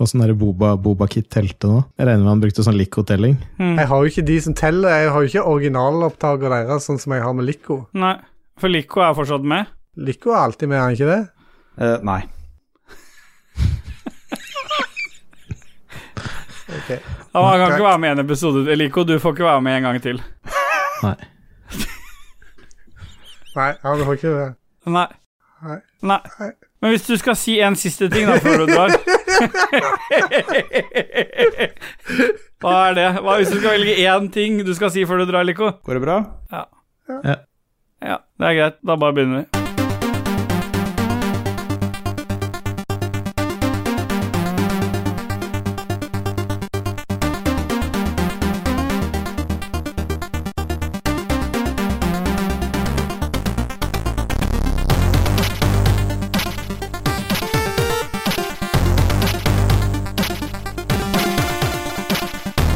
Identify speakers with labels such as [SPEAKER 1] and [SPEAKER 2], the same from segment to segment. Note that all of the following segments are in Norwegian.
[SPEAKER 1] Åssen er det sånn Boba, Boba Kit telte nå? Jeg regner med han brukte sånn Lico-telling.
[SPEAKER 2] Mm.
[SPEAKER 3] Jeg har jo ikke de som teller. Jeg har jo ikke originalopptaker deres, sånn som jeg har med Lico.
[SPEAKER 2] Nei, for Lico er fortsatt med.
[SPEAKER 3] Lico er alltid med, er han ikke det?
[SPEAKER 4] Eh, nei.
[SPEAKER 2] Han kan
[SPEAKER 3] Takk.
[SPEAKER 2] ikke være med i en episode. Lico, du får ikke være med en gang til.
[SPEAKER 1] Nei.
[SPEAKER 3] Nei, han har ikke det.
[SPEAKER 2] Nei.
[SPEAKER 3] Nei.
[SPEAKER 2] Nei.
[SPEAKER 3] Nei.
[SPEAKER 2] Men hvis du skal si en siste ting, da, før du drar Hva er det? Hva Hvis du skal velge én ting du skal si før du drar, Lico?
[SPEAKER 4] Går det bra?
[SPEAKER 2] Ja, det er greit. Da bare begynner vi.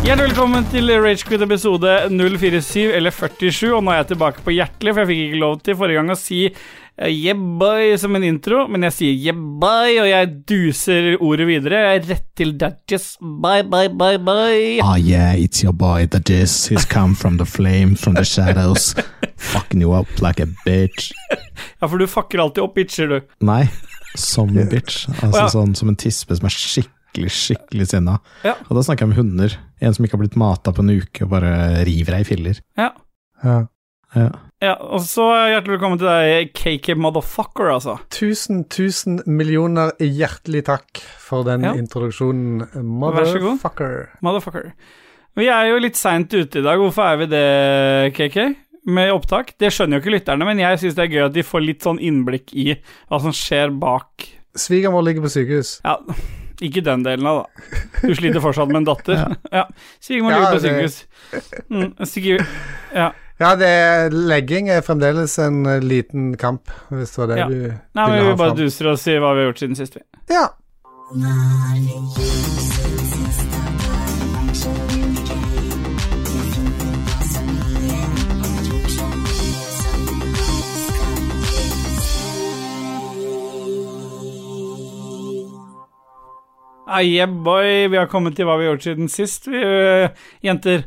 [SPEAKER 2] Hjertelig velkommen til Ragequid episode 047 eller 47. Og nå er jeg tilbake på hjertelig, for jeg fikk ikke lov til forrige gang å si eh, yeah boy som en intro, men jeg sier yeah boy, og jeg duser ordet videre. Jeg er rett til Dudges. Bye, bye, bye, bye.
[SPEAKER 1] Ah yeah, it's your boy, the Jizz. He's come from the flames, from the shadows. Fucking you up like a bitch.
[SPEAKER 2] Ja, for du fucker alltid opp bitcher, du.
[SPEAKER 1] Nei, som en bitch. Altså
[SPEAKER 2] Ja.
[SPEAKER 1] sånn som en tispe som er skikkelig, skikkelig sinna.
[SPEAKER 2] Ja.
[SPEAKER 1] Og da snakker jeg om hunder. En som ikke har blitt mata på en uke og bare river deg i filler.
[SPEAKER 2] Ja.
[SPEAKER 3] Ja.
[SPEAKER 1] Ja.
[SPEAKER 2] Ja, og så eh, hjertelig velkommen til deg, KK Motherfucker, altså.
[SPEAKER 3] Tusen, tusen millioner hjertelig takk for den
[SPEAKER 2] Ja.
[SPEAKER 3] introduksjonen,
[SPEAKER 2] Vær så god.
[SPEAKER 3] motherfucker.
[SPEAKER 2] Motherfucker. Vi er jo litt seint ute i dag. Hvorfor er vi det, KK? Med opptak? Det skjønner jo ikke lytterne, men jeg syns det er gøy at de får litt sånn innblikk i hva som skjer bak
[SPEAKER 3] Svigermor ligger på sykehus.
[SPEAKER 2] Ja, ikke den delen av, da. Du sliter fortsatt med en datter. Ja. Sigmund
[SPEAKER 3] Ja,
[SPEAKER 2] ligger på
[SPEAKER 3] det-
[SPEAKER 2] sykehus. Mm, Sigurd Ja.
[SPEAKER 3] Ja, det er, legging er fremdeles en eh, liten kamp, hvis det var det
[SPEAKER 2] Ja. Nei,
[SPEAKER 3] du ville
[SPEAKER 2] men vi
[SPEAKER 3] ha
[SPEAKER 2] bare
[SPEAKER 3] fram.
[SPEAKER 2] duser og sier hva vi har gjort siden sist, vi.
[SPEAKER 3] Ja.
[SPEAKER 2] Ah, yeah, boy. Vi har kommet til hva vi har gjort siden sist, vi, øh, jenter.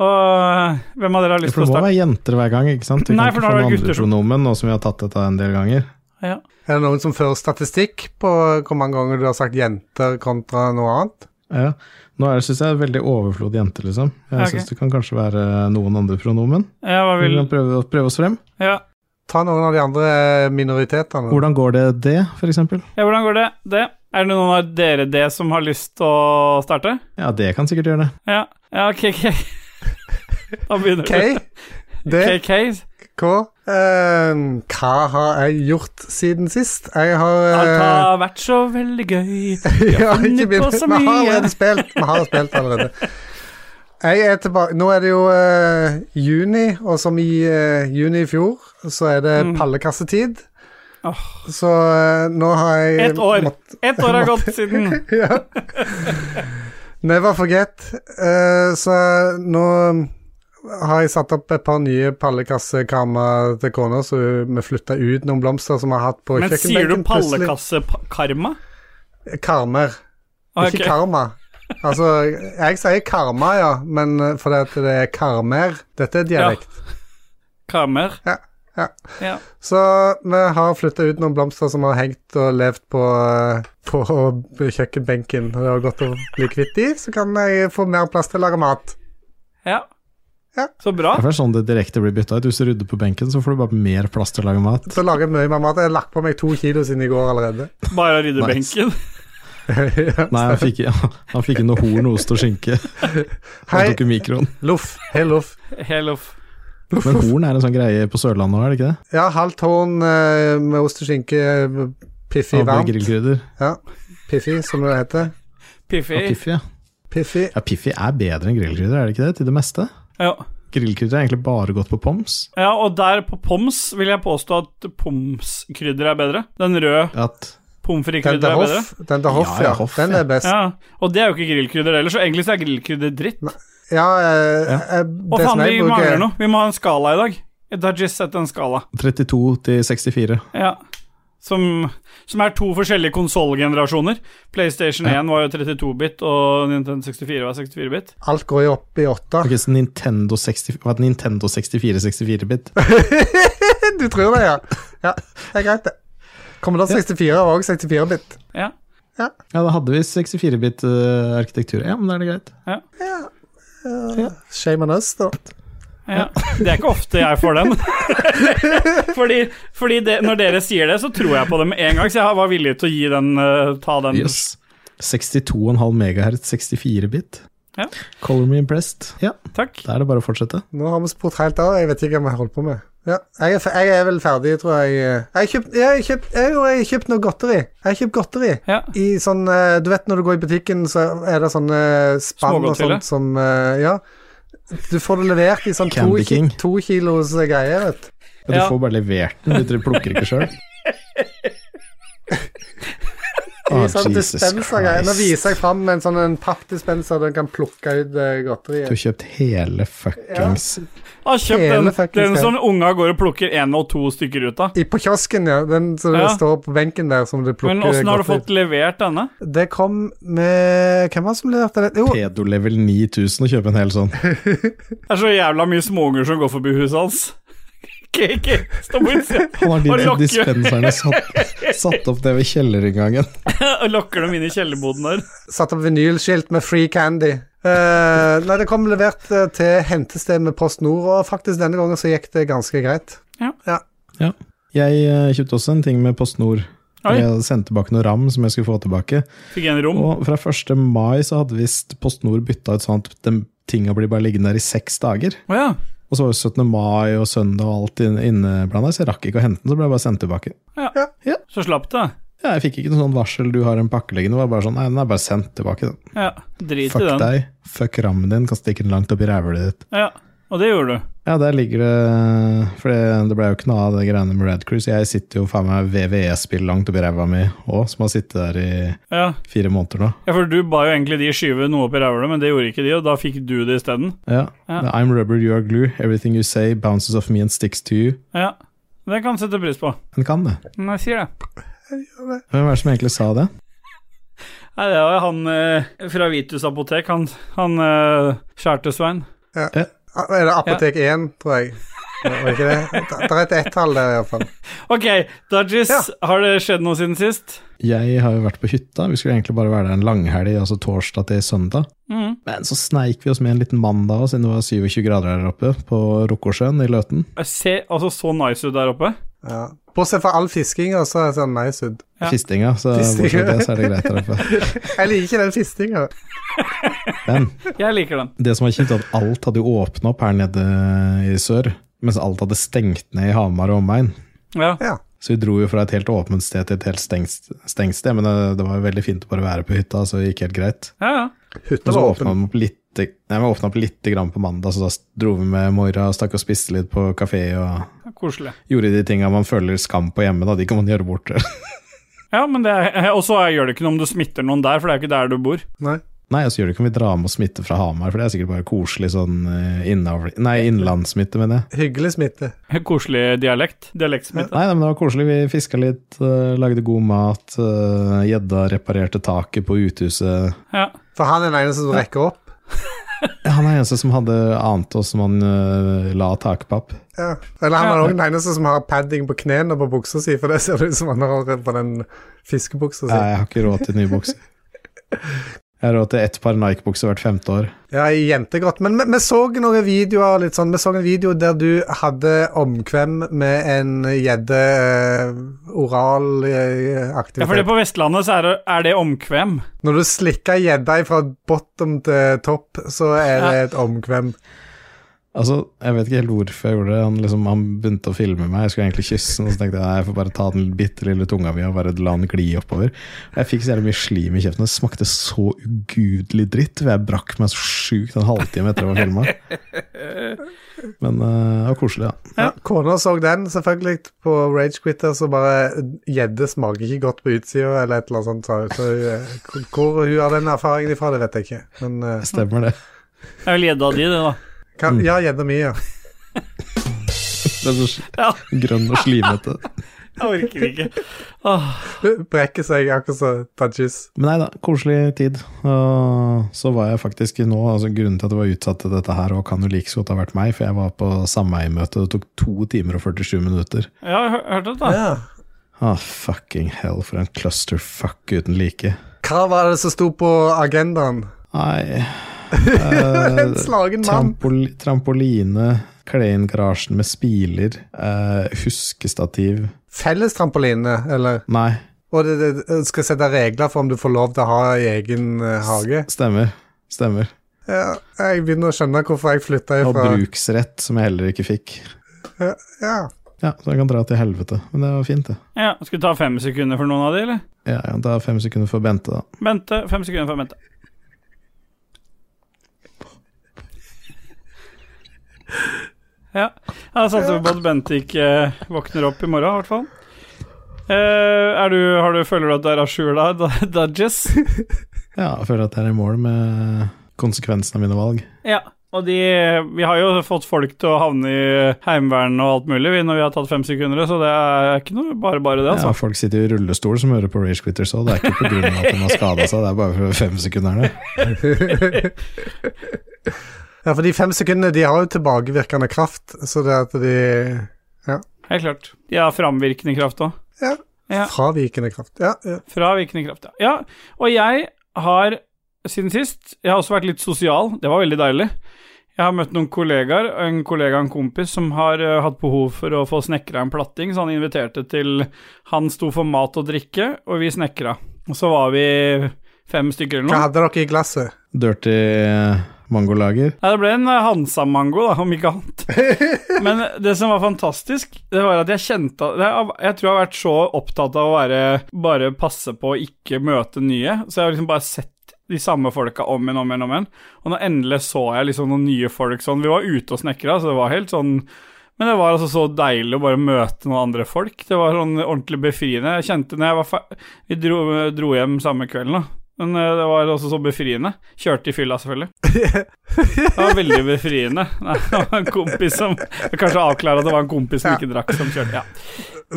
[SPEAKER 2] Og øh, hvem av dere har lyst
[SPEAKER 1] For
[SPEAKER 2] til å
[SPEAKER 1] det må
[SPEAKER 2] starte?
[SPEAKER 1] være jenter hver gang, ikke sant? Vi
[SPEAKER 2] Nei,
[SPEAKER 1] kan
[SPEAKER 2] for
[SPEAKER 1] ikke
[SPEAKER 2] nå er
[SPEAKER 1] få
[SPEAKER 2] det
[SPEAKER 1] noen
[SPEAKER 2] gutter
[SPEAKER 1] andre
[SPEAKER 2] som-
[SPEAKER 1] pronomen, nå som vi har tatt dette en del ganger.
[SPEAKER 2] Ja.
[SPEAKER 3] Er det noen som fører statistikk på hvor mange ganger du har sagt jenter kontra noe annet?
[SPEAKER 1] Ja. Nå er det, synes jeg, veldig overflod jenter, liksom. Jeg
[SPEAKER 2] Ok.
[SPEAKER 1] synes det kan kanskje være noen andre pronomen.
[SPEAKER 2] ja, hva
[SPEAKER 1] Vi
[SPEAKER 2] vil
[SPEAKER 1] kan prøve, prøve oss frem.
[SPEAKER 2] Ja.
[SPEAKER 3] Ta noen av de andre eh, minoritetene.
[SPEAKER 1] Hvordan går det det, for eksempel?
[SPEAKER 2] Ja, hvordan går det? det? Er det noen av dere det som har lyst til å starte?
[SPEAKER 1] Ja, det kan sikkert gjøre det.
[SPEAKER 2] Ja, ja ok, ok. Da begynner
[SPEAKER 3] K? D?
[SPEAKER 2] du. KK?
[SPEAKER 3] K? Eh, hva har jeg gjort siden sist? Jeg har eh,
[SPEAKER 2] Alt har vært så veldig gøy.
[SPEAKER 3] Ja,
[SPEAKER 2] funnet
[SPEAKER 3] ikke
[SPEAKER 2] på
[SPEAKER 3] begynn.
[SPEAKER 2] så
[SPEAKER 3] Vi har
[SPEAKER 2] mye.
[SPEAKER 3] allerede spilt. Vi har spilt allerede. Jeg er tilbake. Nå er det jo eh, juni, og som i eh, juni i fjor, så er det pallekassetid.
[SPEAKER 2] Mm. Åh.
[SPEAKER 3] Så eh, nå har jeg
[SPEAKER 2] Ett år.
[SPEAKER 3] mått-
[SPEAKER 2] Ett år har gått siden.
[SPEAKER 3] ja. Never forget. Eh, så nå har jeg satt opp et par nye pallekassekarmer til kona, så vi flytta ut noen blomster som vi har hatt på
[SPEAKER 2] Men sier du
[SPEAKER 3] kjøkkenbenken. plutselig.
[SPEAKER 2] pallekassekarma?
[SPEAKER 3] Karmer.
[SPEAKER 2] Ah, Ok.
[SPEAKER 3] Ikke karma. Altså, jeg sier karma, ja, men eh, fordi at det er karmer. Dette er dialekt.
[SPEAKER 2] Karmer?
[SPEAKER 3] Ja, ja.
[SPEAKER 2] Ja.
[SPEAKER 3] Så vi har flytta ut noen blomster som har hengt og levd på, eh, på kjøkkenbenken. og Det var godt å bli kvitt de, så kan jeg få mer plass til å lage mat.
[SPEAKER 2] Ja.
[SPEAKER 3] Ja.
[SPEAKER 2] Så bra.
[SPEAKER 1] Derfor er det sånn det direkte blir bytta ut. Hvis du rydder på benken, så får du bare mer plass til å lage mat.
[SPEAKER 3] Så lager jeg mye mer mat. Jeg har lagt på meg to kilo siden i går allerede.
[SPEAKER 2] Bare å rydde
[SPEAKER 1] Nice.
[SPEAKER 2] benken.
[SPEAKER 3] Ja.
[SPEAKER 1] Nei, han fikk, han fikk inn noe horn, ost og skinke. Han
[SPEAKER 3] Hei,
[SPEAKER 1] tok i mikroen.
[SPEAKER 3] loff. Hei, loff.
[SPEAKER 2] Helof.
[SPEAKER 1] Men horn er en sånn greie på Sørlandet òg, er det ikke det?
[SPEAKER 3] Ja, halvt horn eh, med ost og skinke, eh, piffig
[SPEAKER 1] Og med
[SPEAKER 3] varmt.
[SPEAKER 1] grillkrydder.
[SPEAKER 3] Ja, Piffi, som det heter.
[SPEAKER 1] Ja,
[SPEAKER 2] Piffi.
[SPEAKER 1] Piffi, ja.
[SPEAKER 3] Piffi.
[SPEAKER 1] ja, Piffi er bedre enn grillkrydder, er det ikke det? Til det meste.
[SPEAKER 2] Ja.
[SPEAKER 1] Grillkrydder er egentlig bare godt på pommes.
[SPEAKER 2] ja, og der på Poms vil jeg påstå at Poms-krydder er bedre. Den røde
[SPEAKER 1] At
[SPEAKER 2] pommes
[SPEAKER 3] Den der
[SPEAKER 2] frites-krydder er bedre.
[SPEAKER 3] Hoff, den der Hoff,
[SPEAKER 1] Ja,
[SPEAKER 3] ja.
[SPEAKER 1] ja, Hoff,
[SPEAKER 3] den
[SPEAKER 1] ja.
[SPEAKER 3] er best. Ja,
[SPEAKER 2] Ja, og det er jo ikke grillkrydder heller, så egentlig så er grillkrydder dritt.
[SPEAKER 3] eh, eh,
[SPEAKER 2] Å
[SPEAKER 3] det
[SPEAKER 2] faen,
[SPEAKER 3] som
[SPEAKER 2] vi
[SPEAKER 3] jeg bruker
[SPEAKER 2] mangler noe. Vi må ha en skala i dag. Dudgies setter en skala.
[SPEAKER 1] 32 til 64.
[SPEAKER 2] Ja. Som, som er to forskjellige konsollgenerasjoner. PlayStation 1 var jo 32-bit, og Nintendo 64 var 64-bit.
[SPEAKER 3] Alt går jo opp i åtte.
[SPEAKER 1] Ok, så Nintendo 60, var det Nintendo 64-64-bit?
[SPEAKER 3] Du tror det, ja. Ja, det er greit, det. Kommer da 64 og også 64-bit?
[SPEAKER 2] Ja.
[SPEAKER 1] Ja, da hadde vi 64-bit eh, arkitektur. Ja, men da er det greit.
[SPEAKER 3] eh, Shame on us, da.
[SPEAKER 2] Ja. Det er ikke ofte jeg får den. fordi fordi det, når dere sier det, så tror jeg på det med en gang, så jeg var villig til å gi den, eh, ta den.
[SPEAKER 1] Yes. 62,5 megahertz, 64-bit.
[SPEAKER 2] Ja.
[SPEAKER 1] Color me impressed. Ja,
[SPEAKER 2] Takk.
[SPEAKER 1] da er det bare å fortsette.
[SPEAKER 3] Nå har vi spurt helt av. Jeg vet ikke hva vi holder på med. Ja, jeg, er, fe- jeg er vel ferdig, tror jeg. Eh, Jeg har kjøpt, jeg har kjøpt, jeg, jo, jeg har kjøpt noe godteri. Jeg har kjøpt godteri.
[SPEAKER 2] Ja.
[SPEAKER 3] I sånn, eh, du vet når du går i butikken, så er det sånne spann og
[SPEAKER 2] Smågodteri.
[SPEAKER 3] sånt som eh, Ja. Du får det levert i sånn to,
[SPEAKER 1] Candy
[SPEAKER 3] ki
[SPEAKER 1] King.
[SPEAKER 3] to kilos eh, greier, vet du.
[SPEAKER 1] Ja, du
[SPEAKER 2] Ja.
[SPEAKER 1] får bare levert den, du plukker ikke sjøl. Ah,
[SPEAKER 3] I sånn dispenser-greier. Nå viser jeg fram en sånn en pappdispenser der en kan plukke ut eh,
[SPEAKER 1] Du har
[SPEAKER 3] godteriet.
[SPEAKER 1] kjøpt hele fuckings
[SPEAKER 2] Jeg har kjøpt
[SPEAKER 3] Hele
[SPEAKER 2] den,
[SPEAKER 3] fuckings
[SPEAKER 2] den
[SPEAKER 3] greia.
[SPEAKER 2] som unga går og plukker én og to stykker ut av.
[SPEAKER 3] I, på kiosken, ja. Den som
[SPEAKER 2] Ja.
[SPEAKER 3] står på benken der som du plukker
[SPEAKER 2] Men åssen har du
[SPEAKER 3] godteri.
[SPEAKER 2] fått levert denne?
[SPEAKER 3] Det kom med Hvem var det som leverte det? Jo,
[SPEAKER 1] pedo level 9000 og kjøpe en hel sånn.
[SPEAKER 2] Det er så jævla mye småunger som går forbi huset hans. Ikke, ikke, stå på utsida
[SPEAKER 1] Han har de
[SPEAKER 2] Og
[SPEAKER 1] der
[SPEAKER 2] lokke.
[SPEAKER 1] dispenserne satt, satt opp det ved kjellerinngangen.
[SPEAKER 2] og lokker dem inn i kjellerboden der.
[SPEAKER 3] Satt opp vinylskilt med free candy. Eh, nei, det kom levert eh, til hentested med Post Nord, og faktisk denne gangen så gikk det ganske greit.
[SPEAKER 1] Jeg eh, kjøpte også en ting med PostNord.
[SPEAKER 2] Oi.
[SPEAKER 1] Jeg sendte tilbake noe ram som jeg skulle få tilbake.
[SPEAKER 2] Fikk en rom.
[SPEAKER 1] Og fra 1. mai så hadde visst PostNord bytta ut sånn at de tinga blir bare liggende der i seks dager.
[SPEAKER 2] Å ja.
[SPEAKER 1] Og så var det 17. mai og søndag og alt inn- inneblanda, så jeg rakk ikke å hente den, så ble jeg bare sendt tilbake.
[SPEAKER 2] Så slapp det.
[SPEAKER 1] Ja, jeg fikk ikke noe sånn varsel, du har en pakke liggende, det var bare sånn, nei, den er bare sendt tilbake, den.
[SPEAKER 2] Ja, drit i
[SPEAKER 1] Fuck
[SPEAKER 2] den.
[SPEAKER 1] deg, fuck rammen din, kan stikke den langt opp i rævhullet ditt.
[SPEAKER 2] Ja, Og det gjorde du.
[SPEAKER 1] Ja, der ligger det For det, det ble jo ikke noe av det greiene med Red Cruise. Jeg sitter jo faen meg VVE-spill langt oppi ræva mi òg, som har sittet der i
[SPEAKER 2] Ja.
[SPEAKER 1] fire måneder nå.
[SPEAKER 2] ja, for du ba jo egentlig de skyve noe opp i ræva, men det gjorde ikke de, og da fikk du det isteden.
[SPEAKER 1] Ja.
[SPEAKER 2] Ja.
[SPEAKER 1] I'm rubber, you are glue. Everything you say bounces off me and sticks to you.
[SPEAKER 2] Ja. Det kan jeg sette pris på.
[SPEAKER 1] Den kan det.
[SPEAKER 2] Men jeg sier det.
[SPEAKER 1] Hvem er det som egentlig sa det?
[SPEAKER 2] Nei, det var han eh, fra Vitus apotek, han, han eh, Kjærte-Svein.
[SPEAKER 3] Ah, Er det Apotek 1, tror jeg? Var det ikke det? Det det er et ett-tall der, iallfall.
[SPEAKER 2] Ok, Dodges,
[SPEAKER 3] Ja.
[SPEAKER 2] har det skjedd noe siden sist?
[SPEAKER 1] Jeg har jo vært på hytta. Vi skulle egentlig bare være der en langhelg, altså torsdag til søndag.
[SPEAKER 2] Mhm.
[SPEAKER 1] Men så sneik vi oss med en liten mandag, også, siden det var 27 grader der oppe, på Rokkosjøen i Løten.
[SPEAKER 2] Jeg ser altså så nice ut der oppe.
[SPEAKER 3] Ja. Bortsett fra all fiskinga, så ser den nice ut.
[SPEAKER 2] Ja.
[SPEAKER 1] Fistinga, så bortsett fra
[SPEAKER 3] Fistinga.
[SPEAKER 1] det, så er det greit der oppe.
[SPEAKER 3] Jeg liker ikke den fistinga.
[SPEAKER 1] Men
[SPEAKER 2] Jeg liker den.
[SPEAKER 1] Det som var kjipt, er at alt hadde jo åpna opp her nede i sør, mens alt hadde stengt ned i Hamar og omegn.
[SPEAKER 2] Ja.
[SPEAKER 3] Ja.
[SPEAKER 1] Så vi dro jo fra et helt åpent sted til et helt stengt, stengt sted, men det, det var jo veldig fint å bare være på hytta, så det gikk helt greit.
[SPEAKER 2] Ja, ja.
[SPEAKER 1] Men
[SPEAKER 3] Hytta
[SPEAKER 1] så
[SPEAKER 3] var
[SPEAKER 1] åpna
[SPEAKER 3] åpen.
[SPEAKER 1] den opp litt, nei, vi åpna opp litt grann på mandag, så da dro vi med Moira og stakk og spiste litt på kafé og
[SPEAKER 2] Det er Koselig.
[SPEAKER 1] gjorde de tinga man føler skam på hjemme, da. De kan man gjøre bort.
[SPEAKER 2] Ja, men det er, og så gjør det ikke noe om du smitter noen der, for det er jo ikke der du bor.
[SPEAKER 3] Nei.
[SPEAKER 1] Nei, og så gjør det ikke om vi drar med oss smitte fra Hamar, for det er sikkert bare koselig sånn eh, innavl... Nei, innlandssmitte, mener jeg.
[SPEAKER 3] Hyggelig smitte.
[SPEAKER 2] Koselig dialekt. Dialektsmitte.
[SPEAKER 1] Nei, nei, men det var koselig. Vi fiska litt, eh, lagde god mat. eh, Gjedda reparerte taket på uthuset.
[SPEAKER 2] Ja.
[SPEAKER 3] For han er den eneste som rekker opp.
[SPEAKER 1] Ja, Han er eneste som hadde ant oss som han eh, la takpapp.
[SPEAKER 3] Ja. Eller han er
[SPEAKER 2] Ja.
[SPEAKER 3] òg den eneste som har padding på knærne og på buksa si, for det ser det ut som han har på den fiskebuksa si.
[SPEAKER 1] Nei, jeg har ikke råd til nye bukser. Jeg har råd til ett par Nike-bukser hvert femte år.
[SPEAKER 3] Ja, i jentegrått. Men vi, vi så noen videoer litt sånn, vi så en video der du hadde omkvem med en gjedde eh, oral eh,
[SPEAKER 2] ja, for det
[SPEAKER 3] aktivitet.
[SPEAKER 2] på Vestlandet så er det, er det omkvem.
[SPEAKER 3] Når du slikker gjedda fra bottom til topp, så er det et omkvem.
[SPEAKER 1] Altså, Jeg vet ikke helt hvorfor jeg gjorde det. Han, liksom, han begynte å filme meg. Jeg skulle egentlig kysse han, og så tenkte jeg nei, jeg får bare ta den bitte lille tunga mi og bare la den gli oppover. Jeg fikk så jævlig mye slim i kjeften. Det smakte så ugudelig dritt. for Jeg brakk meg så sjukt en halvtime etter jeg var filma. Men eh, det var koselig, da.
[SPEAKER 3] Ja, Kona så den, selvfølgelig, på Rage Quitter, så bare eh, Gjedde smaker ikke godt på utsida, eller et eller annet sånt. sa hun. Så, eh, hvor hun har den erfaringen ifra, det vet jeg ikke. Men eh,
[SPEAKER 1] Stemmer det.
[SPEAKER 2] Jeg vil gjedda di, det, da.
[SPEAKER 3] kan, ja, gjedda mi, ja.
[SPEAKER 1] Det er så
[SPEAKER 2] Ja.
[SPEAKER 1] grønn og slimete.
[SPEAKER 2] Jeg orker ikke. Åh,
[SPEAKER 3] Brekker seg akkurat som Dajis.
[SPEAKER 1] Men nei da, koselig tid. Og så var jeg faktisk nå, altså grunnen til at det var utsatt til dette her, og kan jo like så godt ha vært meg, for jeg var på sameiemøte, det tok to timer og 47 minutter.
[SPEAKER 2] ja, jeg har hørt det, da.
[SPEAKER 3] Ja.
[SPEAKER 1] Ah, fucking hell, for en clusterfuck uten like.
[SPEAKER 3] Hva var det som sto på agendaen?
[SPEAKER 1] Nei,
[SPEAKER 3] En slagen mann.
[SPEAKER 1] trampol trampoline, kle inn garasjen med spiler, eh, huskestativ
[SPEAKER 3] Felles trampoline, eller?
[SPEAKER 1] Nei,
[SPEAKER 3] Og det, det- det skal sette regler for om du får lov til å ha i egen eh, hage.
[SPEAKER 1] stemmer. Stemmer.
[SPEAKER 3] Ja, jeg begynner å skjønne hvorfor jeg flytta
[SPEAKER 1] Og
[SPEAKER 3] ifra
[SPEAKER 1] bruksrett, som jeg heller ikke fikk.
[SPEAKER 3] ja.
[SPEAKER 1] Ja, så jeg kan dra til helvete. Men det var fint, det.
[SPEAKER 2] Ja, Skal du ta fem sekunder for noen av de, eller?
[SPEAKER 1] Ja, ja, det er fem sekunder for Bente, da.
[SPEAKER 2] Bente. Fem sekunder for Bente. Ja. Jeg satser på at Bente ikke eh, våkner opp i morgen, i hvert fall. Eh, er du, har du, føler du at du er à jour da, da- Dodges?
[SPEAKER 1] Ja, jeg føler at jeg er i mål med konsekvensen av mine valg.
[SPEAKER 2] Ja. Og de, vi har jo fått folk til å havne i Heimevernet og alt mulig vi, når vi har tatt fem sekunder, så det er ikke noe bare bare, det,
[SPEAKER 1] Ja,
[SPEAKER 2] altså.
[SPEAKER 1] folk sitter i rullestol som hører på Rage Quitters òg. Det er ikke pga. at de har skada seg, det er bare for fem sekunderne.
[SPEAKER 3] ja, for de fem sekundene de har jo tilbakevirkende kraft, så det at de
[SPEAKER 2] Helt klart. De har framvirkende kraft òg.
[SPEAKER 3] Ja.
[SPEAKER 2] Ja.
[SPEAKER 3] Fravikende kraft. Ja, ja.
[SPEAKER 2] Fravirkende kraft, ja. ja. Og jeg har siden sist Jeg har også vært litt sosial. Det var veldig deilig. Jeg har møtt noen kollegaer, en kollega og en kompis, som har eh, hatt behov for å få snekra en platting, så han inviterte til Han sto for mat og drikke, og vi snekra. Og så var vi fem stykker eller noe.
[SPEAKER 3] Hva hadde dere i glasset?
[SPEAKER 1] Dirty eh, mangolager.
[SPEAKER 2] Ja, det ble en eh, Hansa-mango, da, om ikke annet. Men det som var fantastisk, det var at jeg kjente at Jeg, jeg tror jeg har vært så opptatt av å være bare passe på å ikke møte nye, så jeg har liksom bare sett de samme folka om igjen, om igjen, om igjen. Og nå endelig så jeg liksom noen nye folk sånn. Vi var ute og snekra, så det var helt sånn men det var altså så deilig å bare møte noen andre folk. Det var sånn ordentlig befriende. Jeg kjente når jeg var fer- Vi dro, dro hjem samme kvelden, da. Men eh, det var også så befriende. Kjørte i fylla, selvfølgelig. Det var veldig befriende. Nei, det var en kompis som jeg Kanskje avklare at det var en kompis som ikke drakk, som kjørte. Ja.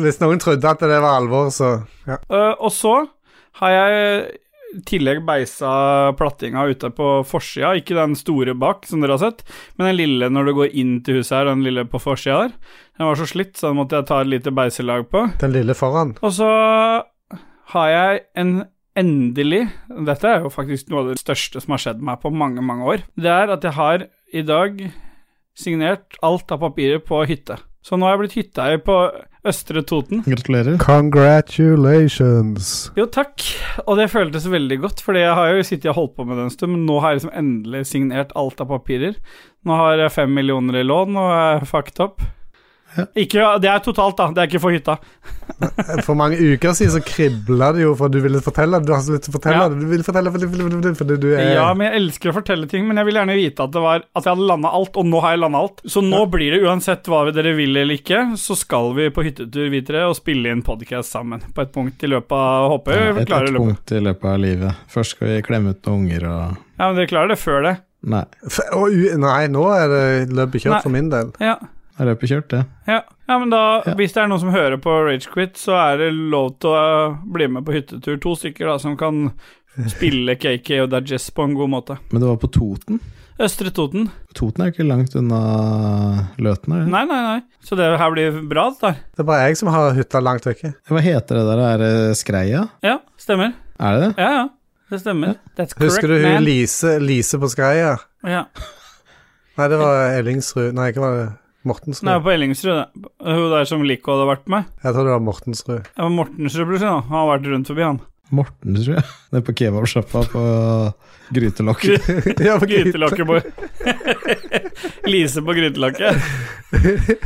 [SPEAKER 3] Hvis noen trodde at det var alvor, så ja.
[SPEAKER 2] Eh, og så har jeg i tillegg beisa plattinga ute på forsida, ikke den store bak, som dere har sett, men den lille når du går inn til huset her, den lille på forsida der. Den var så slitt, så den måtte jeg ta et lite beiselag på.
[SPEAKER 3] Den lille foran.
[SPEAKER 2] Og så har jeg en endelig Dette er jo faktisk noe av det største som har skjedd meg på mange, mange år. Det er at jeg har i dag signert alt av papirer på hytte. Så nå har jeg blitt hytteeier på Østre Toten.
[SPEAKER 1] Gratulerer.
[SPEAKER 3] Congratulations.
[SPEAKER 2] Jo, takk. Og det føltes veldig godt, fordi jeg har jo sittet og holdt på med det en stund, men nå har jeg liksom endelig signert alt av papirer. Nå har jeg fem millioner i lån og er fucked up. Ikke, det er totalt, da. Det er ikke for hytta.
[SPEAKER 3] For mange uker siden så kribla det jo for du ville fortelle det. Du har så lyst til å fortelle
[SPEAKER 2] Ja.
[SPEAKER 3] det. Du vil fortelle fordi for, for, for, du er
[SPEAKER 2] Ja, men jeg elsker å fortelle ting, men jeg vil gjerne vite at, det var, at jeg hadde landa alt, og nå har jeg landa alt. Så nå blir det uansett hva dere vil eller ikke, så skal vi på hyttetur, vi tre, og spille inn podkast sammen på et punkt i løpet av Håper
[SPEAKER 1] Ja,
[SPEAKER 2] vi
[SPEAKER 1] et,
[SPEAKER 2] klarer
[SPEAKER 1] et
[SPEAKER 2] i løpet.
[SPEAKER 1] punkt i løpet av livet. Først skal vi klemme ut noen unger og
[SPEAKER 2] Ja, men dere klarer det før det.
[SPEAKER 1] Nei,
[SPEAKER 3] F- å, u- Nei, nå er det løpet
[SPEAKER 2] Nei.
[SPEAKER 3] kjørt for min del.
[SPEAKER 2] Ja.
[SPEAKER 1] da er løpet kjørt, det.
[SPEAKER 2] Ja. ja, men da,
[SPEAKER 1] Ja.
[SPEAKER 2] hvis det er noen som hører på Ragequit, så er det lov til å eh, bli med på hyttetur. To stykker da, som kan spille KK og Dajess på en god måte.
[SPEAKER 1] Men det var på Toten.
[SPEAKER 2] Østre Toten.
[SPEAKER 1] Toten er jo ikke langt unna Løten. er det?
[SPEAKER 2] Nei, nei, nei. Så det her blir bra, dette her.
[SPEAKER 3] Det er bare jeg som har hytta langt vekke.
[SPEAKER 1] Hva heter det der, er det Skreia?
[SPEAKER 2] Ja, stemmer.
[SPEAKER 1] Er det det?
[SPEAKER 2] Ja, ja. Det stemmer. That's correct,
[SPEAKER 3] Husker du hun
[SPEAKER 2] man.
[SPEAKER 3] Lise, Lise på Skreia?
[SPEAKER 2] Ja.
[SPEAKER 3] Nei, det var Ellingsrud Nei, hva var det?
[SPEAKER 2] Hun er
[SPEAKER 3] Mortensrud.
[SPEAKER 2] på Ellingsrud, det. Hun der som Lico hadde vært med.
[SPEAKER 3] Jeg tror det var Mortensrud.
[SPEAKER 2] Det var Mortensrud, plutselig. da. Han har vært rundt forbi, han.
[SPEAKER 1] Morten, tror jeg. Det er på kebabsjappa på Grytelokket.
[SPEAKER 3] Ja, for gud.
[SPEAKER 2] Grytelokket på Lise på grytelokket.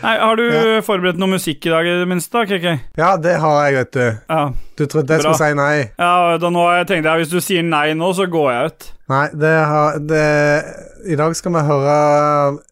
[SPEAKER 2] Nei, har du forberedt noe musikk i dag, i det minste? da, KK?
[SPEAKER 3] ja, det har jeg, vet du.
[SPEAKER 2] Ja.
[SPEAKER 3] Du trodde jeg
[SPEAKER 2] Bra.
[SPEAKER 3] skulle si nei.
[SPEAKER 2] ja, da nå tenkte jeg hvis du sier nei nå, så går jeg ut.
[SPEAKER 3] Nei, det har det, I dag skal vi høre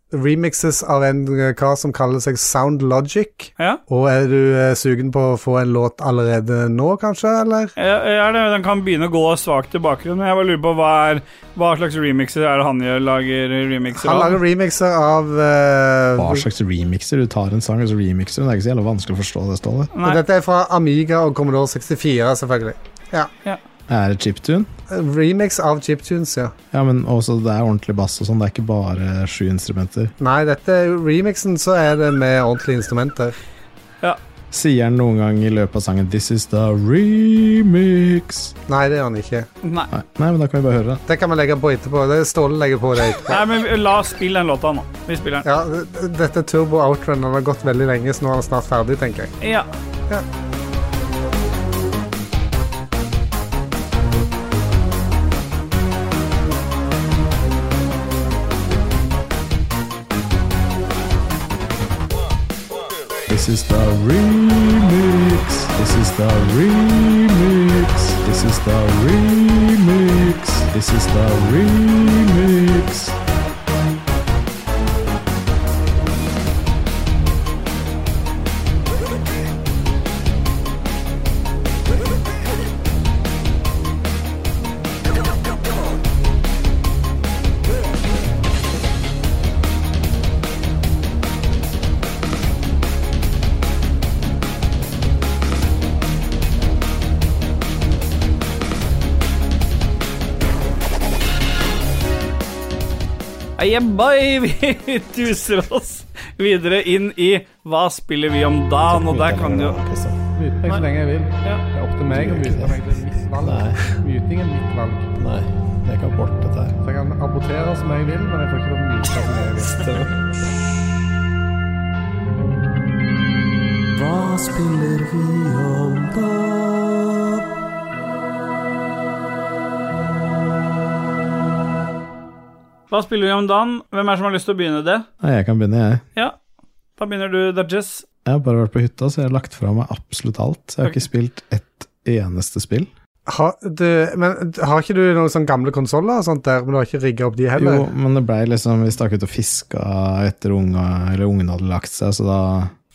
[SPEAKER 3] remixes av en kar som kaller seg Sound Logic.
[SPEAKER 2] Ja?
[SPEAKER 3] Og er du eh, sugen på å få en låt allerede nå, kanskje, eller?
[SPEAKER 2] Jeg, jeg er det, den kan begynne å gå svakt i bakgrunnen, men jeg bare lurer på hva, er, hva slags remixer er det han gjør, lager remixer
[SPEAKER 3] Han
[SPEAKER 2] av?
[SPEAKER 3] lager remixer av eh,
[SPEAKER 1] Hva slags remixer. Du tar en sang og så remixer du. Det er ikke så jævla vanskelig å forstå det, Ståle.
[SPEAKER 3] Og
[SPEAKER 2] Nei,
[SPEAKER 3] dette er fra Amiga og Commodore 64, selvfølgelig. Eh,
[SPEAKER 1] Er det chiptune?
[SPEAKER 3] Remix av chiptunes, ja.
[SPEAKER 1] Ja, men også det er ordentlig bass og sånn. Det er ikke bare sju instrumenter.
[SPEAKER 3] Nei, dette er remixen, så er det med ordentlige instrumenter.
[SPEAKER 1] Sier han noen gang i løpet av sangen 'This is the remix'?
[SPEAKER 3] Nei, det gjør han ikke.
[SPEAKER 2] nei.
[SPEAKER 1] Nei, nei men da kan vi bare høre det.
[SPEAKER 3] Det kan vi legge på etterpå. Det er Ståle legger på det etterpå.
[SPEAKER 2] nei, men la oss spille den låta nå. Vi spiller den.
[SPEAKER 3] Ja, d- dette er Turbo Outrun. Den har gått veldig lenge, så nå er den snart ferdig, tenker jeg.
[SPEAKER 2] Ja.
[SPEAKER 1] This is the remix. This is the remix. This is the remix. This is the remix.
[SPEAKER 2] Yeah, bye. Vi tuser oss videre inn i Hva spiller vi om dagen? Og der kan jo
[SPEAKER 3] Mute meg så lenge jeg vil.
[SPEAKER 2] Ja.
[SPEAKER 3] Det er opp til meg å mute meg. Det er mitt
[SPEAKER 1] Nei.
[SPEAKER 3] valg. Muting er mitt valg.
[SPEAKER 1] Nei, det er ikke abort, dette her.
[SPEAKER 3] Så jeg kan abortere som jeg vil, men jeg får ikke lov til å mute som jeg vil.
[SPEAKER 2] Hva spiller vi om dagen? Hvem er det som har lyst til å begynne det?
[SPEAKER 1] Nei, jeg kan begynne, jeg.
[SPEAKER 2] Ja, da begynner du, Dajess.
[SPEAKER 1] Jeg har bare vært på hytta, så jeg har lagt fra meg absolutt alt. Jeg har ikke spilt ett eneste spill.
[SPEAKER 3] Ha, du, men d- har ikke du noen sånne gamle konsoller og sånt der, men du har ikke rigga opp de heller?
[SPEAKER 1] Jo, men det blei liksom Vi stakk ut og fiska etter unga, eller ungene hadde lagt seg, så da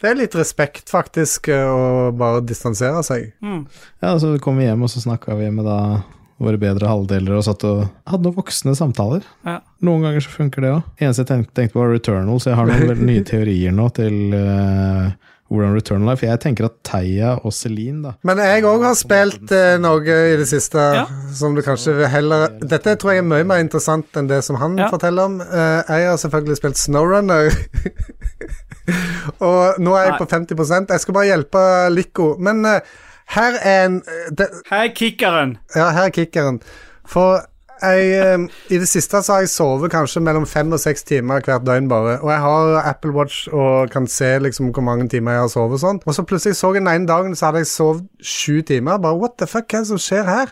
[SPEAKER 3] Det er litt respekt, faktisk, eh, å bare distansere seg.
[SPEAKER 2] Mm.
[SPEAKER 1] Ja, så kom vi hjem, og så snakka vi med da våre bedre halvdeler og satt og hadde noen voksne samtaler.
[SPEAKER 2] Ja.
[SPEAKER 1] Noen ganger så funker det òg. Eneste jeg tenkte, tenkte på, var Returnal, så jeg har noen veldig nye teorier nå til eh, hvordan Returnal er. For jeg tenker at Theia og Celine, da
[SPEAKER 3] Men jeg òg har spilt eh, noe i det siste
[SPEAKER 2] Ja.
[SPEAKER 3] som du kanskje vil heller Dette tror jeg er mye mer interessant enn det som han
[SPEAKER 2] Ja.
[SPEAKER 3] forteller om. Eh, jeg har selvfølgelig spilt Snowrunner. Og nå er jeg
[SPEAKER 2] Nei.
[SPEAKER 3] på 50 Jeg skal bare hjelpe Lico. Men eh, her er en eh, det,
[SPEAKER 2] Hei, kickeren!
[SPEAKER 3] Ja, her er kickeren. For jeg, eh, i det siste så har jeg sovet kanskje mellom fem og seks timer hvert døgn bare. Og jeg har Apple Watch og kan se liksom hvor mange timer jeg har sovet og sånn. Og så plutselig så jeg den ene dagen så hadde jeg sovet sju timer. Bare what the fuck, hva er det som skjer her?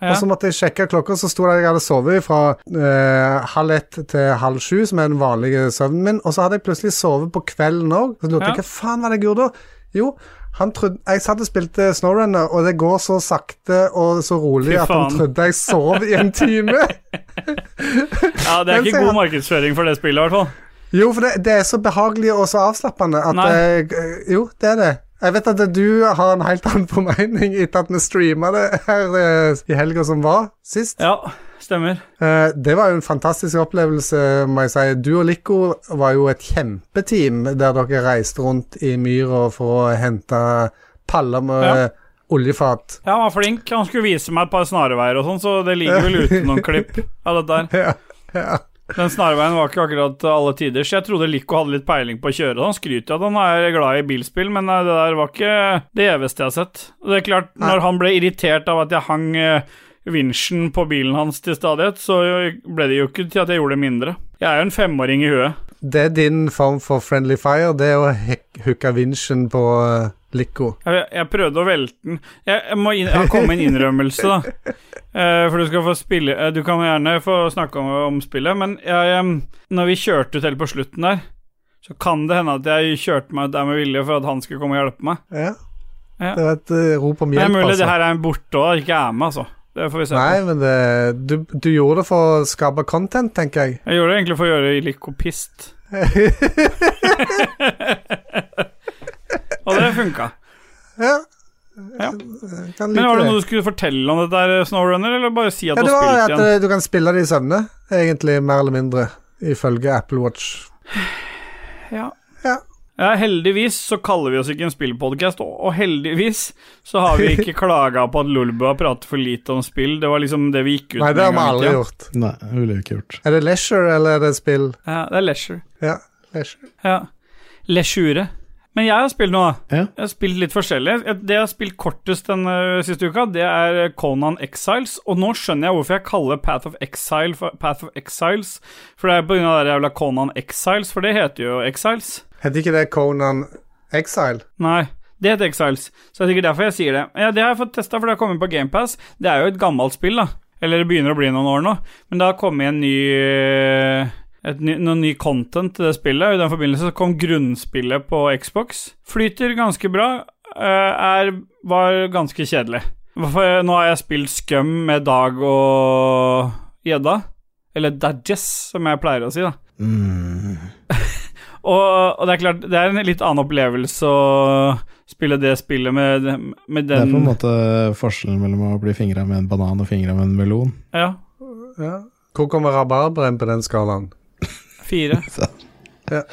[SPEAKER 2] Ja.
[SPEAKER 3] Og så måtte jeg sjekke klokka, så sto det at jeg hadde sovet fra eh, halv ett til halv sju, som er den vanlige søvnen min, og så hadde jeg plutselig sovet på kvelden òg. Så lurte
[SPEAKER 2] Ja.
[SPEAKER 3] jeg hva faen var det jeg gjorde da? Jo, han trodde, jeg satt og spilte Snowrunner, og det går så sakte og så rolig
[SPEAKER 2] Fy
[SPEAKER 3] at han
[SPEAKER 2] faen.
[SPEAKER 3] trodde jeg sov i en time.
[SPEAKER 2] Ja, Det er
[SPEAKER 3] Men
[SPEAKER 2] ikke
[SPEAKER 3] se
[SPEAKER 2] god
[SPEAKER 3] han-
[SPEAKER 2] markedsføring for det spillet, i hvert fall.
[SPEAKER 3] Jo, for det, det er så behagelig og så avslappende at
[SPEAKER 2] Nei.
[SPEAKER 3] jeg, eh, Jo, det er det. Jeg vet at du har en helt annen formening etter at vi streama det her eh, i helga som var, sist.
[SPEAKER 2] Ja, stemmer.
[SPEAKER 3] Eh, Det var jo en fantastisk opplevelse, må jeg si. Du og Lico var jo et kjempeteam der dere reiste rundt i myra for å hente paller med
[SPEAKER 2] Ja.
[SPEAKER 3] oljefat.
[SPEAKER 2] Ja, Han var flink. Han skulle vise meg et par snarveier og sånn, så det ligger vel ute noen klipp av dette her.
[SPEAKER 3] Ja, ja.
[SPEAKER 2] Den snarveien var ikke akkurat til alle tider, så jeg trodde Lico hadde litt peiling på å kjøre. Han skryter av at han er glad i bilspill, men eh, det der var ikke det gjeveste jeg har sett. Og Det er klart, når han ble irritert av at jeg hang eh, vinsjen på bilen hans til stadighet, så ble det jo ikke til at jeg gjorde det mindre. Jeg er jo en femåring i huet.
[SPEAKER 3] Det er din form for friendly fire, det å hek- hooke vinsjen på eh, Lico.
[SPEAKER 2] Jeg, jeg prøvde å velte den. Jeg, jeg må inn, jeg har kommet med en innrømmelse, da. Eh, for du skal få spille eh, Du kan gjerne få snakke om, om spillet, men jeg, em, når vi kjørte ut helt på slutten der, så kan det hende at jeg kjørte meg ut der med vilje for at han skulle komme og hjelpe meg.
[SPEAKER 3] Ja.
[SPEAKER 2] Ja.
[SPEAKER 3] Det var et eh, rop om
[SPEAKER 2] Det er
[SPEAKER 3] hjelp,
[SPEAKER 2] mulig det
[SPEAKER 3] altså.
[SPEAKER 2] her er en borte og ikke er med, altså. Det får vi se.
[SPEAKER 3] Nei, men det, du, du gjorde det for å skape content, tenker jeg.
[SPEAKER 2] Jeg gjorde det egentlig for å gjøre Ilikopist. og det funka.
[SPEAKER 3] Ja.
[SPEAKER 2] Ja.
[SPEAKER 3] Jeg Kan
[SPEAKER 2] Men
[SPEAKER 3] like
[SPEAKER 2] var det
[SPEAKER 3] det.
[SPEAKER 2] noe du skulle fortelle om dette her, Snowrunner, eller bare si at
[SPEAKER 3] Ja,
[SPEAKER 2] du
[SPEAKER 3] det
[SPEAKER 2] har
[SPEAKER 3] var
[SPEAKER 2] spilt
[SPEAKER 3] at
[SPEAKER 2] igjen?
[SPEAKER 3] eh, du kan spille det i søvne, egentlig, mer eller mindre, ifølge Apple Watch.
[SPEAKER 2] Ja.
[SPEAKER 3] Ja.
[SPEAKER 2] Ja, heldigvis så kaller vi oss ikke en spillpodkast, og og heldigvis så har vi ikke klaga på at Lolbua prater for lite om spill. Det var liksom det vi gikk ut
[SPEAKER 3] Nei, det har vi aldri
[SPEAKER 2] ja.
[SPEAKER 3] gjort.
[SPEAKER 1] Nei, det ville jeg ikke gjort.
[SPEAKER 3] Er det leisure eller er det spill?
[SPEAKER 2] Ja, det er leisure.
[SPEAKER 3] Ja, leisure.
[SPEAKER 2] Ja. Leisure. Men jeg har spilt noe.
[SPEAKER 1] Ja.
[SPEAKER 2] Jeg har spilt litt forskjellig. Jeg- Det jeg har spilt kortest denne siste uka, det er Conan Exiles. Og nå skjønner jeg hvorfor jeg kaller Path of Exile for Path of Exiles. For det er på grunn av det jævla Conan Exiles, for det heter jo Exiles.
[SPEAKER 3] Heter ikke det Conan Exile?
[SPEAKER 2] Nei, det heter Exiles, så det er sikkert derfor jeg sier det. Ja, det har jeg fått testa, for det har kommet på GamePass. Det er jo et gammelt spill, da. Eller det begynner å bli noen år nå. Men det har kommet en ny eh, et ny, noe ny content til det spillet. og I den forbindelse så kom grunnspillet på Xbox. Flyter ganske bra. eh, Er var ganske kjedelig. For nå har jeg spilt Scum med Dag og Gjedda. Eller Dadges, som jeg pleier å si, da.
[SPEAKER 1] Mm.
[SPEAKER 2] Og, og det er klart, det er en litt annen opplevelse å spille det spillet med, med
[SPEAKER 1] Det er
[SPEAKER 2] den
[SPEAKER 1] på en måte forskjellen mellom å bli fingra med en banan og fingra med en melon.
[SPEAKER 2] Ja,
[SPEAKER 3] Ja. Hvor kommer rabarberen på den skalaen?
[SPEAKER 2] fire.
[SPEAKER 3] Ja.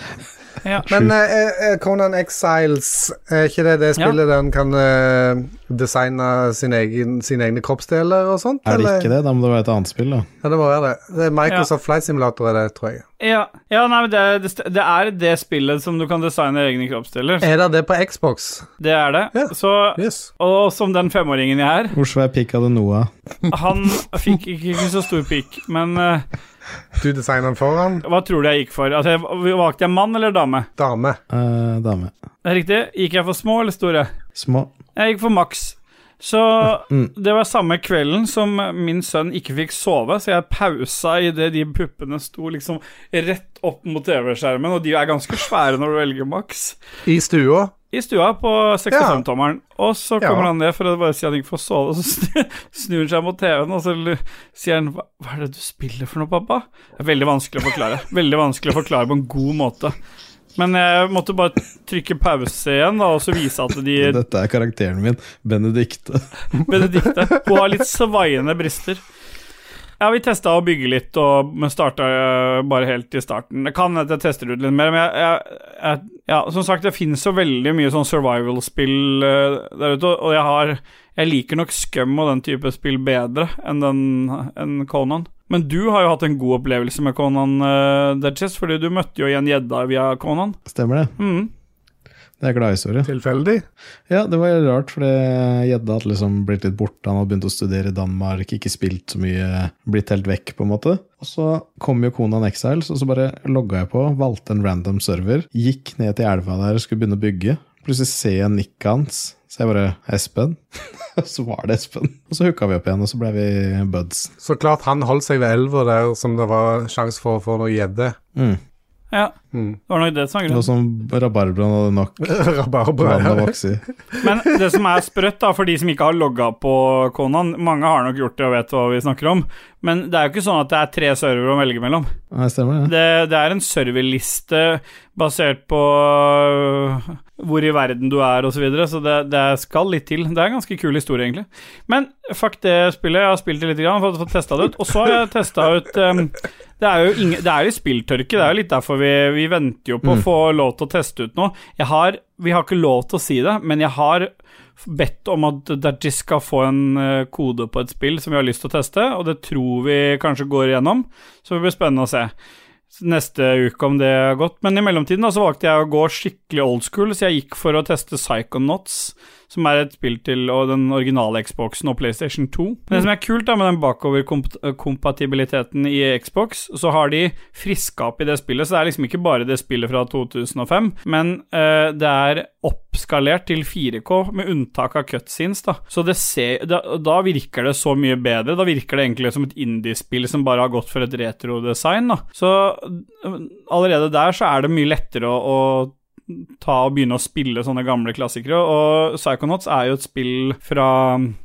[SPEAKER 2] Ja.
[SPEAKER 3] Men eh, eh, Conan Exiles, er ikke det det spillet der han kan eh, designe sin egen, sine egne kroppsdeler og sånt?
[SPEAKER 1] Er det ikke det? Da må det være et annet spill, da.
[SPEAKER 3] Ja, det må være det. Det er Microsoft Flight Simulator, er det, tror jeg.
[SPEAKER 2] ja, ja, nei, men det, er- det, st- det er det spillet som du kan designe egne kroppsdeler.
[SPEAKER 3] Er det det på Xbox?
[SPEAKER 2] Det er det.
[SPEAKER 3] Ja.
[SPEAKER 2] Så,
[SPEAKER 3] Yes.
[SPEAKER 2] og som den femåringen jeg er,
[SPEAKER 1] Hvor svær pikk hadde Noah?
[SPEAKER 2] han fikk ikke, ikke så stor pikk, men eh,
[SPEAKER 3] Du designer den foran.
[SPEAKER 2] hva tror du jeg gikk for? Altså, jeg, valgte jeg mann eller dame?
[SPEAKER 3] Dame.
[SPEAKER 1] Eh, dame.
[SPEAKER 2] Det er riktig. Gikk jeg for små eller store?
[SPEAKER 1] Små.
[SPEAKER 2] Jeg gikk for maks. Så
[SPEAKER 1] Mm.
[SPEAKER 2] det var samme kvelden som min sønn ikke fikk sove, så jeg pausa idet de puppene sto liksom rett opp mot TV-skjermen, og de er ganske svære når du velger maks,
[SPEAKER 3] I stua.
[SPEAKER 2] i stua på 65-tommeren. Og så
[SPEAKER 3] Ja.
[SPEAKER 2] kommer han ned for å bare si at han ikke får sove, og så snu- snur han seg mot TV-en, og så lu- sier han hva, 'Hva er det du spiller for noe, pappa?' Det er veldig vanskelig å forklare. Veldig vanskelig å forklare på en god måte. Men jeg måtte bare trykke pause igjen, da, og så vise at de
[SPEAKER 1] Dette er karakteren min, Benedicte.
[SPEAKER 2] Benedikte. Hun har litt svaiende brister. Ja, Vi testa å bygge litt, og, men starta bare helt i starten. Det kan hende jeg tester ut litt mer, men jeg, jeg, jeg, ja, som sagt, det finnes jo veldig mye sånn survival-spill eh, der ute, og- og jeg har Jeg liker nok Scum og den type spill bedre enn den enn Conan. Men du har jo hatt en god opplevelse med Conan, uh, Duchess, fordi du møtte jo igjen gjedda via Conan.
[SPEAKER 1] Stemmer det?
[SPEAKER 2] Mm.
[SPEAKER 1] Det er gladhistorie.
[SPEAKER 3] Tilfeldig.
[SPEAKER 1] Ja, det var rart, for det- gjedda hadde liksom blitt litt borte. Han hadde begynt å studere i Danmark, ikke spilt så mye, blitt helt vekk, på en måte. Og så kom jo Konan Exiles, og så bare logga jeg på, valgte en random server, gikk ned til elva der og skulle begynne å bygge. Plutselig ser jeg nikket hans, så jeg bare Espen. Og så var det Espen. Og så hooka vi opp igjen, og så ble vi buds.
[SPEAKER 3] Så klart han holdt seg ved elva der som det var sjanse for å få noe gjedde.
[SPEAKER 1] Mm.
[SPEAKER 2] Ja,
[SPEAKER 3] Mm.
[SPEAKER 2] det var nok det som var
[SPEAKER 1] Noe
[SPEAKER 2] grunnen.
[SPEAKER 1] som rabarbraen hadde nok vann å
[SPEAKER 3] Rabarbra.
[SPEAKER 1] vokse i.
[SPEAKER 2] Men det som er sprøtt, da, for de som ikke har logga på Konan Mange har nok gjort det og vet hva vi snakker om, men det er jo ikke sånn at det er tre servere å velge mellom.
[SPEAKER 1] Nei, stemmer det.
[SPEAKER 2] Det, det er en serverliste basert på øh, hvor i verden du er, og så videre, så det, det skal litt til. Det er en ganske kul historie, egentlig. Men fuck det spillet. Jeg har spilt det litt, grann, fått, fått testa det ut. Og så har jeg testa ut ehm, Det er jo ingen, det er litt spilltørke. Det er jo litt derfor vi, vi venter jo på å
[SPEAKER 1] Mm.
[SPEAKER 2] få lov til å teste ut noe. Jeg har, vi har ikke lov til å si det, men jeg har bedt om at Dajis skal få en eh, kode på et spill som vi har lyst til å teste, og det tror vi kanskje går igjennom. Så det blir spennende å se neste uke om det har gått. Men i mellomtiden da, så valgte jeg å gå skikkelig old school, så jeg gikk for å teste Psychonauts, som er et spill til og den originale Xboxen og PlayStation 2. Men det som er kult da, med den bakoverkompatibiliteten i Xbox, så har de friska opp i det spillet, så det er liksom ikke bare det spillet fra 2005, men eh, det er oppskalert til 4K, med unntak av cutscenes, da. Så det ser, da, da virker det så mye bedre. Da virker det egentlig som et indiespill som bare har gått for et retrodesign, da. Så øh, allerede der så er det mye lettere å, å ta og begynne å spille sånne gamle klassikere, og Psychonauts er jo et spill fra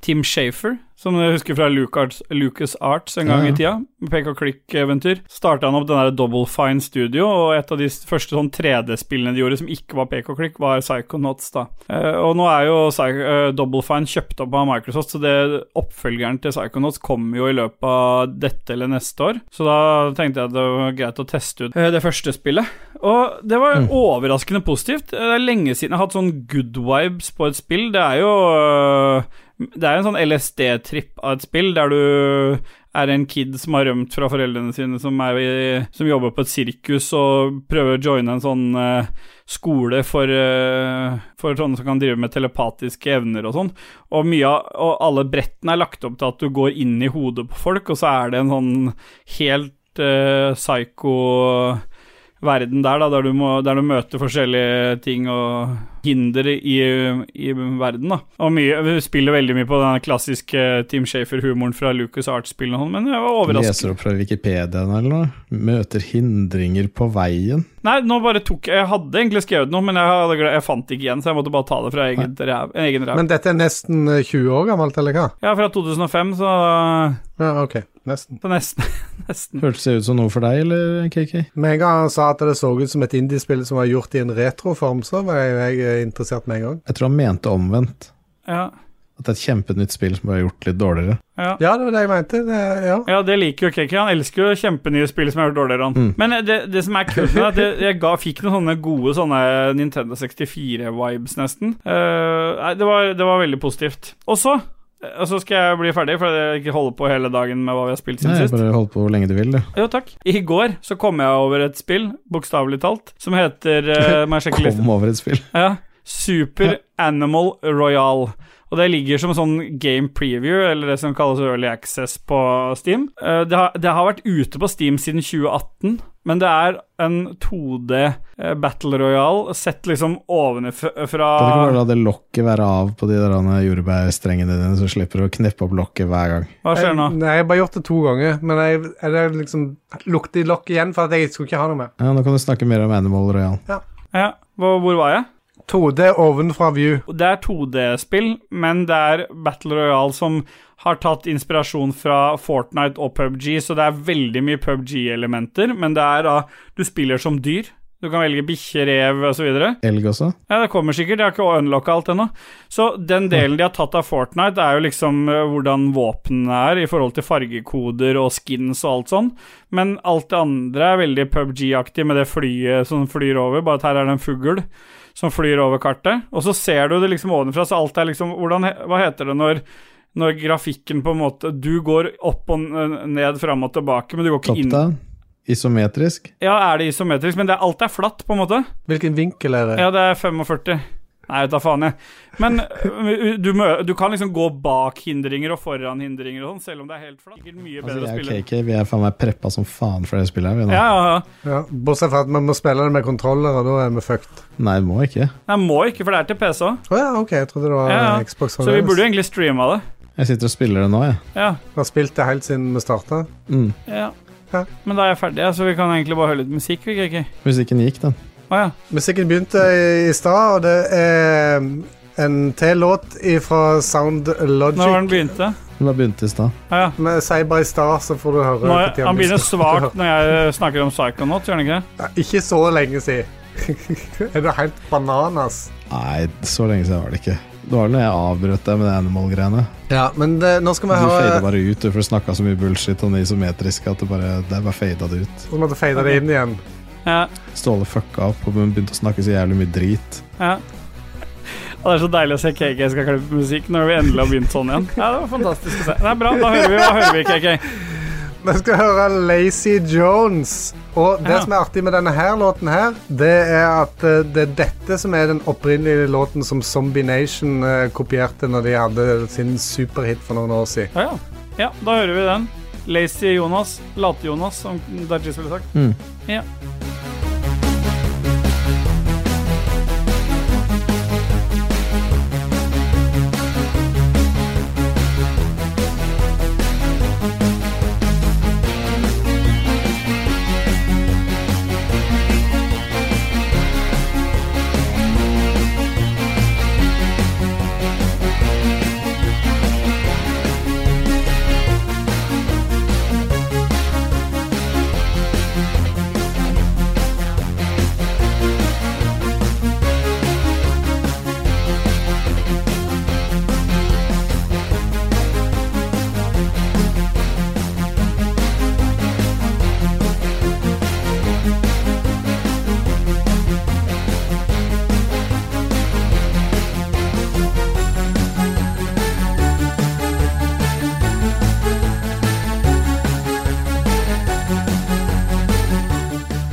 [SPEAKER 2] Tim Shafer, Som jeg husker fra LucasArts LucasArts en gang
[SPEAKER 1] Ja, ja.
[SPEAKER 2] i tida, med pek-og-klikk-eventyr. Starta han opp den der Double Fine Studio, og et av de s- første sånn 3D-spillene de gjorde som ikke var pek-og-klikk, var Psychonauts, da. Eh, og nå er jo Psy eh, Double Fine kjøpt opp av Microsoft, så det oppfølgeren til Psychonauts kommer jo i løpet av dette eller neste år. Så da tenkte jeg at det var greit å teste ut eh, det første spillet. Og det var overraskende positivt. Eh, Det er lenge siden jeg har hatt sånn good vibes på et spill. Det er jo øh, Det er en sånn LSD-tripp av et spill der du er en kid som har rømt fra foreldrene sine, som, er i, som jobber på et sirkus og prøver å joine en sånn øh, skole for, øh, for sånne som kan drive med telepatiske evner og sånn. Og, mye av, og alle brettene er lagt opp til at du går inn i hodet på folk, og så er det en sånn helt øh, psycho verden der, da, der du, må, der du møter forskjellige ting og hinder i, i verden. da. Og mye, vi spiller veldig mye på den klassiske Team Shafer-humoren fra Lucas Arts-spillene, og sånn, men jeg var overrasket.
[SPEAKER 1] Leser opp fra Wikipediaen eller noe. Møter hindringer på veien.
[SPEAKER 2] Nei, nå bare tok Jeg hadde egentlig skrevet noe, men jeg, hadde, gle- jeg fant det ikke igjen, så jeg måtte bare ta det fra eget ræv, en egen ræv.
[SPEAKER 3] Men dette er nesten eh, 20 år gammelt, eller hva?
[SPEAKER 2] Ja, fra 2005, så,
[SPEAKER 3] Ja, ok, nesten.
[SPEAKER 2] så nesten, nesten.
[SPEAKER 1] Hørtes det ut som noe for deg, eller KK?
[SPEAKER 3] Med en gang han sa at det så ut som et indiespill som var gjort i en retroform, så var jeg, jeg eh, interessert med en gang.
[SPEAKER 1] Jeg tror han mente omvendt.
[SPEAKER 2] Ja,
[SPEAKER 1] At det er et kjempenytt spill som bare er gjort litt dårligere.
[SPEAKER 2] ja.
[SPEAKER 3] Ja, det var det jeg mente. Det, ja.
[SPEAKER 2] Ja, det liker jo KK. Han elsker jo kjempenye spill som er gjort dårligere. Han.
[SPEAKER 1] Mm.
[SPEAKER 2] Men eh, det, det som er kult, med det, er at jeg, jeg ga, fikk noen sånne gode sånne Nintendo 64-vibes, nesten. Eh, nei, det, var, det var veldig positivt. Og så eh, og så skal jeg bli ferdig, for jeg ikke holder på hele dagen med hva vi har spilt siden
[SPEAKER 1] Nei,
[SPEAKER 2] sist.
[SPEAKER 1] bare hold på hvor lenge du vil, du.
[SPEAKER 2] Jo, takk. I går så kom jeg over et spill, bokstavelig talt, som heter eh, Må jeg sjekke listen?
[SPEAKER 1] Kom over et spill.
[SPEAKER 2] Ja. Super Animal Royal. Og det ligger som sånn game preview, eller det som kalles early access på Steam. Eh, Det har, det har vært ute på Steam siden 2018, men det er en 2D eh, battle royal sett liksom ovenfra
[SPEAKER 1] Kan du ikke bare la det lokket være av på de der andre jordbærstrengene dine, så slipper du å kneppe opp lokket hver gang?
[SPEAKER 2] Hva skjer nå?
[SPEAKER 1] Um,
[SPEAKER 3] Jeg, nei, jeg har bare gjort det to ganger, men jeg, jeg, jeg liksom lukte i lokket igjen for at jeg skulle ikke ha noe mer.
[SPEAKER 1] Ja, Nå kan du snakke mer om Animal Royal.
[SPEAKER 2] Ja, hvor, hvor var jeg?
[SPEAKER 3] 2D ovenfra view.
[SPEAKER 2] Og Det er 2D-spill, men det er Battle Royale som har tatt inspirasjon fra Fortnite og PubG, så det er veldig mye PubG-elementer, men det er da du spiller som dyr. Du kan velge bikkje, rev osv.
[SPEAKER 1] Elg også?
[SPEAKER 2] Ja, det kommer sikkert, jeg har ikke unlocka alt ennå. Så den delen de har tatt av Fortnite, er jo liksom eh, hvordan våpnene er i forhold til fargekoder og skins og alt sånn, men alt det andre er veldig PubG-aktig med det flyet som flyr over, bare at her er det en fugl som flyr over kartet, og så ser du det liksom ovenfra, så alt er liksom hvordan, he- Hva heter det når når grafikken på en måte Du går opp og n- ned, fram og tilbake, men du går ikke inn
[SPEAKER 1] Top-down? Isometrisk?
[SPEAKER 2] Ja, er det isometrisk, men det, er- alt er flatt, på en måte.
[SPEAKER 3] Hvilken vinkel er det?
[SPEAKER 2] Ja, det er 45. Nei, vet da faen, jeg. Men ø, du, mø du kan liksom gå bak hindringer og foran hindringer og sånn, selv om det er helt flatt. Sikkert mye
[SPEAKER 1] Altså,
[SPEAKER 2] bedre å
[SPEAKER 1] jeg
[SPEAKER 2] spille.
[SPEAKER 1] og KK vi er faen meg preppa som faen for det spillet her. vi nå.
[SPEAKER 2] Ja, ja, ja.
[SPEAKER 3] Ja, bortsett fra at vi må spille det med kontroller, og da er vi fucked.
[SPEAKER 1] Nei, må ikke.
[SPEAKER 2] Nei, må ikke, for det er til PC òg.
[SPEAKER 3] Å ja, ok, jeg trodde det var
[SPEAKER 2] Ja, ja.
[SPEAKER 3] Xbox.
[SPEAKER 2] Så vi burde jo egentlig streama det.
[SPEAKER 1] Jeg sitter og spiller det nå, jeg.
[SPEAKER 2] Ja,
[SPEAKER 3] Vi har spilt det helt siden vi starta.
[SPEAKER 1] Mm.
[SPEAKER 2] ja.
[SPEAKER 3] Ja.
[SPEAKER 2] Men da er jeg ferdig, ja, så vi kan egentlig bare høre litt musikk. vi, KK?
[SPEAKER 1] Musikken gikk, den.
[SPEAKER 2] Å ja.
[SPEAKER 3] Musikken begynte i, i stad, og det er en til låt fra Sound
[SPEAKER 2] Når var
[SPEAKER 3] Logic.
[SPEAKER 2] den begynte?
[SPEAKER 1] Den bare begynte i stad.
[SPEAKER 2] Å ja.
[SPEAKER 3] Men Si bare i stad, så får du høre.
[SPEAKER 2] Nå,
[SPEAKER 3] hvor tid
[SPEAKER 2] han begynner
[SPEAKER 3] begynte.
[SPEAKER 2] svakt når jeg snakker om Psychonaut, gjør han ikke det?
[SPEAKER 3] Ja, Ikke så lenge siden. er det helt bananas?
[SPEAKER 1] Nei, så lenge siden var det ikke. Det var vel når jeg avbrøt deg med det animal-greiene.
[SPEAKER 3] Ja, men det, nå skal
[SPEAKER 1] Du
[SPEAKER 3] vi
[SPEAKER 1] fada
[SPEAKER 3] høre
[SPEAKER 1] bare ut, du, for du snakka så mye bullshit om det isometriske at det bare, det bare fada det ut.
[SPEAKER 3] Vi måtte fade det inn igjen.
[SPEAKER 2] Ja,
[SPEAKER 1] Ståle fucka opp og begynte å snakke så jævlig mye drit.
[SPEAKER 2] ja. Og det er så deilig å se KK skal klippe musikk når vi endelig har begynt sånn igjen. Ja, det var fantastisk å se. Det er bra, da hører vi hva hører vi, KK.
[SPEAKER 3] Vi skal høre Lacey Jones. Og det
[SPEAKER 2] Ja.
[SPEAKER 3] som er artig med denne her låten her, det er at eh, det er dette som er den opprinnelige låten som Zombie Nation eh, kopierte når de hadde sin superhit for noen år siden.
[SPEAKER 2] Ja, ja. ja, da hører vi den. Lazy Jonas, Late-Jonas, som Dajis ville sagt.
[SPEAKER 1] Mm.
[SPEAKER 2] Ja.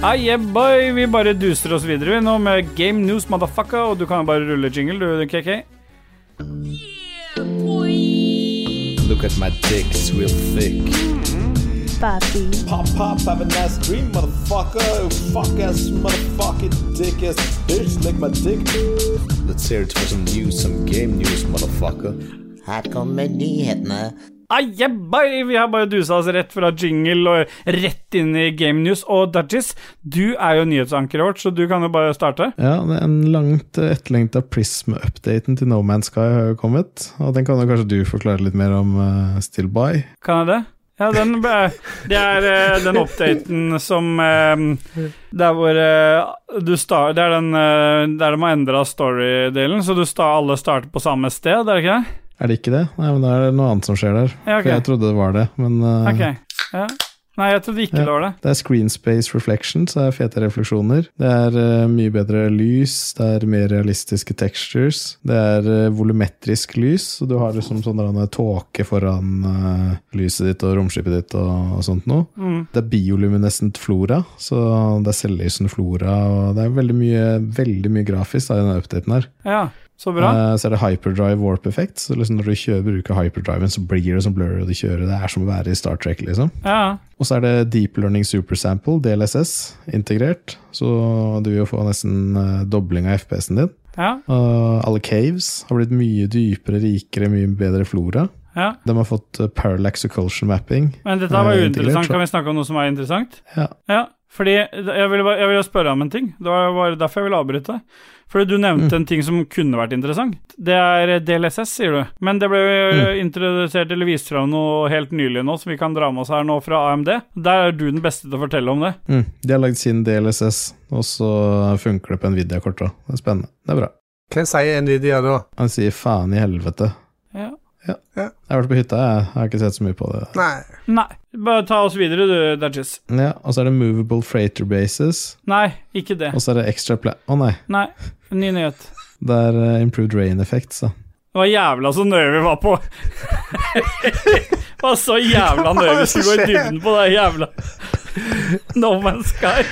[SPEAKER 2] Ah, yeah, boy. Vi bare duser oss videre vi nå med Game News, motherfucker. Og du kan bare rulle jingle, du, KK.
[SPEAKER 4] Look at my dick, it's real thick.
[SPEAKER 5] Papi,
[SPEAKER 4] Pop pop, have a nice dream, motherfucker. Fuck ass, motherfucking dick ass bitch, lick my dick. Let's hear it for some news, some game news, motherfucker.
[SPEAKER 6] Her kommer nyhetene.
[SPEAKER 2] Ah, yeah, boy. Vi har bare dusa oss rett fra jingle og rett inn i Game News. Og Dudgies, du er jo nyhetsankeret vårt, så du kan jo bare starte.
[SPEAKER 1] Ja, det er en langt eh, etterlengta Prism-updaten til No Man's Sky har jo kommet. Og den kan jo kanskje du forklare litt mer om eh, Still By.
[SPEAKER 2] Kan jeg det? Ja, den ble, det er eh, den updaten som eh, Der hvor eh, du sta- Det er den eh, der de har endra story-delen, så du sta, alle starter på samme sted, er det ikke det?
[SPEAKER 1] Er det ikke det? Nei, men da er det noe annet som skjer der.
[SPEAKER 2] Ja,
[SPEAKER 1] For jeg
[SPEAKER 2] ok.
[SPEAKER 1] trodde det var det, men eh,
[SPEAKER 2] Ok, ja. Nei, jeg trodde ikke
[SPEAKER 1] Ja.
[SPEAKER 2] det var det.
[SPEAKER 1] Det er screen space reflection, så det er fete refleksjoner. Det er eh, mye bedre lys, det er mer realistiske textures. Det er eh, volumetrisk lys, så du har liksom sånn der, eh, tåke foran eh, lyset ditt og romskipet ditt og, og sånt noe.
[SPEAKER 2] Mm.
[SPEAKER 1] Det er bioluminescent flora, så det er selvlysende flora, og det er veldig mye, veldig mye grafisk da, i denne updaten her.
[SPEAKER 2] Ja, så bra.
[SPEAKER 1] Eh, Så er det hyperdrive warp effekt, så liksom når du kjører, bruker hyperdriven, så blir det som blurry, og du kjører, det er som å være i Star Trek, liksom.
[SPEAKER 2] Ja,
[SPEAKER 1] Og så er det Deep Learning Supersample, DLSS, integrert. Så du vil jo få nesten eh, dobling av FPS-en din.
[SPEAKER 2] ja,
[SPEAKER 1] Og alle caves har blitt mye dypere, rikere, mye bedre flora.
[SPEAKER 2] ja.
[SPEAKER 1] De har fått eh, parallax occultion mapping.
[SPEAKER 2] Men dette var
[SPEAKER 1] Eh,
[SPEAKER 2] jo
[SPEAKER 1] integrert,
[SPEAKER 2] interessant.
[SPEAKER 1] så-
[SPEAKER 2] Kan vi snakke om noe som er interessant?
[SPEAKER 1] Ja.
[SPEAKER 2] Ja, fordi jeg ville, bare- jeg ville spørre om en ting. Det var var derfor jeg ville avbryte. Fordi du nevnte en ting som kunne vært interessant. Det er eh, DLSS, sier du. Men det ble jo eh, introdusert eller vist fram noe helt nylig nå, som vi kan dra med oss her nå fra AMD. Der er du den beste til å fortelle om det.
[SPEAKER 1] Mm. De har lagd sin DLSS, og så funker det på Nvidia-kort òg. Det er spennende. Det er bra.
[SPEAKER 3] Hva sier Nvidia da?
[SPEAKER 1] Han sier faen i helvete.
[SPEAKER 2] Ja.
[SPEAKER 1] Jeg har vært på hytta, jeg. jeg har ikke sett så mye på det.
[SPEAKER 3] Nei.
[SPEAKER 2] Nei, bare ta oss videre, du, Dudges.
[SPEAKER 1] Ja, og så er det movable freighter bases,
[SPEAKER 2] Nei, ikke det.
[SPEAKER 1] og så er det extra pla... Å nei,
[SPEAKER 2] Nei, ny nyhet.
[SPEAKER 1] det er eh, improved rain effects, da.
[SPEAKER 2] Det var jævla så nøye vi var på. det var så jævla nøye vi skulle gå i dybden på det jævla No Man's Sky.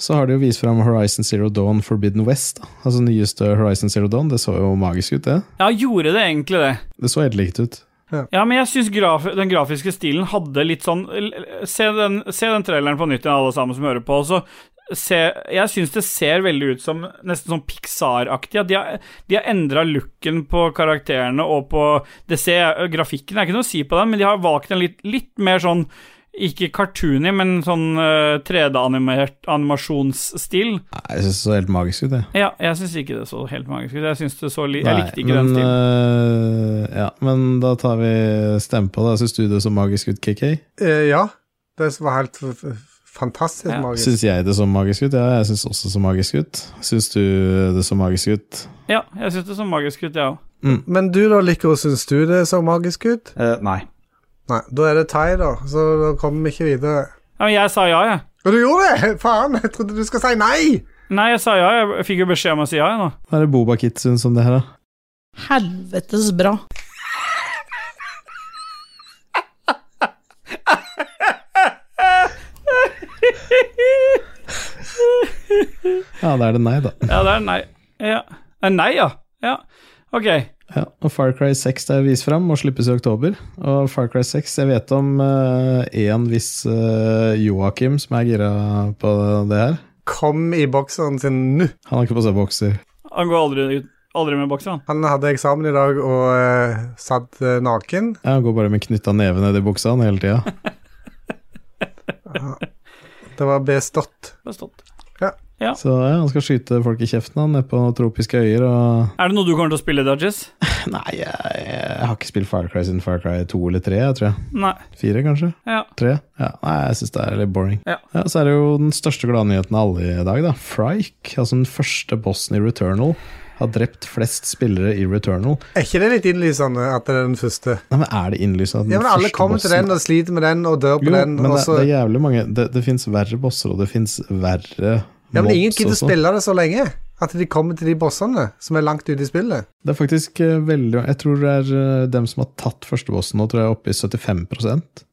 [SPEAKER 1] Så har de jo vist fram Horizon Zero Dawn Forbidden West. Da. Altså nyeste Horizon Zero Dawn. Det så jo magisk ut, det.
[SPEAKER 2] Ja, gjorde det egentlig det?
[SPEAKER 1] Det så helt likt ut.
[SPEAKER 2] Ja, men jeg syns graf den grafiske stilen hadde litt sånn l- Se den, se den traileren på nytt igjen, alle sammen som hører på. og Så se, jeg syns det ser veldig ut som nesten sånn Pixar-aktig. at De har, de har endra looken på karakterene og på det ser, Grafikken er ikke noe å si på den, men de har valgt en litt, litt mer sånn ikke cartoony, men sånn eh, 3D-animert animasjonsstil.
[SPEAKER 1] Nei, jeg syns det så helt magisk ut, det.
[SPEAKER 2] Ja, jeg syns ikke det så helt magisk ut. Jeg, synes det så li
[SPEAKER 1] Nei,
[SPEAKER 2] jeg likte ikke
[SPEAKER 1] men, eh,
[SPEAKER 2] den stilen.
[SPEAKER 1] øh, ja, men da tar vi stemme på det. Syns du det så magisk ut, KK?
[SPEAKER 3] Eh, ja. Det var helt f f fantastisk
[SPEAKER 2] Ja.
[SPEAKER 3] magisk.
[SPEAKER 1] Syns jeg det så magisk ut? Ja, jeg syns også det så magisk ut. Syns du det så magisk ut?
[SPEAKER 2] Ja, jeg syns det så magisk ut, jeg ja. òg.
[SPEAKER 3] Men du da, Lico, syns du det så magisk ut?
[SPEAKER 7] Eh, nei.
[SPEAKER 3] Nei, da er det Tai, da, så da kommer vi ikke videre.
[SPEAKER 2] Ja, men jeg sa ja, jeg.
[SPEAKER 3] Og du gjorde det! Faen, jeg trodde du skulle si nei!
[SPEAKER 2] Nei, jeg sa ja. Jeg fikk jo beskjed om å si ja, jeg nå.
[SPEAKER 1] Hva er det Boba Kit syns om det her, da?
[SPEAKER 5] helvetes bra.
[SPEAKER 1] Ja, da er det nei, da.
[SPEAKER 2] Ja, det er nei. Ja. Eh, Nei, ja. Ja. Ok.
[SPEAKER 1] Ja, og Far Cry 6 det er vist fram og slippes i oktober. Og Far Cry 6, jeg vet om én viss uh, Joakim som er gira på det her.
[SPEAKER 3] Kom i bokseren sin nå.
[SPEAKER 1] Han har ikke på seg bokser.
[SPEAKER 2] Han går aldri, ut- aldri med boksen, han.
[SPEAKER 3] Han hadde eksamen i dag og eh, satt eh, naken.
[SPEAKER 1] Ja, Han går bare med knytta neve ned i buksa han hele tida.
[SPEAKER 3] Det var bestått.
[SPEAKER 2] Bestått.
[SPEAKER 1] Så ja, han skal skyte folk i kjeften han nede på noen tropiske øyer og
[SPEAKER 2] Er det noe du kommer til å spille, Dudges?
[SPEAKER 1] Nei, jeg, jeg har ikke spilt Far Cry siden Far Cry 2 eller 3, jeg tror jeg.
[SPEAKER 2] Nei.
[SPEAKER 1] 4, kanskje?
[SPEAKER 2] Ja.
[SPEAKER 1] 3? Ja, nei, jeg syns det er litt boring.
[SPEAKER 2] Ja.
[SPEAKER 1] Så er det jo den største gladnyheten av alle i dag, da. Frike, altså den første bossen i Returnal, har drept flest spillere i Returnal.
[SPEAKER 3] Er ikke det litt innlysende at det er den første?
[SPEAKER 1] Nei, men er det innlysende at den
[SPEAKER 3] Ja, men Alle
[SPEAKER 1] første
[SPEAKER 3] kommer til
[SPEAKER 1] bossen-
[SPEAKER 3] den og sliter med den og dør på
[SPEAKER 1] Jo,
[SPEAKER 3] den.
[SPEAKER 1] men
[SPEAKER 3] og
[SPEAKER 1] det,
[SPEAKER 3] så...
[SPEAKER 1] det er jævlig mange Det, det fins verre bosser, og det fins verre
[SPEAKER 3] ja, men ingen
[SPEAKER 1] mobs
[SPEAKER 3] gidder
[SPEAKER 1] også.
[SPEAKER 3] spille det så lenge. At de kommer til de bossene som er langt ute i spillet.
[SPEAKER 1] Det er faktisk eh, veldig Jeg tror det er eh, dem som har tatt førstebossen nå, tror jeg er oppe i 75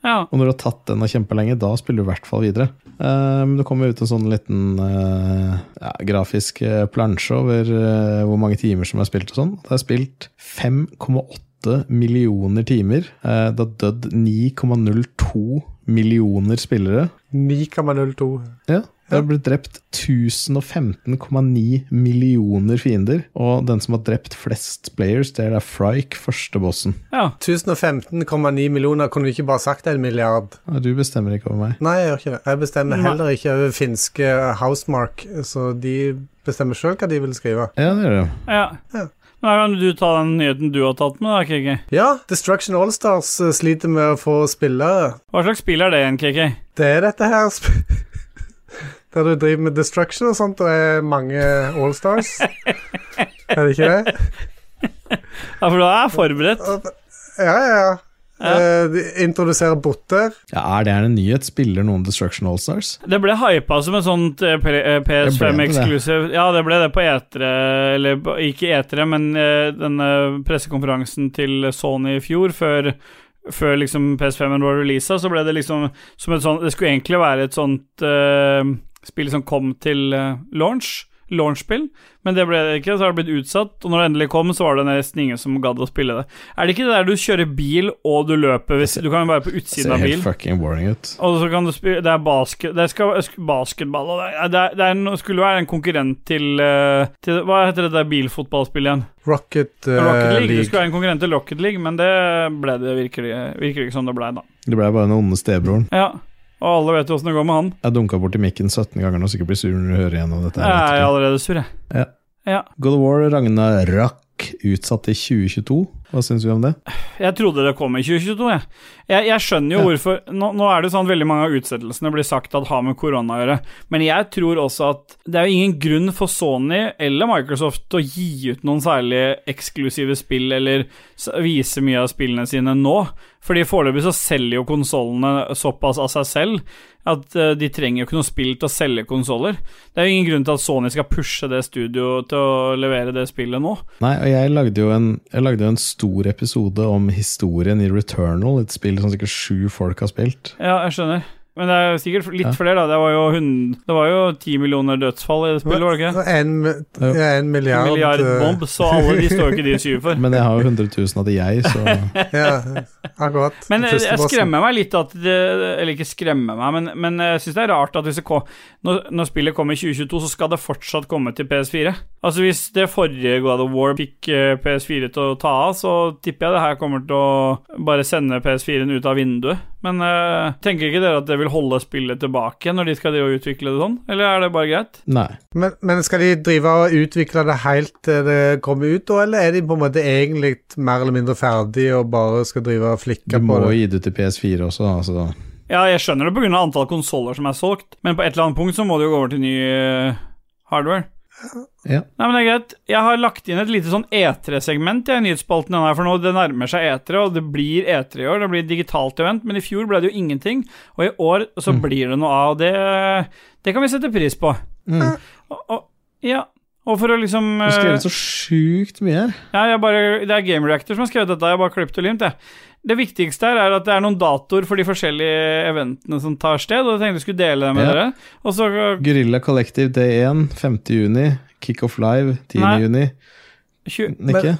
[SPEAKER 2] Ja.
[SPEAKER 1] Og når du har tatt den av kjempelenge, da spiller du i hvert fall videre. Eh, Men det kommer ut en sånn liten eh, ja, grafisk eh, plansje over eh, hvor mange timer som er spilt og sånn. Det er spilt 5,8 millioner timer. Eh, Det har dødd 9,02 millioner spillere.
[SPEAKER 3] 9,02.
[SPEAKER 1] Ja. Det har blitt drept 1015,9 millioner fiender. Og den som har drept flest players, det er da Frike, førstebossen.
[SPEAKER 2] ja.
[SPEAKER 3] 1015,9 millioner, kunne du ikke bare sagt en milliard?
[SPEAKER 1] Ja, Du bestemmer ikke over meg.
[SPEAKER 3] Nei, jeg gjør ikke det. Jeg bestemmer
[SPEAKER 2] Nei.
[SPEAKER 3] heller ikke over finske eh, Housemark, så de bestemmer sjøl hva de vil skrive.
[SPEAKER 1] Ja, det gjør det.
[SPEAKER 2] ja.
[SPEAKER 3] Ja.
[SPEAKER 2] Nå kan du ta den nyheten du har tatt med, da, KK.
[SPEAKER 3] Ja, Destruction Allstars eh, sliter med å få spillere.
[SPEAKER 2] Hva slags spill er det igjen, KK?
[SPEAKER 3] Det er dette her sp- Der du driver med destruction og sånt, og er mange Allstars. er det ikke det?
[SPEAKER 2] Ja, for du er forberedt.
[SPEAKER 3] Ja, ja, ja.
[SPEAKER 2] Ja.
[SPEAKER 3] Eh, de introduserer botter.
[SPEAKER 1] Ja, Er det her en nyhet? Spiller noen Destruction Allstars?
[SPEAKER 2] Det ble hypa som et sånt eh, pre- eh,
[SPEAKER 1] Det
[SPEAKER 2] PS5
[SPEAKER 1] ble det, det.
[SPEAKER 2] exclusive Ja, det ble det på etere Eller på- ikke etere, men eh, denne pressekonferansen til Sony i fjor, før, før liksom PS5-en var releasa, så ble det liksom som et sånt Det skulle egentlig være et sånt eh, spill som kom til eh, launch. Launchspill, men det ble det ikke, så har det blitt utsatt. Og når det endelig kom, så var det nesten ingen som gadd å spille det. Er det ikke det der du kjører bil og du løper hvis Du kan jo være på
[SPEAKER 1] Ser
[SPEAKER 2] utsiden av bil.
[SPEAKER 1] helt fucking boring ut.
[SPEAKER 2] Og så kan du spille Det er basket Det skal sk- basketball og det, er- det, er- det er, no- skulle være en konkurrent til, eh, til Hva heter det der bilfotballspillet igjen?
[SPEAKER 3] Rocket, eh,
[SPEAKER 2] Rocket League. Det
[SPEAKER 3] League.
[SPEAKER 2] skulle være en konkurrent til Rocket League, men det ble det virkelig, virker det ikke som det ble, da.
[SPEAKER 1] Det ble bare den onde stebroren.
[SPEAKER 2] Ja. Og alle vet jo åssen det går med han.
[SPEAKER 1] Jeg dunka borti mikken 17 ganger nå, så ikke blir sur når du hører igjennom dette.
[SPEAKER 2] Jeg er
[SPEAKER 1] her. etterpå.
[SPEAKER 2] allerede sur, jeg.
[SPEAKER 1] God of War Ragnarok utsatt til 2022. Hva syns vi om det?
[SPEAKER 2] Jeg trodde det kom i 2022, jeg. Jeg, jeg skjønner jo
[SPEAKER 1] Ja.
[SPEAKER 2] hvorfor nå, nå er det sånn at veldig mange av utsettelsene blir sagt at har med korona å gjøre, men jeg tror også at det er jo ingen grunn for Sony eller Microsoft til å gi ut noen særlig eksklusive spill eller s- vise mye av spillene sine nå. Fordi foreløpig så selger jo konsollene såpass av seg selv at eh, de trenger jo ikke noe spill til å selge konsoller. Det er jo ingen grunn til at Sony skal pushe det studioet til å levere det spillet nå.
[SPEAKER 1] Nei, og jeg lagde jo en, jeg lagde jo en stor episode om historien i Returnal, et spill som sikkert sju folk har spilt.
[SPEAKER 2] Ja, jeg skjønner. Men det er sikkert litt
[SPEAKER 1] Ja.
[SPEAKER 2] flere, da. Det var jo, hund- det var jo 10 millioner dødsfall i det spillet, var det ikke? det?
[SPEAKER 3] En,
[SPEAKER 1] Ja.
[SPEAKER 3] ja, en milliard,
[SPEAKER 2] En milliard
[SPEAKER 3] eh,
[SPEAKER 2] bomb, så alle de står jo ikke de syv for.
[SPEAKER 1] Men jeg har jo 100 000 av det, jeg, så
[SPEAKER 3] Ja, akkurat.
[SPEAKER 2] Men eh,
[SPEAKER 3] Den
[SPEAKER 2] jeg,
[SPEAKER 3] første
[SPEAKER 2] jeg
[SPEAKER 3] bossen.
[SPEAKER 2] skremmer meg litt at det, Eller ikke skremmer meg, men, men eh, jeg syns det er rart at hvis det kom, når, når spillet kommer i 2022, så skal det fortsatt komme til PS4. Altså Hvis det forrige God of War fikk eh, PS4 til å ta av, så tipper jeg det her kommer til å bare sende PS4-en ut av vinduet. Men eh, tenker ikke dere at det vil holde spillet tilbake når de skal drive og utvikle det sånn, eller er det bare greit?
[SPEAKER 1] nei.
[SPEAKER 3] Men, men skal de drive og utvikle det helt til det kommer ut, da, eller er de på en måte egentlig mer eller mindre ferdig og bare skal drive og
[SPEAKER 1] Du
[SPEAKER 3] flikke
[SPEAKER 1] må
[SPEAKER 3] på
[SPEAKER 1] jo
[SPEAKER 3] det?
[SPEAKER 1] gi det til PS4 også, altså. da, så
[SPEAKER 2] Ja, jeg skjønner det pga. antall konsoller som er solgt, men på et eller annet punkt så må det jo gå over til ny eh, hardware.
[SPEAKER 1] Ja.
[SPEAKER 2] Nei, men det er greit. Jeg har lagt inn et lite sånn E3-segment i nyhetsspalten denne her, for nå det nærmer seg E3, og det blir E3 i år. Det blir et digitalt event, men i fjor ble det jo ingenting, og i år så blir det noe av, og det, det kan vi sette pris på.
[SPEAKER 1] Mm.
[SPEAKER 2] Og, og, ja, og for å liksom
[SPEAKER 1] Du har
[SPEAKER 2] eh,
[SPEAKER 1] skrevet så sjukt mye her.
[SPEAKER 2] ja, jeg bare, det er Game Reactor som har skrevet dette. Jeg bare klippet og limt, jeg. Det viktigste her er at det er noen datoer for de forskjellige eventene som tar sted, og jeg tenkte jeg skulle dele det
[SPEAKER 1] Ja.
[SPEAKER 2] med dere. Og så
[SPEAKER 1] Gorilla Collective Day 1, 5. juni. Kickoff Live, 10.
[SPEAKER 2] Nei.
[SPEAKER 1] juni.
[SPEAKER 2] tju-
[SPEAKER 1] Nikke?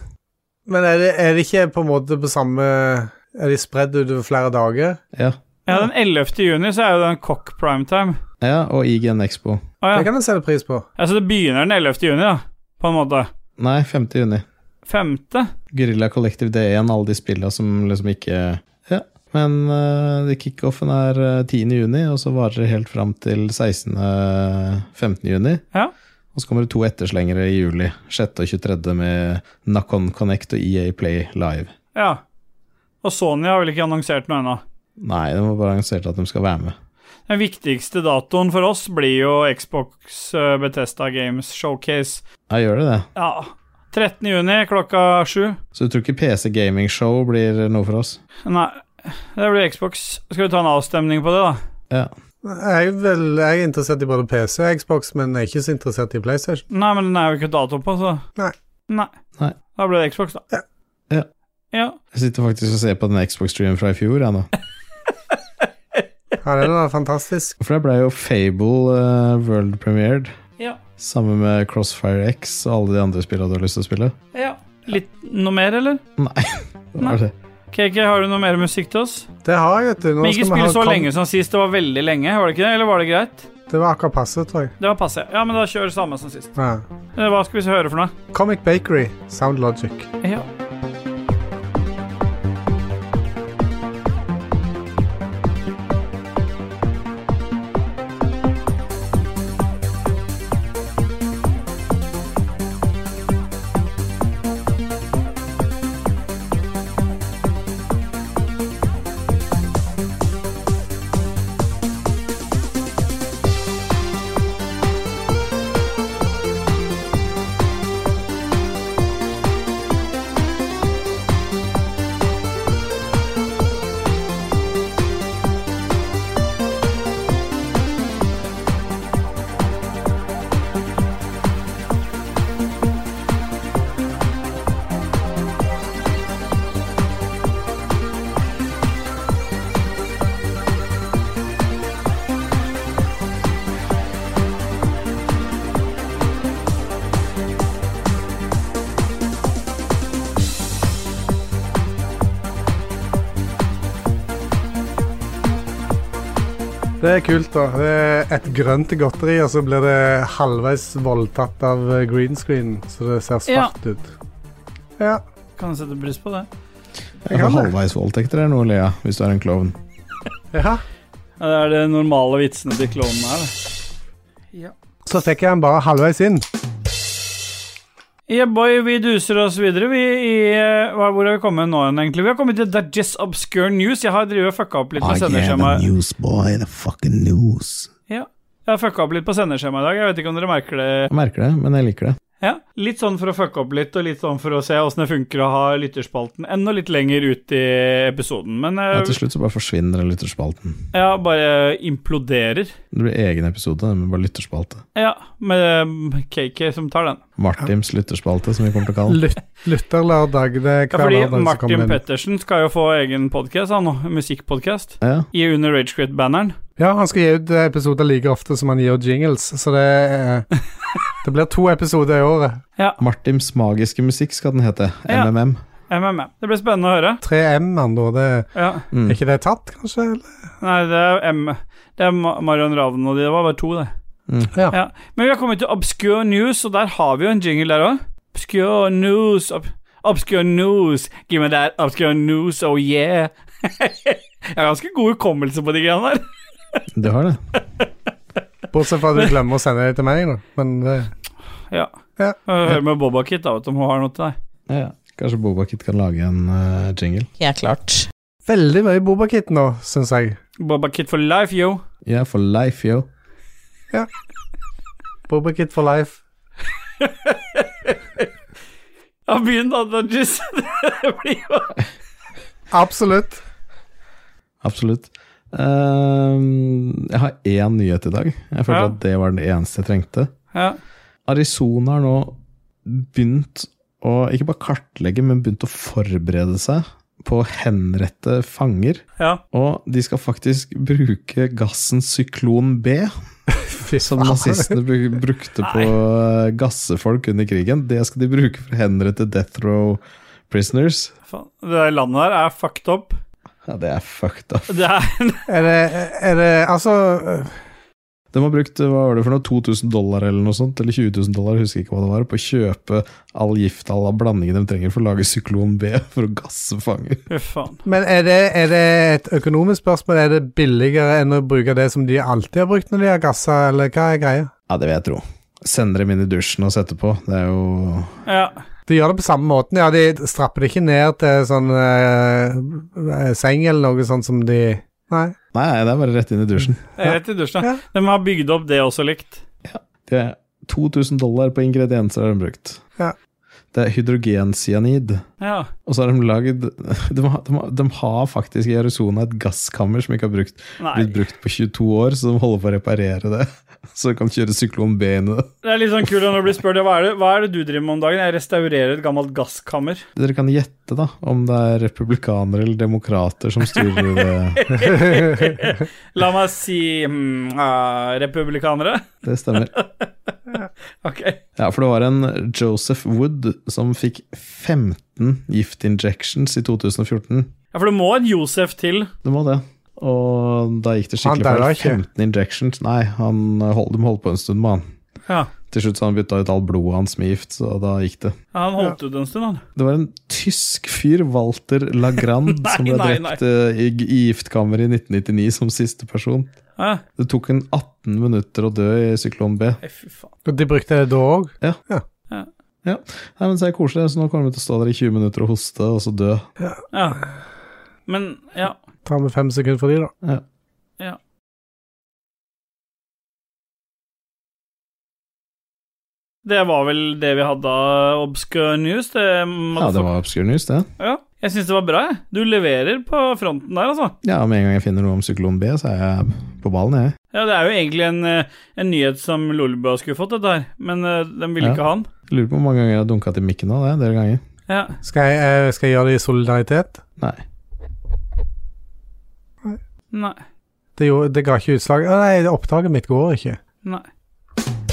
[SPEAKER 3] Men er det, er det ikke på en måte på samme Er de spredd utover flere dager?
[SPEAKER 1] Ja.
[SPEAKER 2] Ja, den 11. juni så er jo den Cock primetime.
[SPEAKER 1] ja. Og IGN Expo.
[SPEAKER 2] Å
[SPEAKER 3] Det
[SPEAKER 2] ja.
[SPEAKER 3] kan jeg sette pris på.
[SPEAKER 2] Altså, det begynner den 11. juni, da, på en måte.
[SPEAKER 1] Nei, 5. juni.
[SPEAKER 2] Femte?
[SPEAKER 1] Gorilla Collective Day 1, alle de spilla som liksom ikke Ja. Men eh, det kickoffen er eh, 10. juni, og så varer det helt fram til 16. 15. juni.
[SPEAKER 2] Ja.
[SPEAKER 1] Og så kommer det to etterslengere i juli, 6. og 23. med Nacon Connect og EA Play Live.
[SPEAKER 2] Ja. Og Sony har vel ikke annonsert noe ennå.
[SPEAKER 1] Nei, de har bare annonsert at de skal være med.
[SPEAKER 2] Den viktigste datoen for oss blir jo Xbox eh, Bethesda Games Showcase.
[SPEAKER 1] Ja, gjør det det?
[SPEAKER 2] Ja. 13. juni klokka sju.
[SPEAKER 1] Så du tror ikke PC Gaming Show blir noe for oss?
[SPEAKER 2] Nei, det blir Xbox. Skal vi ta en avstemning på det, da?
[SPEAKER 1] Ja.
[SPEAKER 3] Jeg er, vel, jeg er interessert i både PC og Xbox, men jeg er ikke så interessert i PlayStation.
[SPEAKER 2] Nei, men den er jo ikke dato på, så
[SPEAKER 3] Nei.
[SPEAKER 2] Nei.
[SPEAKER 1] Nei.
[SPEAKER 2] Da ble det Xbox, da.
[SPEAKER 1] Ja.
[SPEAKER 2] Ja.
[SPEAKER 1] Jeg sitter faktisk og ser på den Xbox-streamen fra i fjor, jeg nå.
[SPEAKER 3] Ja, den var fantastisk.
[SPEAKER 1] For der ble jo Fable eh, world premiered.
[SPEAKER 2] Ja.
[SPEAKER 1] Sammen med Crossfire X og alle de andre spillene du har lyst til å spille.
[SPEAKER 2] ja. Litt noe mer, eller?
[SPEAKER 1] Det var det.
[SPEAKER 2] KK, har du noe mer musikk til oss?
[SPEAKER 3] Det har jeg, vet du. Nå
[SPEAKER 2] Men ikke
[SPEAKER 3] skal vi
[SPEAKER 2] spill
[SPEAKER 3] ha
[SPEAKER 2] så
[SPEAKER 3] kom-
[SPEAKER 2] lenge som sist. Det var veldig lenge, var det ikke det? Eller var det greit?
[SPEAKER 3] Det var akkurat passe, tror jeg.
[SPEAKER 2] Det var passe. Ja, men da kjør samme som sist.
[SPEAKER 3] Ja.
[SPEAKER 2] Eh, Hva skal vi høre for noe?
[SPEAKER 3] Comic Bakery, Sound Logic.
[SPEAKER 2] Ja.
[SPEAKER 3] Det er kult, da. Det er et grønt godteri, og så blir det halvveis voldtatt av eh, green screen, så det ser svart ut. Ja.
[SPEAKER 2] Kan sette pris på det.
[SPEAKER 3] Jeg
[SPEAKER 1] Ja,
[SPEAKER 3] kan det.
[SPEAKER 1] Halvveisvoldtekter Altså, er noe å le av hvis du er en klovn.
[SPEAKER 3] ja.
[SPEAKER 2] Ja, det er det normale vitsene til klovnene her.
[SPEAKER 3] Så fikk jeg den bare halvveis inn.
[SPEAKER 2] Yeah, boy, vi duser oss videre. Vi i, eh, hva- hvor har vi kommet nå igjen, egentlig? Vi har kommet til That Just Obscure News. Jeg har drevet og fucka opp litt med sendeskjemaet.
[SPEAKER 6] news, boy. The fucking news.
[SPEAKER 2] Ja. Jeg har fucka opp litt på sendeskjemaet i dag. Jeg vet ikke om dere merker det.
[SPEAKER 1] Jeg merker det, men jeg liker det.
[SPEAKER 2] Ja, Litt sånn for å fucke opp litt, og litt sånn for å se åssen det funker å ha lytterspalten enda litt lenger ut i episoden. Men eh,
[SPEAKER 1] Ja, til slutt så bare forsvinner den lytterspalten.
[SPEAKER 2] ja, bare imploderer.
[SPEAKER 1] Det blir egen episode, men bare lytterspalte.
[SPEAKER 2] Ja, med um, KK som tar den.
[SPEAKER 1] Martims lytterspalte, som vi kommer til å kalle den.
[SPEAKER 3] Lyt, lytterlørdag. Det er
[SPEAKER 2] Ja,
[SPEAKER 3] hver
[SPEAKER 2] fordi
[SPEAKER 3] lørdag som kommer
[SPEAKER 2] Martin
[SPEAKER 3] inn.
[SPEAKER 2] Pettersen skal jo få egen podkast, han nå. Musikkpodkast.
[SPEAKER 1] Ja,
[SPEAKER 2] I under Ragequit-banneren.
[SPEAKER 3] Ja, han skal gi ut eh, episoder like ofte som han gir ut jingles, så det eh, Det blir to episoder i året.
[SPEAKER 1] Martims magiske musikk skal den hete.
[SPEAKER 2] Ja.
[SPEAKER 1] MMM.
[SPEAKER 2] MMM. Det blir spennende å høre.
[SPEAKER 3] 3M-en, da. Det,
[SPEAKER 2] Ja.
[SPEAKER 1] Mm.
[SPEAKER 3] er ikke det tatt, kanskje? Eller?
[SPEAKER 2] Nei, det er M. Det er Ma- Marion Ravn og de. Det var bare to, det.
[SPEAKER 3] Ja.
[SPEAKER 2] Ja. Men vi har kommet til Obscure News, og der har vi jo en jingle der òg. Obscure News, ob Obscure News, give me that Obscure News, oh yeah. Jeg har ganske god hukommelse på de greiene der.
[SPEAKER 1] Du har det.
[SPEAKER 3] Bortsett fra at du glemmer å sende det til meg, da. Men det
[SPEAKER 2] Ja.
[SPEAKER 3] Ja.
[SPEAKER 2] Hør med Boba Kit, da, vet du, om hun har noe til deg.
[SPEAKER 1] Ja, ja. Kanskje Bobakit kan lage en eh, jingle.
[SPEAKER 5] Ja, klart.
[SPEAKER 3] Veldig mye Bobakit nå, syns jeg.
[SPEAKER 2] Boba Kit for life, yo.
[SPEAKER 1] Yeah, for life, yo.
[SPEAKER 3] Bobakit for life.
[SPEAKER 2] Ja, begynn da, Dodges. Det blir jo
[SPEAKER 3] Absolutt.
[SPEAKER 1] Absolutt. Ehm, jeg har én nyhet i dag. Jeg følte
[SPEAKER 2] Ja.
[SPEAKER 1] at det var den eneste jeg trengte.
[SPEAKER 2] Ja.
[SPEAKER 1] Arizona har nå begynt å ikke bare kartlegge, men begynt å forberede seg på å henrette fanger.
[SPEAKER 2] ja.
[SPEAKER 1] Og de skal faktisk bruke gassen syklon B,
[SPEAKER 3] Fy
[SPEAKER 1] som nazistene bru- brukte på å gasse folk under krigen. Det skal de bruke for å henrette death row prisoners.
[SPEAKER 2] Faen. Det der landet der er fucked up.
[SPEAKER 1] Ja, det er fucked up.
[SPEAKER 2] Det er
[SPEAKER 3] Er det, er det Altså
[SPEAKER 1] De har brukt hva var det for noe, 2000 dollar eller noe sånt, eller 20 000 dollar, jeg husker ikke hva det var, på å kjøpe all gift, all blandingen de trenger for å lage syklon B for å gasse fanger.
[SPEAKER 2] Fy faen.
[SPEAKER 3] Men er det, er det et økonomisk spørsmål? Er det billigere enn å bruke det som de alltid har brukt når de har gassa, eller hva er greia?
[SPEAKER 1] Ja, det vil jeg tro. Sende dem inn i dusjen og sette på. Det er jo
[SPEAKER 2] Ja.
[SPEAKER 3] De gjør det på samme måten, ja. De strapper det ikke ned til sånn eh, eh, seng eller noe sånt som de Nei.
[SPEAKER 1] Nei, nei, det er bare rett inn i dusjen.
[SPEAKER 2] Det er Rett i dusjen.
[SPEAKER 3] Ja.
[SPEAKER 2] De har bygd opp det også likt.
[SPEAKER 1] Det er 2000 dollar på ingredienser har de brukt.
[SPEAKER 3] Ja.
[SPEAKER 1] Det er hydrogencyanid.
[SPEAKER 2] Ja.
[SPEAKER 1] Og så har de lagd de, har- de, har- de har faktisk i Arizona et gasskammer som ikke har brukt,
[SPEAKER 2] Nei.
[SPEAKER 1] blitt brukt på 22 år, så de holder på å reparere det. Så de kan kjøre syklon B inn i det.
[SPEAKER 2] Det er litt sånn kult når du blir spurt hva er, det, hva er det du driver med om dagen. Jeg restaurerer et gammelt gasskammer.
[SPEAKER 1] Dere kan gjette da om det er republikanere eller demokrater som styrer eh, det.
[SPEAKER 2] La meg si hmm, ah, republikanere.
[SPEAKER 1] Det stemmer.
[SPEAKER 2] Ok.
[SPEAKER 1] Ja, for det var en Joseph Wood som fikk 15 giftinjections i 2014.
[SPEAKER 2] Ja, for det må en Josef til.
[SPEAKER 1] Det må det. Og da gikk det
[SPEAKER 3] Han
[SPEAKER 1] skikkelig
[SPEAKER 3] daua
[SPEAKER 1] feil.
[SPEAKER 3] ikke.
[SPEAKER 1] 15 injections. Nei, han holdt, de holdt på en stund med han.
[SPEAKER 2] Ja.
[SPEAKER 1] Til slutt så han bytta ut all blodet hans med gift, så da gikk det.
[SPEAKER 2] Ja, Han holdt ut en stund, han.
[SPEAKER 1] Det var en tysk fyr, Walter Lagrand,
[SPEAKER 2] Nei,
[SPEAKER 1] som ble
[SPEAKER 2] nei,
[SPEAKER 1] drept eh, i, i giftkammeret i 1999 som siste person.
[SPEAKER 2] Ja.
[SPEAKER 1] Det tok en 18 minutter å dø i syklon B.
[SPEAKER 2] Nei, fy faen.
[SPEAKER 3] Og De brukte det da òg?
[SPEAKER 1] Nei, men så er det koselig, så nå kommer vi til å stå der i 20 minutter og hoste, og så dø.
[SPEAKER 2] Ja. Men ja.
[SPEAKER 3] Tar vi fem sekunder for de, da.
[SPEAKER 2] Det var vel det vi hadde av obscure news. Det,
[SPEAKER 1] Ja, det var obscure news, det.
[SPEAKER 2] Ja. Jeg syns det var bra, jeg. Du leverer på fronten der, altså.
[SPEAKER 1] Ja, Med en gang jeg finner noe om syklon B, så er jeg på ballen, jeg.
[SPEAKER 2] Ja, det er jo egentlig en, eh, en nyhet som Lolbua skulle fått, dette her, men eh, den ville
[SPEAKER 1] Ja.
[SPEAKER 2] ikke ha den.
[SPEAKER 1] Lurer på hvor mange ganger jeg har dunka til mikken nå. Det er en del ganger.
[SPEAKER 2] Ja.
[SPEAKER 3] Skal jeg, eh, skal jeg gjøre det i solidaritet?
[SPEAKER 1] Nei.
[SPEAKER 2] Nei.
[SPEAKER 3] Det, gjorde, det ga ikke utslag. Å nei, opptaket mitt går ikke.
[SPEAKER 2] Nei.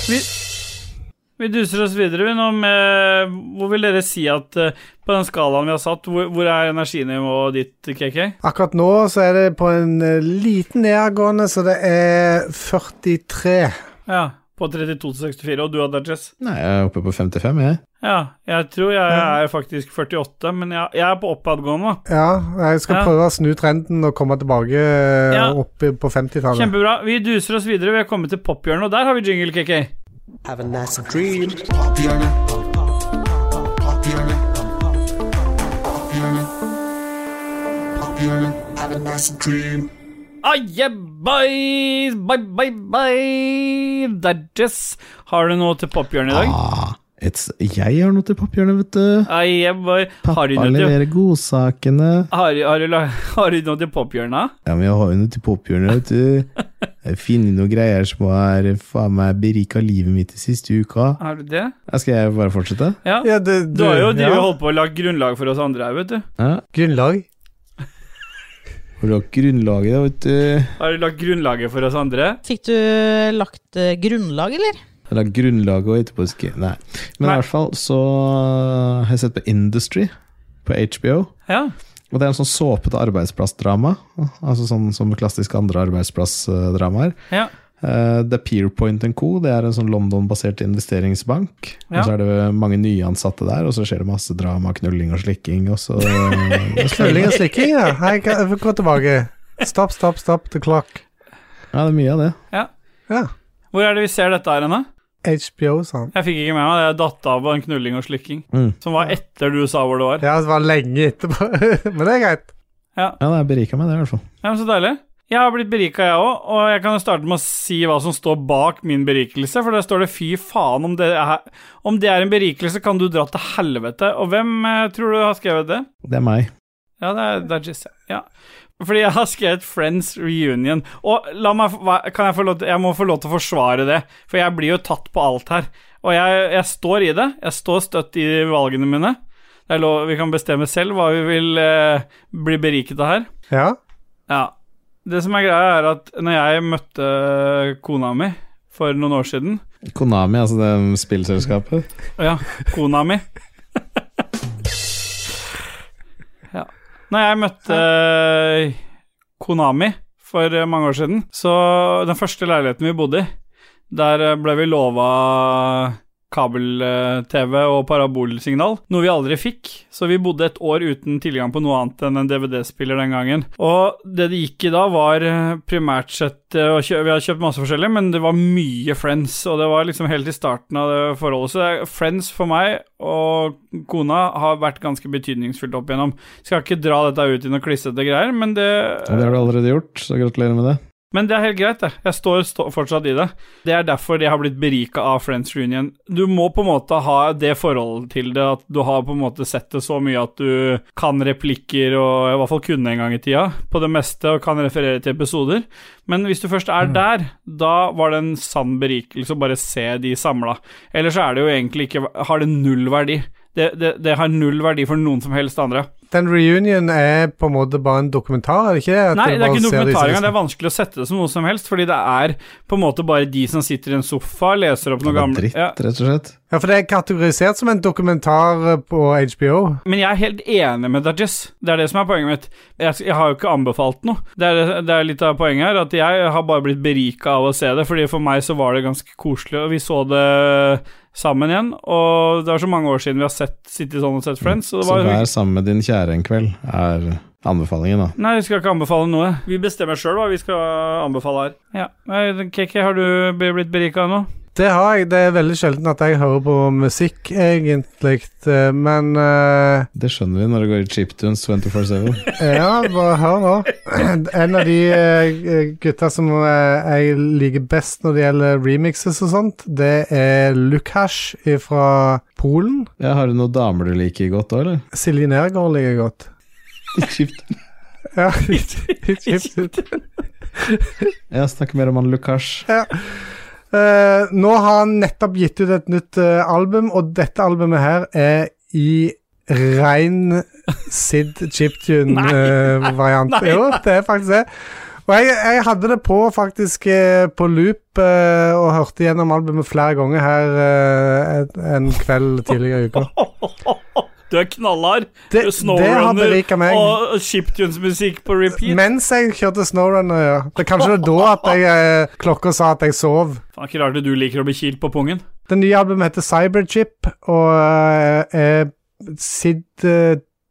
[SPEAKER 2] Vi, vi duser oss videre, vi nå med Hvor vil dere si at eh, på den skalaen vi har satt, hvor, hvor er energinivået ditt, KK?
[SPEAKER 3] Akkurat nå så er det på en eh, liten nedadgående, så det er 43.
[SPEAKER 2] Ja, på 32-64, og du, Adagis?
[SPEAKER 1] Nei, jeg er oppe på 55, jeg.
[SPEAKER 2] Ja, jeg tror jeg er faktisk 48, men jeg, jeg er på oppadgående.
[SPEAKER 3] Ja, jeg skal
[SPEAKER 2] Ja.
[SPEAKER 3] prøve å snu trenden og komme tilbake eh,
[SPEAKER 2] Ja.
[SPEAKER 3] opp i- på 50-tallet.
[SPEAKER 2] Kjempebra. Vi duser oss videre. Vi har kommet til pophjørnet, og der har vi jingle, KK.
[SPEAKER 4] Have a nice dream.
[SPEAKER 2] Ah, yeah, bye, bye, bye, bye. Dadges. Har du noe til pophjørnet i dag?
[SPEAKER 1] Ah, et, jeg har noe til pophjørnet, vet du.
[SPEAKER 2] Ah, yeah, boy.
[SPEAKER 1] Pappa
[SPEAKER 2] Har du noe til
[SPEAKER 1] leverer godsakene.
[SPEAKER 2] har, har, du, la- har du noe til pophjørnet?
[SPEAKER 1] Ja, men jeg har jo noe til pophjørnet, vet du. Jeg finner noen greier som har faen meg berika livet mitt de siste uka.
[SPEAKER 2] Har du det?
[SPEAKER 1] Skal jeg bare fortsette?
[SPEAKER 2] Ja.
[SPEAKER 3] Ja, det,
[SPEAKER 2] Du har jo
[SPEAKER 3] ja.
[SPEAKER 2] drevet og holdt på å lage grunnlag for oss andre her, vet du.
[SPEAKER 1] Ja.
[SPEAKER 3] Grunnlag.
[SPEAKER 1] Har du lagt grunnlaget, da, vet du.
[SPEAKER 2] Har du lagt grunnlaget for oss andre?
[SPEAKER 7] Fikk du lagt eh, grunnlag, eller?
[SPEAKER 1] Jeg har lagt grunnlaget og etterpå sk- Nei. Men
[SPEAKER 2] Nei.
[SPEAKER 1] i hvert fall så eh, har jeg sett på Industry på HBO.
[SPEAKER 2] Ja.
[SPEAKER 1] Og det er en sånn såpete arbeidsplassdrama, altså sånn som klassiske andre arbeidsplassdramaer.
[SPEAKER 2] Ja.
[SPEAKER 1] Eh, Det er Peerpoint Co. Det er en sånn London-basert investeringsbank.
[SPEAKER 2] Ja.
[SPEAKER 1] Og så er det mange nyansatte der, og så skjer det masse drama, knulling og slikking. Og så eh,
[SPEAKER 3] Knulling og slikking, ja. Hei, ga- gå tilbake. Stopp, stopp, stopp the clock.
[SPEAKER 1] altså. Ja, det er mye av det.
[SPEAKER 3] Ja.
[SPEAKER 2] Hvor er det vi ser dette her hen, da?
[SPEAKER 3] HBO, sa han.
[SPEAKER 2] Jeg fikk ikke med meg det. Jeg datt av på en knulling og slikking.
[SPEAKER 1] Mm.
[SPEAKER 2] Som var etter du sa hvor det var.
[SPEAKER 3] Ja, det var lenge etterpå. Men det er greit.
[SPEAKER 1] Ja, det er berika meg, det, i hvert fall.
[SPEAKER 2] Ja, men Så deilig. Jeg har blitt berika, jeg òg, og jeg kan jo starte med å si hva som står bak min berikelse. For der står det 'fy faen'. Om det er, om det er en berikelse, kan du dra til helvete. Og hvem eh, tror du har skrevet det?
[SPEAKER 1] Det er meg.
[SPEAKER 2] Ja, det er, det er Jesse. Ja. Fordi jeg har skrevet 'Friends Reunion'. Og la meg, få- hva- kan jeg, få lov til, jeg må få lov til å forsvare det, for jeg blir jo tatt på alt her. Og jeg, jeg står i det. Jeg står støtt i valgene mine. Det er lov, vi kan bestemme selv hva vi vil eh, bli beriket av her.
[SPEAKER 3] Ja.
[SPEAKER 2] Ja. Det som er greia, er at når jeg møtte kona mi for noen år siden
[SPEAKER 1] Konami, altså det spillselskapet.
[SPEAKER 2] Å ja, kona mi. ja. Når jeg møtte Konami for eh, mange år siden, så den første leiligheten vi bodde i, der eh, ble vi lova kabel-TV og parabolsignal, noe vi aldri fikk, så vi bodde et år uten tilgang på noe annet enn en DVD-spiller den gangen. Og det det gikk i da, var eh, primært sett eh, å kjø- Vi hadde kjøpt masse forskjellig, men det var mye Friends, og det var liksom helt i starten av det forholdet. Så det er- Friends for meg og kona har vært ganske betydningsfullt opp igjennom. Skal ikke dra dette ut i noen klissete greier, men det
[SPEAKER 1] Og det har du allerede gjort, så gratulerer med det.
[SPEAKER 2] Men det er helt greit, det. Jeg står stå fortsatt i det. Det er derfor det har blitt berika av Friends Reunion. Du må på en måte ha det forholdet til det, at du har på en måte sett det så mye at du kan replikker, og i hvert fall kunne en gang i tida, på det meste, og kan referere til episoder. Men hvis du først er der, da var det en sann berikelse å bare se de samla. Ellers så er det jo egentlig ikke Har det null verdi. Det, det, det har null verdi for noen som helst andre.
[SPEAKER 3] Den reunion er på en måte bare en dokumentar, er det ikke det? At
[SPEAKER 2] Nei, det
[SPEAKER 3] du
[SPEAKER 2] er ikke
[SPEAKER 3] bare ser disse
[SPEAKER 2] dokumentar engang. Det
[SPEAKER 3] liksom-
[SPEAKER 2] er vanskelig å sette det som noe som helst, fordi det er på en måte bare de som sitter i en sofa, leser opp noe
[SPEAKER 1] Det var
[SPEAKER 2] gamle
[SPEAKER 1] dritt,
[SPEAKER 2] ja.
[SPEAKER 1] rett og slett.
[SPEAKER 3] Ja, for det er kategorisert som en dokumentar eh, på HBO.
[SPEAKER 2] Men jeg er helt enig med Dajess. Det er det som er poenget mitt. Jeg, jeg har jo ikke anbefalt noe. Det er, det er litt av poenget her, at jeg har bare blitt berika av å se det, fordi for meg så var det ganske koselig, og vi så det sammen igjen, og det er så mange år siden vi har sett, sittet sånn og sett Friends, og det
[SPEAKER 1] Mm, Så
[SPEAKER 2] var
[SPEAKER 1] vær sammen med din kjære en kveld, er anbefalingen, da.
[SPEAKER 2] Nei, vi skal ikke anbefale noe. Vi bestemmer sjøl hva vi skal anbefale her. Ja. Nei, Keke, har du blitt berika av noe?
[SPEAKER 3] Det har jeg. Det er veldig sjelden at jeg hører på musikk, egentlig. eh, Men eh,
[SPEAKER 1] Det skjønner vi når det går i chiptunes 24-7.
[SPEAKER 3] Ja, bare hør nå. En av de eh, gutta som eh, jeg liker best når det gjelder remixes og sånt, det er Lukash fra Polen.
[SPEAKER 1] Ja, har du noen damer du liker godt òg, eller?
[SPEAKER 3] Silje Nergård liker jeg godt.
[SPEAKER 1] Chiptune.
[SPEAKER 3] Ja, litt kjipt ut.
[SPEAKER 1] Ja, snakk mer om han Lukash.
[SPEAKER 3] Eh, nå har han nettopp gitt ut et nytt eh, album, og dette albumet her er i rein Sid Chiptune-variant. jo, det er faktisk det. Og jeg, jeg hadde det på faktisk eh, på loop eh, og hørte gjennom albumet flere ganger her eh, en- en kveld tidligere i uka.
[SPEAKER 2] Du er knallhard. Du er
[SPEAKER 3] Det, det har
[SPEAKER 2] snowrunner
[SPEAKER 3] berika meg.
[SPEAKER 2] og chiptunes-musikk på repeat.
[SPEAKER 3] Mens jeg kjørte snowrunner, ja. Det er kanskje det er da at jeg, eh, klokka sa at jeg sov.
[SPEAKER 2] Faen, ikke rart du liker å bli kilt på pungen.
[SPEAKER 3] Det nye albumet heter Cyberchip, og eh, er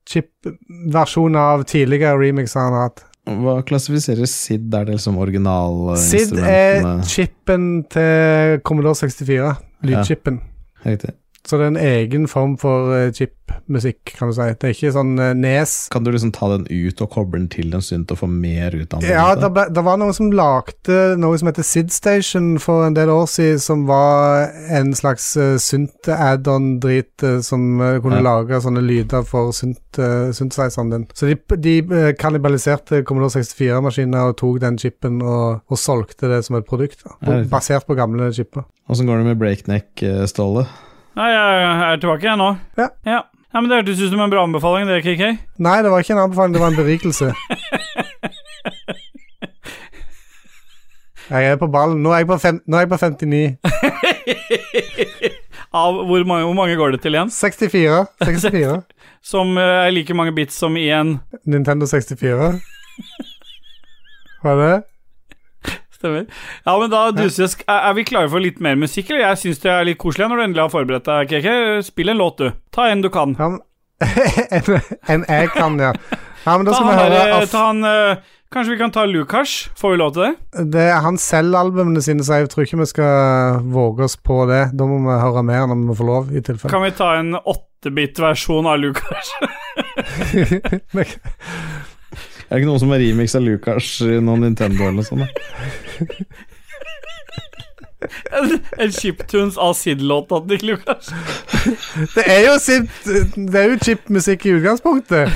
[SPEAKER 3] SID-chip-versjon av tidligere remixer han har hatt.
[SPEAKER 1] Hva klassifiserer SID er det liksom
[SPEAKER 2] eh,
[SPEAKER 3] SID er
[SPEAKER 1] originalinstrumentene?
[SPEAKER 3] chipen til Commodore 64, lydchipen.
[SPEAKER 1] Riktig.
[SPEAKER 3] Så det er en egen form for eh, chip-musikk, kan du si. Det er ikke sånn eh, nes.
[SPEAKER 1] Kan du liksom ta den ut og koble den til en synt og få mer ut av den?
[SPEAKER 3] Ja, det, ble, det var noen som lagde noe som heter SID Station for en del år siden, som var en slags uh, synt-add-on-drit eh, som eh, kunne
[SPEAKER 1] Ja.
[SPEAKER 3] lage sånne lyder for synt, eh, synthesizeren din. Så de, de eh, kannibaliserte Commodore 64-maskiner og tok den chipen og, og solgte det som et produkt, da, på,
[SPEAKER 1] Ja, riktig.
[SPEAKER 3] basert på gamle chipper.
[SPEAKER 1] Åssen går det med breakneck, eh, Ståle?
[SPEAKER 2] Nei, jeg er tilbake, jeg nå.
[SPEAKER 3] Ja.
[SPEAKER 2] ja. Nei, men Det hørtes ut som en bra anbefaling, det, KK.
[SPEAKER 3] Nei, det var ikke en anbefaling, det var en berikelse. Jeg er på ballen. Nå er jeg på, fem, nå er jeg på 59.
[SPEAKER 2] Av hvor mange, hvor mange går det til igjen?
[SPEAKER 3] 64. 64.
[SPEAKER 2] Som eh, er like mange bits som i en
[SPEAKER 3] Nintendo 64. Var det?
[SPEAKER 2] Stemmer. Ja, men da duses Er er vi klare for litt mer musikk, eller? Jeg syns det er litt koselig når du endelig har forberedt deg, KK. Spill en låt, du. Ta en du kan.
[SPEAKER 3] Ja, men- en, en jeg kan, ja. Ja, men
[SPEAKER 2] Ta
[SPEAKER 3] da skal vi
[SPEAKER 2] han,
[SPEAKER 3] høre
[SPEAKER 2] der, eh,
[SPEAKER 3] Af-
[SPEAKER 2] ta han eh, Kanskje vi kan ta Lukas? Får vi lov til det?
[SPEAKER 3] Det er han selger albumene sine, så jeg tror ikke vi skal våge oss på det. Da må vi høre mer når vi får lov, i tilfelle.
[SPEAKER 2] Kan vi ta en åttebit-versjon av Lukas?
[SPEAKER 1] Er det ikke noen som har remix av Lukash i noen Nintendo eller noe sånt? da?
[SPEAKER 2] en Chiptunes av Sid-låta til Lukas?
[SPEAKER 3] Det er jo sint Det er jo chip musikk i utgangspunktet.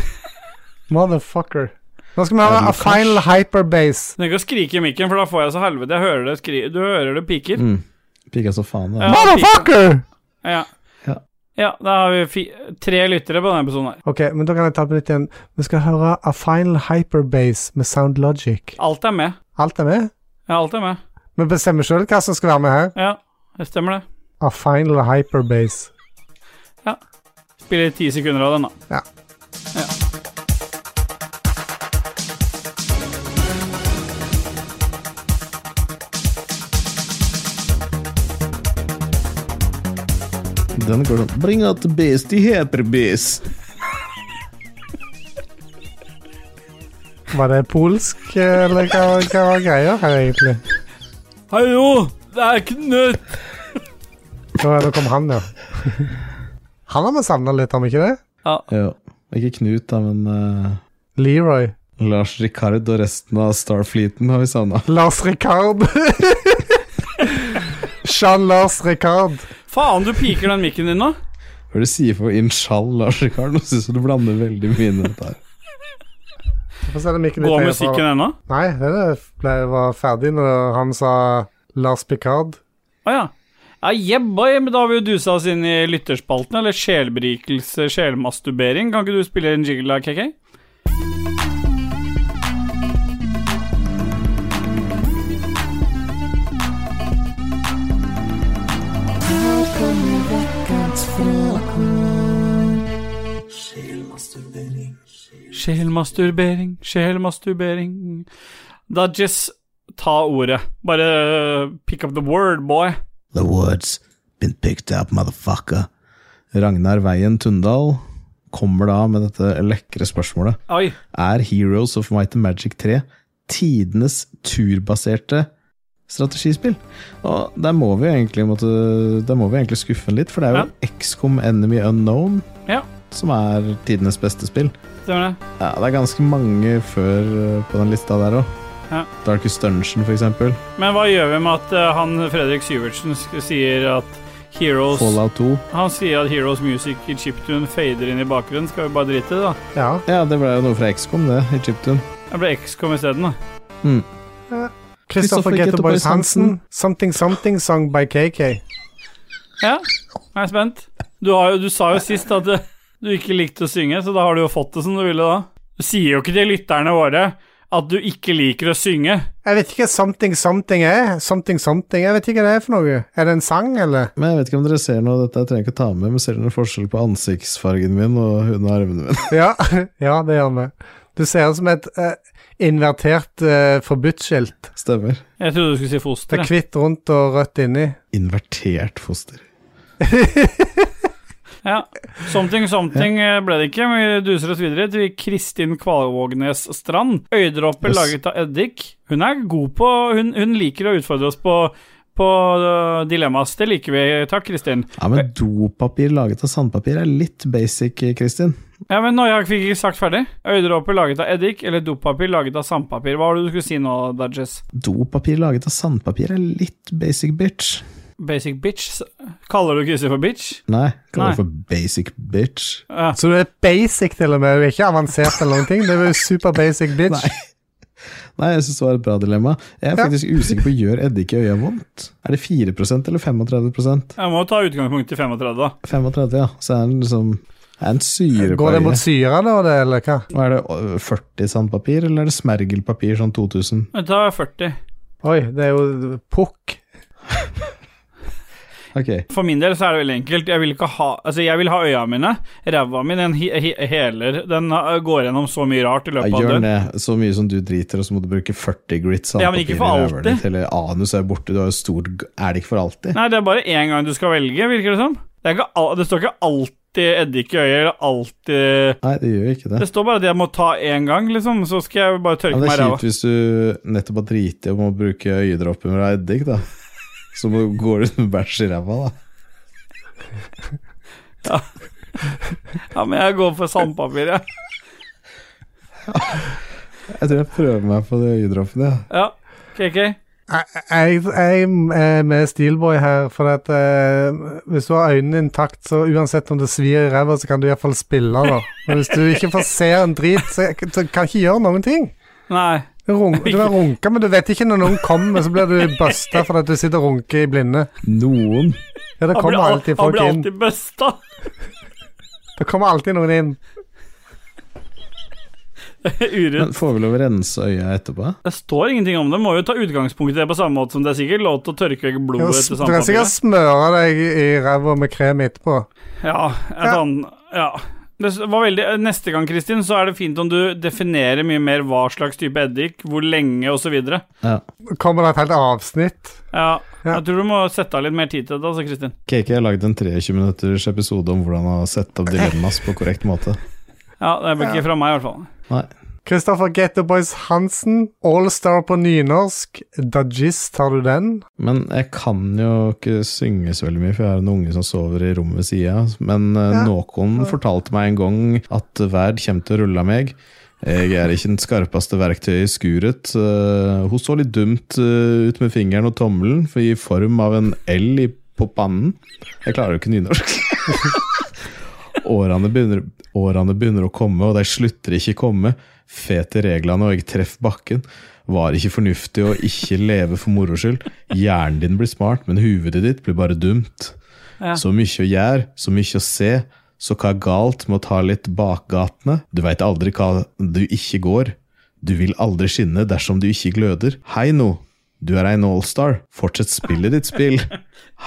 [SPEAKER 3] Motherfucker. Nå skal vi høre A Final Hyperbase.
[SPEAKER 2] Du trenger ikke å skrike i mikken, for da får jeg så helvete. Jeg hører det skri... Du hører det piker.
[SPEAKER 1] Mm. Pika så faen, da.
[SPEAKER 2] Ja.
[SPEAKER 3] Motherfucker!
[SPEAKER 2] Ja.
[SPEAKER 1] Ja.
[SPEAKER 2] ja, da har vi fi... tre lyttere på denne episoden her.
[SPEAKER 3] Ok, men da kan jeg ta på nytt igjen. Vi skal høre A Final Hyperbase med Sound Logic.
[SPEAKER 2] Alt er med.
[SPEAKER 3] Alt er med?
[SPEAKER 2] Ja, alt er med.
[SPEAKER 3] Vi bestemmer sjøl hva som skal være med her.
[SPEAKER 2] Ja, det stemmer det.
[SPEAKER 3] A Final Hyperbase.
[SPEAKER 2] Spiller ti sekunder av den, da.
[SPEAKER 1] Den går sånn Bring out the beast, de heter beast.
[SPEAKER 3] Var det polsk, eh, eller hva, hva var greia her, egentlig?
[SPEAKER 2] Hallo! Det er Knut!
[SPEAKER 3] Nå, nå kom han, ja. Han har vi savna litt, har vi ikke det?
[SPEAKER 1] Jo. Ikke Knut, da, men eh,
[SPEAKER 3] Leroy.
[SPEAKER 1] Lars Rikard og resten av Starfleeten har vi savna.
[SPEAKER 3] Lars Ricard. Jean-Lars Ricard.
[SPEAKER 2] Faen, du piker den mikken din nå.
[SPEAKER 1] Hva er det du sier for inshall, Lars Rikard? Nå syns jeg du blander veldig mye inn i dette her.
[SPEAKER 3] Hvorfor ser det mikken litt
[SPEAKER 2] Går
[SPEAKER 3] høyere fra?
[SPEAKER 2] musikken ennå?
[SPEAKER 3] Nei, den ble, var ferdig når han sa Lars Picard.
[SPEAKER 2] Å ja. Ja, jebba, men da har vi jo dusa oss inn i lytterspalten, eller sjelberikelse, sjelmasturbering. Kan ikke du spille en jingle da, KK? Sjelmasturbering, sjelmasturbering Da Jess, ta ordet. Bare øh, pick up the word, boy.
[SPEAKER 6] The word's been picked up, motherfucker.
[SPEAKER 1] Ragnar Veien Tundal kommer da med dette lekre spørsmålet.
[SPEAKER 2] Oi.
[SPEAKER 1] Er Heroes of Might and Magic 3 tidenes turbaserte strategispill? Og der må vi jo egentlig, måtte, der må vi egentlig skuffe den litt, for det er jo XCOM Enemy Unknown
[SPEAKER 2] Ja.
[SPEAKER 1] som er tidenes beste spill.
[SPEAKER 2] Stemmer det.
[SPEAKER 1] Ja, det er ganske mange før eh, på den lista der òg.
[SPEAKER 2] Ja.
[SPEAKER 1] Darkest Dungeon, for eksempel.
[SPEAKER 2] Men hva gjør vi med at eh, han Fredrik Syvertsen sk- sier at Heroes
[SPEAKER 1] Fallout 2.
[SPEAKER 2] Han sier at Heroes Music i chiptune fader inn i bakgrunnen. Skal vi bare drite i det, da?
[SPEAKER 3] Ja.
[SPEAKER 1] Ja, det ble jo noe fra XCOM, det, i Chiptune.
[SPEAKER 2] Det ble XCOM isteden, da.
[SPEAKER 3] Christopher Getterboys Hansen. Something Something Song by KK.
[SPEAKER 2] Ja, jeg er spent. Du, har jo, du sa jo sist at eh, du ikke likte å synge, så da har du jo fått det som du ville da. Du sier jo ikke til lytterne våre at du ikke liker å synge.
[SPEAKER 3] Jeg vet ikke hva Something Something er. Something Something, Jeg vet ikke hva det er for noe. Er det en sang, eller?
[SPEAKER 1] Men jeg vet ikke om dere ser noe av dette, jeg trenger ikke ta med, men ser dere noen forskjell på ansiktsfargen min og hun og armene mine?
[SPEAKER 3] Ja, ja det gjør vi. Du ser ut som et eh, invertert uh, forbudt-skilt.
[SPEAKER 1] Stemmer.
[SPEAKER 2] Jeg trodde du skulle si
[SPEAKER 3] Det
[SPEAKER 2] foster.
[SPEAKER 3] er
[SPEAKER 2] jeg.
[SPEAKER 3] hvitt rundt og rødt inni.
[SPEAKER 1] Invertert foster.
[SPEAKER 2] Ja. Something something eh, ble det ikke, men vi duser oss videre til Kristin Kvalvågnes Strand. Øydråper
[SPEAKER 1] Yes.
[SPEAKER 2] laget av eddik. Hun er god på Hun, hun liker å utfordre oss på, på eh, dilemmas. Det liker vi. Takk, Kristin.
[SPEAKER 1] Ja, men dopapir laget av sandpapir er litt basic, Kristin.
[SPEAKER 2] Ja, men nå jeg fikk ikke sagt ferdig. Øydråper laget av eddik eller dopapir laget av sandpapir. Hva var det du skulle si nå, Dudges?
[SPEAKER 1] Dopapir laget av sandpapir er litt basic bitch.
[SPEAKER 2] Basic bitch? S- Kaller du Kristin for bitch?
[SPEAKER 1] Nei, kaller
[SPEAKER 2] Nei.
[SPEAKER 1] det for basic bitch.
[SPEAKER 2] Ja.
[SPEAKER 3] Så du er basic til og med. Du er ikke avansert eller noen ting. Du er jo super basic bitch.
[SPEAKER 1] Nei. Nei, jeg syns det var et bra dilemma. Jeg er
[SPEAKER 3] Ja.
[SPEAKER 1] faktisk usikker på gjør eddik i øya vondt. Er det 4 eller 35 35,
[SPEAKER 2] Jeg må ta utgangspunkt i 35, da.
[SPEAKER 1] ja. Så er den liksom er en syre på
[SPEAKER 3] Går det mot
[SPEAKER 1] øyet.
[SPEAKER 3] syre da, det, eller hva?
[SPEAKER 1] Og Er det ø, 40 sandpapir, eller er det smergelpapir sånn 2000?
[SPEAKER 2] Men Ta 40.
[SPEAKER 3] Oi, det er jo pukk.
[SPEAKER 1] Ok,
[SPEAKER 2] For min del så er det veldig enkelt. Jeg vil ikke ha Altså, jeg vil ha øya mine. Ræva mi, den he- he- heler Den uh, går gjennom så mye rart
[SPEAKER 1] ja,
[SPEAKER 2] i løpet av
[SPEAKER 1] gjør
[SPEAKER 2] døgn.
[SPEAKER 1] det. Så mye som du driter, og så må du bruke 40 grit
[SPEAKER 2] Ja, men
[SPEAKER 1] sandpapir
[SPEAKER 2] ikke
[SPEAKER 1] i
[SPEAKER 2] for
[SPEAKER 1] ræva
[SPEAKER 2] alltid.
[SPEAKER 1] ditt, eller anus er borte, du har jo stort g- Er det ikke for alltid?
[SPEAKER 2] Nei, det er bare én gang du skal velge, virker det som. Det, er ikke al det står ikke alltid eddik i øyet, eller alltid
[SPEAKER 1] Nei, det gjør jo ikke det.
[SPEAKER 2] Det står bare at jeg må ta én gang, liksom, så skal jeg bare
[SPEAKER 1] Ja,
[SPEAKER 2] tørke
[SPEAKER 1] men
[SPEAKER 2] meg
[SPEAKER 1] det er
[SPEAKER 2] i ræva.
[SPEAKER 1] kjipt hvis du nettopp har driti og må bruke øyedråper med eddik, da. Så må du gå rundt med bæsj i ræva, da.
[SPEAKER 2] Ja, men jeg går for sandpapir, jeg.
[SPEAKER 1] Jeg tror jeg prøver meg på de øyedråpene. Ja.
[SPEAKER 2] Ja. KK.
[SPEAKER 3] Jeg, jeg, jeg er med Steelboy her, for at eh, hvis du har øynene intakt, så uansett om det svir i ræva, så kan du iallfall spille, da. Men hvis du ikke får se en drit, så jeg, så kan jeg ikke gjøre noen ting.
[SPEAKER 2] Nei.
[SPEAKER 3] Du run- du kan runke, men du vet ikke når noen kommer, så blir du busta for at du sitter og runker i blinde.
[SPEAKER 1] Noen
[SPEAKER 3] Ja,
[SPEAKER 2] Han
[SPEAKER 3] det
[SPEAKER 2] blir
[SPEAKER 3] kommer
[SPEAKER 2] al-
[SPEAKER 3] alltid
[SPEAKER 2] han
[SPEAKER 3] folk
[SPEAKER 2] blir
[SPEAKER 3] inn.
[SPEAKER 2] alltid busta.
[SPEAKER 3] Det kommer alltid noen inn.
[SPEAKER 2] Urett.
[SPEAKER 1] Men får vi lov å rense øya etterpå?
[SPEAKER 2] Det står ingenting om det. Må jo ta utgangspunkt i det på samme måte som det er sikkert lov til å tørke vekk
[SPEAKER 3] Du
[SPEAKER 2] blodet
[SPEAKER 3] kan
[SPEAKER 2] etter
[SPEAKER 3] s- du kan
[SPEAKER 2] sandpapiret.
[SPEAKER 3] sikkert smøre deg i ræva med krem etterpå.
[SPEAKER 2] Ja, et
[SPEAKER 3] Ja.
[SPEAKER 2] annet Ja. Det s- var veldig, neste gang, Kristin, så er det fint om du definerer mye mer hva slags type eddik, hvor lenge, osv.
[SPEAKER 1] Ja.
[SPEAKER 3] Kommer det et helt avsnitt?
[SPEAKER 2] Ja.
[SPEAKER 3] Ja.
[SPEAKER 2] Jeg tror du må sette av litt mer tid til det, altså, Kristin.
[SPEAKER 1] KK har lagd en 23 minutters episode om hvordan han har sett opp dilemmas på korrekt måte.
[SPEAKER 2] Ja, det blir ikke fra meg, i hvert fall.
[SPEAKER 1] Nei.
[SPEAKER 3] Kristoffer Getterboys Hansen, allstar på nynorsk. Dudgies, tar du den?
[SPEAKER 1] Men jeg kan jo ikke synge så veldig mye, for jeg har en unge som sover i rommet ved sida. Men eh,
[SPEAKER 3] Ja.
[SPEAKER 1] noen fortalte meg en gang at verd kommer til å rulle av meg. Jeg er ikke den skarpeste verktøyet i skuret. Eh, Hun så litt dumt eh, ut med fingeren og tommelen, for i form av en L i, på pannen. Jeg klarer jo ikke nynorsk. Årene begynner, årene begynner å komme, og de slutter ikke å komme. Fete reglene, og jeg treffer bakken. Var ikke fornuftig å ikke leve for moro skyld. Hjernen din blir smart, men huvudet ditt blir bare dumt.
[SPEAKER 2] Ja.
[SPEAKER 1] Så mye å gjøre, så mye å se. Så hva er galt med å ta litt bakgatene? Du veit aldri hva du ikke går. Du vil aldri skinne dersom du ikke gløder. Hei nå, du er ein allstar. Fortsett spillet ditt spill.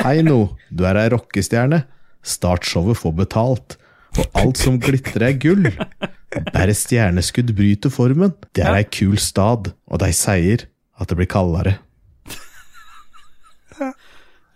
[SPEAKER 1] Hei nå, du er ei rockestjerne. Start showet, få betalt. Og alt som glitrer, er gull. Bare stjerneskudd bryter formen. Det er ei kul stad, og de sier at det blir kaldere.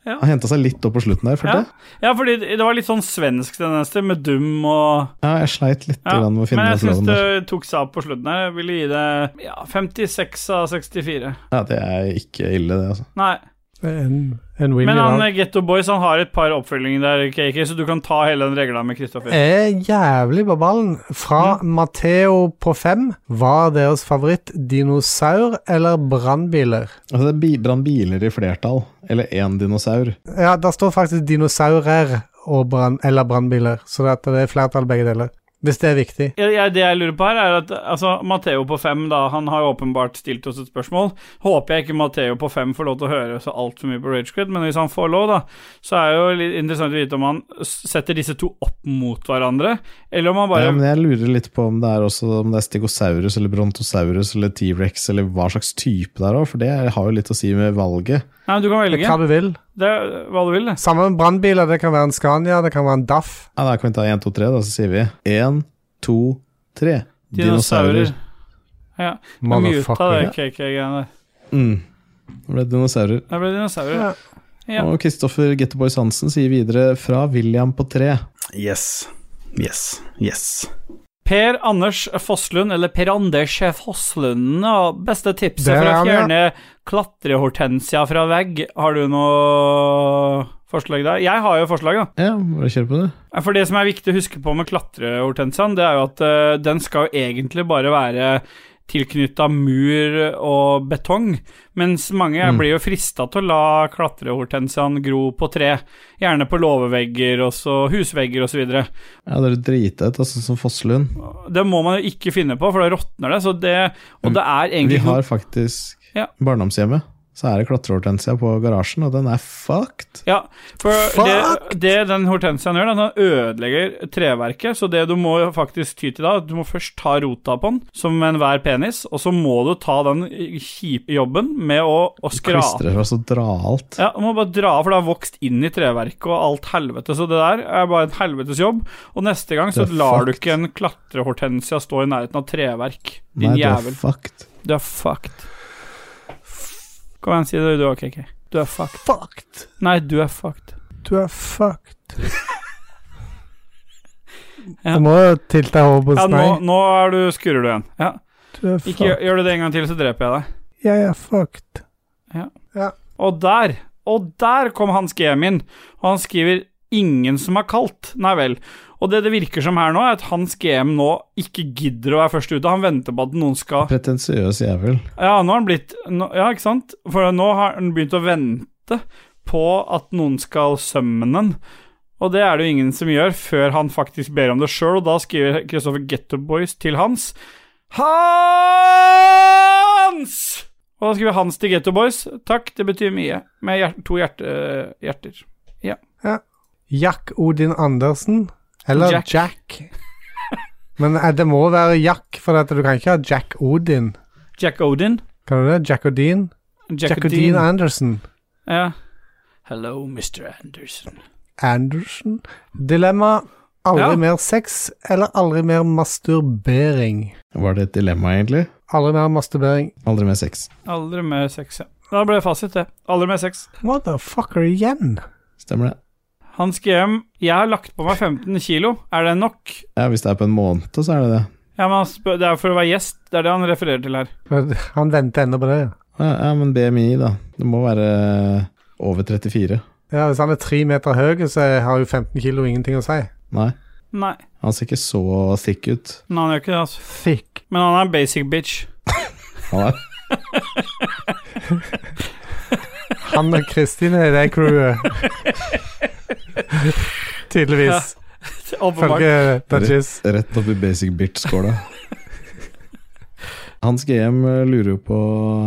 [SPEAKER 2] Ja.
[SPEAKER 1] Han henta seg litt opp på slutten der, følte
[SPEAKER 2] Ja.
[SPEAKER 1] jeg.
[SPEAKER 2] ja, fordi det var litt sånn svensk den neste, med dum og
[SPEAKER 1] Ja, jeg sleit litt
[SPEAKER 2] ja.
[SPEAKER 1] grann med å finne
[SPEAKER 2] Men
[SPEAKER 1] den
[SPEAKER 2] jeg syns
[SPEAKER 1] slaven
[SPEAKER 2] det
[SPEAKER 1] der.
[SPEAKER 2] tok seg opp på slutten her. Jeg ville gi det ja, 56 av 64.
[SPEAKER 1] Ja, det er ikke ille, det. altså.
[SPEAKER 2] Nei.
[SPEAKER 3] En, en
[SPEAKER 2] Men
[SPEAKER 3] winner.
[SPEAKER 2] han
[SPEAKER 3] da.
[SPEAKER 2] eh, Getto Boys han har et par oppfølginger der, KK, så du kan ta hele den regla med Kristoffer.
[SPEAKER 3] Er jævlig på ballen. Fra Matheo på fem, hva er deres favoritt? Dinosaur eller brannbiler?
[SPEAKER 1] altså det er bi- brannbiler i flertall, eller én dinosaur.
[SPEAKER 3] Ja, der står faktisk dinosaurer og brann, eller brannbiler, så det at det er flertall begge deler. Hvis det er viktig.
[SPEAKER 2] Jeg, jeg, det jeg lurer på her, er at altså, Matheo på fem, da, han har åpenbart stilt oss et spørsmål. Håper jeg ikke Matheo på fem får lov til å høre så altfor mye på Ragequid, men hvis han får lov, da, så er jo litt interessant å vite om han s- setter disse to opp mot hverandre, eller om han bare
[SPEAKER 1] Ja, men jeg lurer litt på om det er også om det er stegosaurus eller brontosaurus eller T-rex, eller hva slags type det er òg, for det har jo litt å si med valget.
[SPEAKER 2] Nei, men du kan velge.
[SPEAKER 3] Hva du vil.
[SPEAKER 2] Det er hva du vil, det.
[SPEAKER 3] Samme med brannbiler. Det kan være en Scania, det kan være en DAF.
[SPEAKER 1] Ja, Da kan vi ta én, to, tre, da, så sier vi én, to, tre.
[SPEAKER 2] Dinosaurer.
[SPEAKER 1] Dinosaurer.
[SPEAKER 2] Ja. Muta det
[SPEAKER 3] Motherfucker.
[SPEAKER 2] KK-greiene der.
[SPEAKER 1] Mm. Det ble dinosaurer.
[SPEAKER 2] Det ble dinosaurer.
[SPEAKER 3] Ja.
[SPEAKER 2] Ja.
[SPEAKER 1] Og Kristoffer Getteboys Hansen sier videre fra William på tre.
[SPEAKER 6] Yes. Yes. Yes.
[SPEAKER 2] Per Anders Fosslund, eller Per Anders Fosslund, og beste tipset
[SPEAKER 3] Der
[SPEAKER 2] for å
[SPEAKER 3] er han, ja.
[SPEAKER 2] fjerne klatrehortensia fra vegg. Har du noe forslag der? Jeg har jo forslag, da.
[SPEAKER 1] Ja, bare kjør på, du.
[SPEAKER 2] For det som er viktig å huske på med klatrehortensiaen, det er jo at eh, den skal jo egentlig bare være tilknytta mur og betong, mens mange
[SPEAKER 1] Mm.
[SPEAKER 2] blir jo frista til å la klatrehortensiaen gro på tre. Gjerne på låvevegger og så husvegger og så videre.
[SPEAKER 1] Ja, Dere driter ut, altså, som Fosslund.
[SPEAKER 2] Det må man jo ikke finne på, for da råtner det. Så det og det er
[SPEAKER 1] Vi
[SPEAKER 2] egentlig ikke
[SPEAKER 1] har
[SPEAKER 2] noe-
[SPEAKER 1] faktisk
[SPEAKER 2] Ja.
[SPEAKER 1] barndomshjemmet. Så er det klatrehortensia på garasjen, og den er fucked.
[SPEAKER 2] ja, for det, det den hortensiaen gjør, da, den ødelegger treverket. Så det du må jo faktisk ty til da, du må først ta rota på den, som med enhver penis, og så må du ta den kjipe jobben med å, å skrape.
[SPEAKER 1] Klistrer fra så dra alt.
[SPEAKER 2] Ja, du må bare dra av, for det har vokst inn i treverket og alt helvete. Så det der er bare en helvetes jobb. Og neste gang så
[SPEAKER 1] Det er
[SPEAKER 2] lar du
[SPEAKER 1] fucked.
[SPEAKER 2] ikke en klatrehortensia stå i nærheten av treverk. Din
[SPEAKER 1] Nei, du er
[SPEAKER 2] jævel.
[SPEAKER 1] fucked.
[SPEAKER 2] Du er fucked. Kom igjen, si det du òg, KK. Du er fucked.
[SPEAKER 3] Fucked!
[SPEAKER 2] Nei, du er fucked.
[SPEAKER 3] Du er fucked.
[SPEAKER 2] Ja.
[SPEAKER 3] Du må jo tilte hodet på
[SPEAKER 2] Ja, nå,
[SPEAKER 3] snei.
[SPEAKER 2] nå er du, skurrer du igjen. Ja.
[SPEAKER 3] Du er
[SPEAKER 2] Ikke, gjør,
[SPEAKER 3] fucked.
[SPEAKER 2] gjør du det en gang til, så dreper jeg deg.
[SPEAKER 3] Jeg er fucked.
[SPEAKER 2] Og der, og der kom Hans G.M. inn, og han skriver 'ingen som er kaldt'. Nei vel. Og det det virker som her nå, er at Hans GM nå ikke gidder å være først ute. Han venter på at noen skal
[SPEAKER 1] Pretensiøs jævel.
[SPEAKER 2] Ja, nå har han blitt nå, Ja, ikke sant? For nå har han begynt å vente på at noen skal sømme den. Og det er det jo ingen som gjør før han faktisk ber om det sjøl, og da skriver Kristoffer Getto Boys til Hans Hans! Og da skriver Hans til Getto Boys. Takk, det betyr mye. Med hjer- to hjerte, hjerter.
[SPEAKER 3] Jack Odin Andersen. Eller
[SPEAKER 2] Jack.
[SPEAKER 3] Jack. Men eh, det må være Jack, for at du kan ikke ha Jack Odin.
[SPEAKER 2] Jack Odin.
[SPEAKER 3] Kan du det? Jack Odin? Jack Odin Andersen.
[SPEAKER 2] Ja. Hello, Mr. Anderson.
[SPEAKER 3] Andersen. Dilemma aldri
[SPEAKER 2] Ja.
[SPEAKER 3] mer sex eller aldri mer masturbering.
[SPEAKER 1] Var det et dilemma, egentlig?
[SPEAKER 3] Aldri mer masturbering.
[SPEAKER 1] Aldri mer sex.
[SPEAKER 2] Aldri mer sex, ja. Da ble det fasit, det. Aldri mer sex.
[SPEAKER 3] Motherfucker igjen.
[SPEAKER 1] Stemmer det?
[SPEAKER 2] Hans GM, jeg har lagt på meg 15 kilo, er det nok?
[SPEAKER 1] Ja, Hvis det er på en måned, så er det det.
[SPEAKER 2] Ja, men han spør, Det er for å være gjest, det er det han refererer til her.
[SPEAKER 3] Men Han venter ennå på det.
[SPEAKER 1] Ja, ja, men BMI, da. Det må være over 34.
[SPEAKER 3] Ja, Hvis han er tre meter høy, så har jo 15 kilo ingenting å si.
[SPEAKER 1] Nei.
[SPEAKER 2] Nei.
[SPEAKER 1] Han ser ikke så thick ut.
[SPEAKER 2] Men han gjør ikke det, altså.
[SPEAKER 8] Thick.
[SPEAKER 2] Men han er en basic bitch.
[SPEAKER 1] Han er,
[SPEAKER 3] Han og Kristin er i det crewet. Tydeligvis.
[SPEAKER 2] Åpenbart.
[SPEAKER 3] Følge Dudgies.
[SPEAKER 1] Rett opp i basic bitch-skåla. Hans GM lurer jo på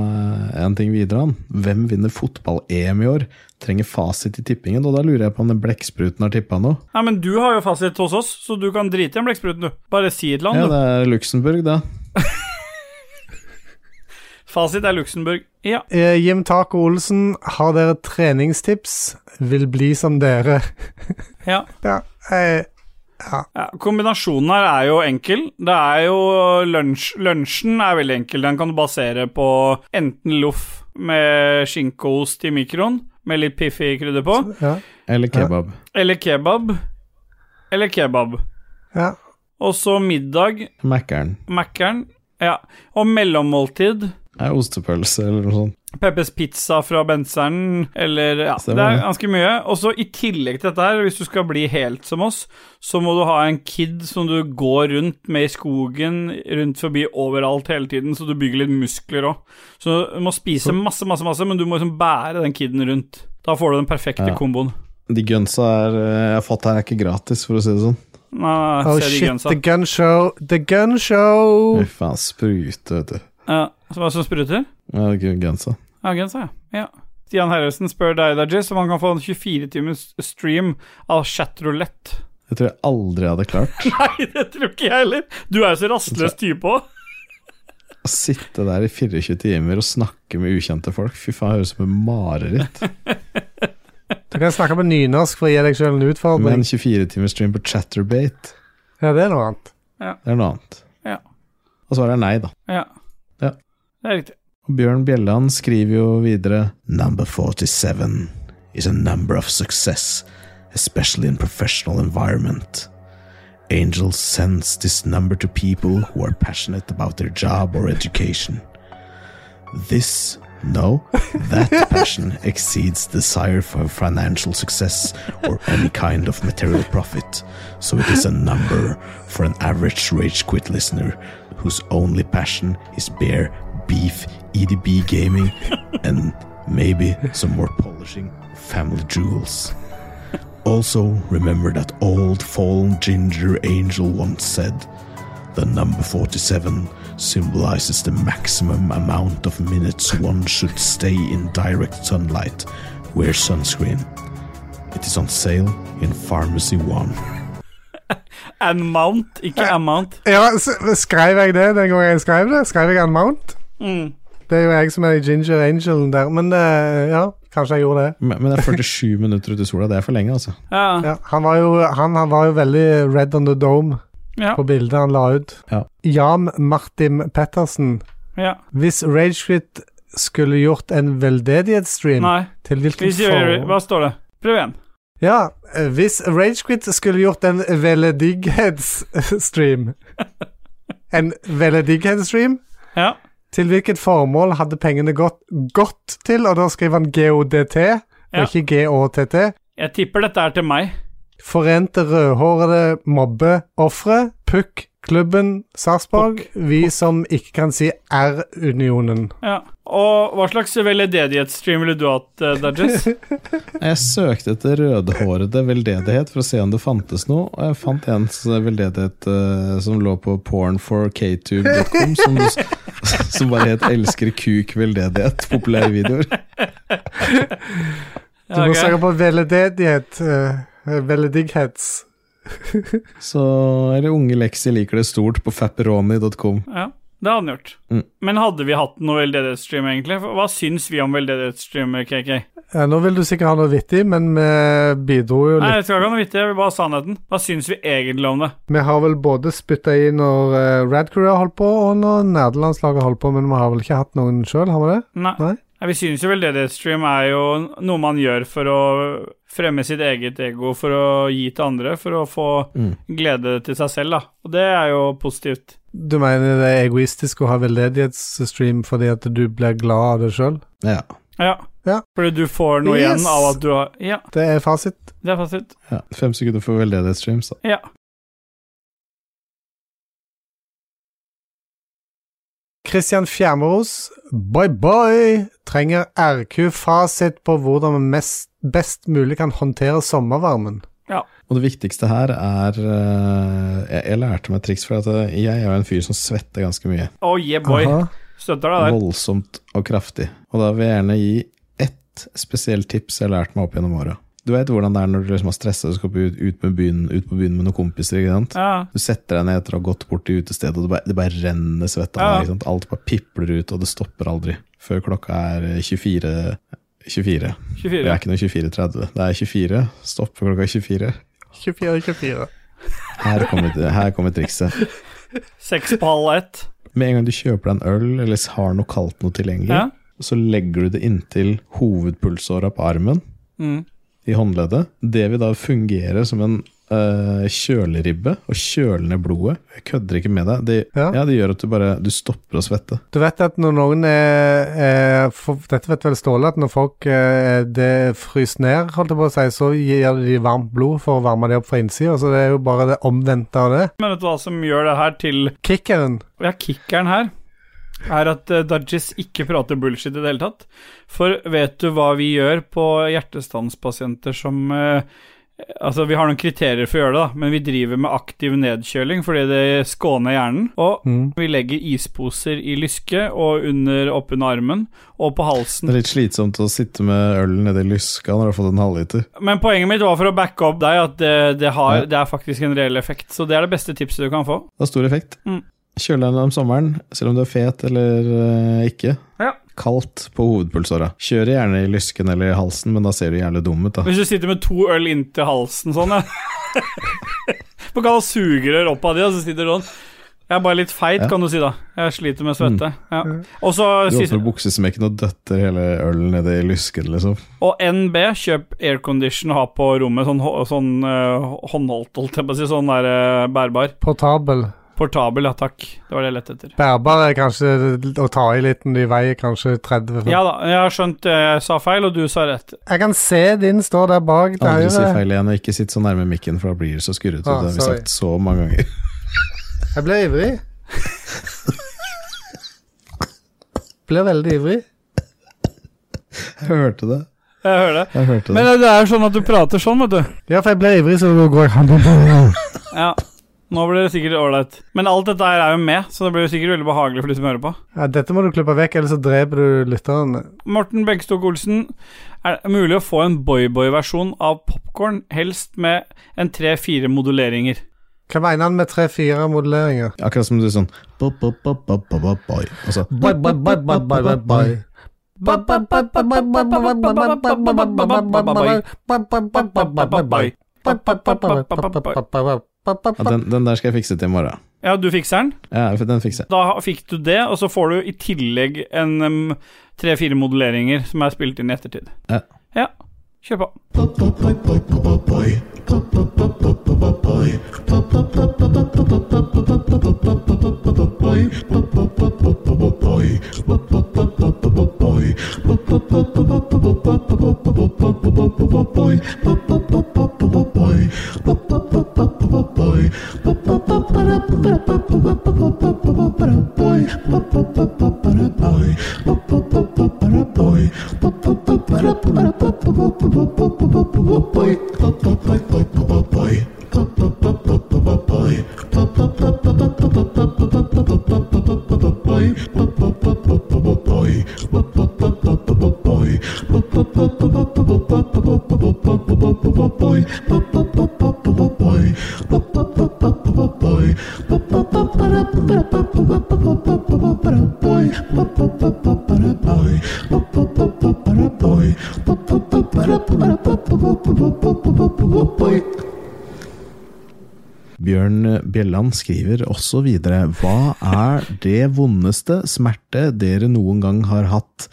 [SPEAKER 1] eh, en ting videre. han. Hvem vinner fotball-EM i år? Trenger fasit i tippingen, og da lurer jeg på om den blekkspruten har tippa noe.
[SPEAKER 2] Nei, men du har jo fasit hos oss, så du kan drite i en blekkspruten, du. Bare si et eller
[SPEAKER 1] Ja,
[SPEAKER 2] annet,
[SPEAKER 1] det er Luxembourg, da.
[SPEAKER 2] du. Fasit er Luxembourg. Ja.
[SPEAKER 3] Eh, Jim Taco Olsen, har dere treningstips? Vil bli som dere.
[SPEAKER 2] ja.
[SPEAKER 3] Ja, jeg,
[SPEAKER 2] Ja, kombinasjonen her er jo enkel. Det er jo lunsj, Lunsjen er veldig enkel. Den kan du basere på enten loff med skinkeost i mikroen, med litt piffig krydder på,
[SPEAKER 3] ja,
[SPEAKER 1] Eller kebab.
[SPEAKER 2] eller kebab. Eller kebab.
[SPEAKER 3] ja.
[SPEAKER 2] Og så middag,
[SPEAKER 1] Mækkern.
[SPEAKER 2] Mækkern. Ja. Og mellommåltid,
[SPEAKER 1] Er ostepølse eller noe sånt.
[SPEAKER 2] Peppes pizza fra Benseren, eller Ja,
[SPEAKER 1] Stemmer
[SPEAKER 2] det er
[SPEAKER 1] det.
[SPEAKER 2] ganske mye. Og så i tillegg til dette her, hvis du skal bli helt som oss, så må du ha en kid som du går rundt med i skogen, rundt forbi overalt hele tiden, så du bygger litt muskler òg. Så du må spise masse, masse, masse, men du må liksom bære den kiden rundt. Da får du den perfekte
[SPEAKER 1] Ja.
[SPEAKER 2] komboen.
[SPEAKER 1] De gunsa er, eh, jeg har fått her, er ikke gratis, for å si det sånn.
[SPEAKER 2] Nei,
[SPEAKER 3] Oh
[SPEAKER 2] se de
[SPEAKER 3] shit,
[SPEAKER 2] grensa.
[SPEAKER 3] The Gun Show. The Gun Show!
[SPEAKER 1] Fy faen, sprute, vet du.
[SPEAKER 2] Ja, så hva som spruter?
[SPEAKER 1] Ja, det er ikke gunsa.
[SPEAKER 2] Ja, genser, ja. ja. Stian Herresen spør deg, Dajis, om han kan få en 24-timers stream av chatroulette.
[SPEAKER 1] Jeg tror jeg aldri hadde klart
[SPEAKER 2] Nei, det tror ikke jeg heller. Du er jo så rastløs type òg.
[SPEAKER 1] å sitte der i 24 timer og snakke med ukjente folk. Fy faen, det høres ut som et mareritt.
[SPEAKER 3] Du kan snakke på nynorsk for å gi deg selv en
[SPEAKER 1] Men
[SPEAKER 3] utfordring.
[SPEAKER 1] 24 timer stream på Chatterbate,
[SPEAKER 3] Ja, det er noe annet.
[SPEAKER 1] det er noe annet.
[SPEAKER 2] Ja.
[SPEAKER 1] Og svaret er nei, da.
[SPEAKER 2] Ja.
[SPEAKER 1] Ja.
[SPEAKER 2] Det er riktig.
[SPEAKER 1] Og Bjørn Bjelland skriver jo videre
[SPEAKER 6] Number 47 is a number of success, especially in professional environment. Angels sends this number to people who are passionate about their job or education. This, no, that passion exceeds desire for financial success or any kind of material profit. So it is a number for an average rage quit listener whose only passion is beer, beef, EDB gaming, and maybe some more polishing family jewels. Also, remember that old fallen ginger angel once said the number 47 symbolizes the maximum amount of minutes one should stay in direct sunlight. Wear sunscreen. It is on sale in Pharmacy One.
[SPEAKER 2] And mount, ikke amount.
[SPEAKER 3] Ja, s- skrev jeg det den gangen jeg skrev det? Skrev jeg Unmount?
[SPEAKER 2] Mm.
[SPEAKER 3] Det er jo jeg som er Ginger Angelen der, men eh, ja, kanskje jeg gjorde det.
[SPEAKER 1] Men men det er 47 minutter ute i sola, det er for lenge, altså.
[SPEAKER 2] Ja.
[SPEAKER 3] Ja, han, var jo, han, han var jo veldig red on the dome
[SPEAKER 2] Ja.
[SPEAKER 3] på bildet han la ut.
[SPEAKER 1] Ja.
[SPEAKER 3] Jan Martin Pettersen.
[SPEAKER 2] ja.
[SPEAKER 3] Hvis Ragequit skulle gjort en veldedighetsstream,
[SPEAKER 2] Nei.
[SPEAKER 3] til
[SPEAKER 2] Vi
[SPEAKER 3] hvilken
[SPEAKER 2] sier,
[SPEAKER 3] form
[SPEAKER 2] hva står det? Prøv igjen.
[SPEAKER 3] Ja, eh, hvis Ragequit skulle gjort en veldedighetsstream En veldedighetsstream?
[SPEAKER 2] Ja.
[SPEAKER 3] Til hvilket formål hadde pengene gått, gått til? Og da skriver han GODT, og
[SPEAKER 2] Ja.
[SPEAKER 3] ikke GÅTT.
[SPEAKER 2] Jeg tipper dette er til meg.
[SPEAKER 3] Forente rødhårede mobbeofre. Pukk. Klubben Sarpsborg. Vi som ikke kan si R-unionen.
[SPEAKER 2] Ja. Og hva slags veldedighetsstream ville du hatt, eh, Dajis?
[SPEAKER 1] Jeg søkte etter rødhårede veldedighet for å se om det fantes noe, og jeg fant en s- veldedighet eh, som lå på pornforktube.com, som, du s- som bare het 'Elsker kuk veldedighet', populære videoer.
[SPEAKER 3] Du må søke på veldedighet. Uh, veldedighets.
[SPEAKER 1] Så, eller Unge Leksi liker det stort på fapperoni.com.
[SPEAKER 2] Ja, det hadde han gjort.
[SPEAKER 1] Mm.
[SPEAKER 2] Men hadde vi hatt noe veldedighetsstream, egentlig? Hva syns vi om veldedighetsstreamer, KK?
[SPEAKER 3] Ja, nå vil du sikkert ha noe vittig, men vi bidro jo
[SPEAKER 2] Nei,
[SPEAKER 3] litt.
[SPEAKER 2] jeg skal ikke ha noe vittig, jeg vil bare ha sannheten. Hva syns vi egentlig om det?
[SPEAKER 3] Vi har vel både spytta i når uh, Rad Crew har holdt på, og når nederlandslaget har holdt på, men vi har vel ikke hatt noen sjøl, har vi det?
[SPEAKER 2] Nei.
[SPEAKER 3] Nei.
[SPEAKER 2] Nei, Vi syns jo veldedighetsstream er jo noe man gjør for å fremme sitt eget ego, for å gi til andre, for å få
[SPEAKER 1] Mm.
[SPEAKER 2] glede til seg selv, da. Og det er jo positivt.
[SPEAKER 3] Du mener det er egoistisk å ha veldedighetsstream fordi at du blir glad av det sjøl?
[SPEAKER 1] Ja.
[SPEAKER 2] Ja.
[SPEAKER 3] Ja.
[SPEAKER 2] Fordi du får noe
[SPEAKER 3] Yes.
[SPEAKER 2] igjen av at du har Ja,
[SPEAKER 3] Det er fasit.
[SPEAKER 2] det er fasit.
[SPEAKER 1] ja. Fem sekunder for veldedighetsstreams, da.
[SPEAKER 2] Ja.
[SPEAKER 3] Christian Fjermeros, bye bye, trenger RQ-fasit på hvordan vi mest, best mulig kan håndtere sommervarmen.
[SPEAKER 6] Og det viktigste her er eh, jeg, jeg lærte meg et triks, for at eh, jeg er jo en fyr som svetter ganske mye.
[SPEAKER 2] Oh, yeah, boy.
[SPEAKER 3] Aha.
[SPEAKER 2] Støtter deg der.
[SPEAKER 6] Voldsomt og kraftig. Og da vil jeg gjerne gi ett spesielt tips jeg har lært meg opp gjennom åra. Du vet hvordan det er når du liksom har stressa og skal på ut, ut, med byen, ut på byen med noen kompiser. ikke sant?
[SPEAKER 2] Ja.
[SPEAKER 6] Du setter deg ned etter å ha gått bort til utestedet, og det bare, det bare renner svett av
[SPEAKER 2] Ja.
[SPEAKER 6] deg. ikke sant? Alt bare pipler ut, og det stopper aldri. Før klokka er eh, 24. 24. Det
[SPEAKER 2] 24.
[SPEAKER 6] er ikke noe 24.30. Det er 24. Stopp ved klokka 24.
[SPEAKER 3] 24, 24.
[SPEAKER 6] Her kommer, her kommer trikset.
[SPEAKER 2] Seks på halv ett.
[SPEAKER 6] Med en gang du kjøper deg en øl eller har noe kaldt noe tilgjengelig,
[SPEAKER 2] Ja.
[SPEAKER 6] så legger du det inntil hovedpulsåra på armen
[SPEAKER 2] Mm.
[SPEAKER 6] i håndleddet. Det vil da fungere som en eh, kjøleribbe og kjøle ned blodet. Jeg kødder ikke med deg. Det, ja.
[SPEAKER 3] Ja.
[SPEAKER 6] det gjør at du bare du stopper å svette.
[SPEAKER 3] Du vet at når noen er, er for, Dette vet vel Ståle, at når folk eh, det fryser ned, holdt jeg på å si, så gir de varmt blod for å varme det opp fra innsida. Så det er jo bare det omvendte av det.
[SPEAKER 2] Men vet du hva som gjør det her til
[SPEAKER 3] Kickeren.
[SPEAKER 2] Ja, kickeren her er at uh, Dodges ikke prater bullshit i det hele tatt. For vet du hva vi gjør på hjertestanspasienter som eh, Altså, vi har noen kriterier for å gjøre det, da, men vi driver med aktiv nedkjøling fordi det skåner hjernen. Og
[SPEAKER 3] Mm.
[SPEAKER 2] vi legger isposer i lyske og under, oppunder armen og på halsen.
[SPEAKER 6] Det er litt slitsomt å sitte med ølen nedi lyska når du har fått en halvliter.
[SPEAKER 2] Men poenget mitt var for å backe opp deg at det, det, har,
[SPEAKER 6] Ja.
[SPEAKER 2] det er faktisk en reell effekt. Så det er det beste tipset du kan få.
[SPEAKER 6] Det har stor effekt.
[SPEAKER 2] Mm.
[SPEAKER 6] Kjøle deg ned om sommeren, selv om du er fet eller eh, ikke.
[SPEAKER 2] Ja.
[SPEAKER 6] Kaldt på hovedpulsåra. Kjør gjerne i lysken eller i halsen, men da ser du jævlig dum ut, da.
[SPEAKER 2] Hvis du sitter med to øl inntil halsen sånn, ja. På kall sugerør opp av de, og så sitter du sånn. Jeg er bare litt feit,
[SPEAKER 6] Ja. Mm.
[SPEAKER 2] kan du si da. Jeg sliter med svette. Ja. Og så
[SPEAKER 6] Du
[SPEAKER 2] siste-
[SPEAKER 6] åpner buksesmekken og døtter hele ølen nedi lysken, liksom.
[SPEAKER 2] Og NB, kjøp aircondition og ha på rommet. Sånn, hå- sånn eh, håndholdt, holdt jeg på å si. Sånn der eh, bærbar.
[SPEAKER 3] Portabel.
[SPEAKER 2] Portabel, ja takk. Det var det jeg lette etter.
[SPEAKER 3] Bærbar er kanskje å ta i litt når de veier kanskje 30
[SPEAKER 2] Ja da, jeg har skjønt eh, jeg sa feil, og du sa rett.
[SPEAKER 3] Jeg kan se din står der bak til
[SPEAKER 6] Aldri si
[SPEAKER 3] høyre.
[SPEAKER 6] feil igjen, og ikke sitt så nærme mikken, for da blir det så skurrete.
[SPEAKER 3] Ah,
[SPEAKER 6] det har vi
[SPEAKER 3] sorry.
[SPEAKER 6] sagt så mange ganger.
[SPEAKER 3] Jeg blir ivrig. Blir veldig ivrig.
[SPEAKER 6] Jeg hørte det.
[SPEAKER 2] Jeg hører det.
[SPEAKER 6] Jeg hørte det.
[SPEAKER 2] Men eh, det er jo sånn at du prater sånn, vet du.
[SPEAKER 3] Ja, for jeg blir ivrig, så går jeg
[SPEAKER 2] Ja. Nå blir det sikkert ålreit. Men alt dette her er jo med, så det blir jo sikkert veldig behagelig for de som hører på.
[SPEAKER 3] ja, Dette må du klippe vekk, ellers så dreper du lytteren.
[SPEAKER 2] Morten Begstok Olsen, er det mulig å få en boyboy-versjon av popkorn, helst med en tre-fire moduleringer?
[SPEAKER 3] Hva mener han med tre-fire modelleringer?
[SPEAKER 6] Akkurat som du sånn bo, bo, bo, bo, bo, bo, bo. Altså,
[SPEAKER 3] Bye, bye, bye, bye, bye, bye, bye.
[SPEAKER 6] ja, den, den der skal jeg fikse til i morgen.
[SPEAKER 2] Ja, du fikser den.
[SPEAKER 6] Ja, den fikser jeg.
[SPEAKER 2] Da fikk du det, og så får du i tillegg en em, tre-fire moduleringer som er spilt inn i ettertid.
[SPEAKER 6] Ja.
[SPEAKER 2] Ja, kjør på.
[SPEAKER 6] Bjørn Bjelland skriver også videre Hva er det vondeste smerte dere noen gang har hatt?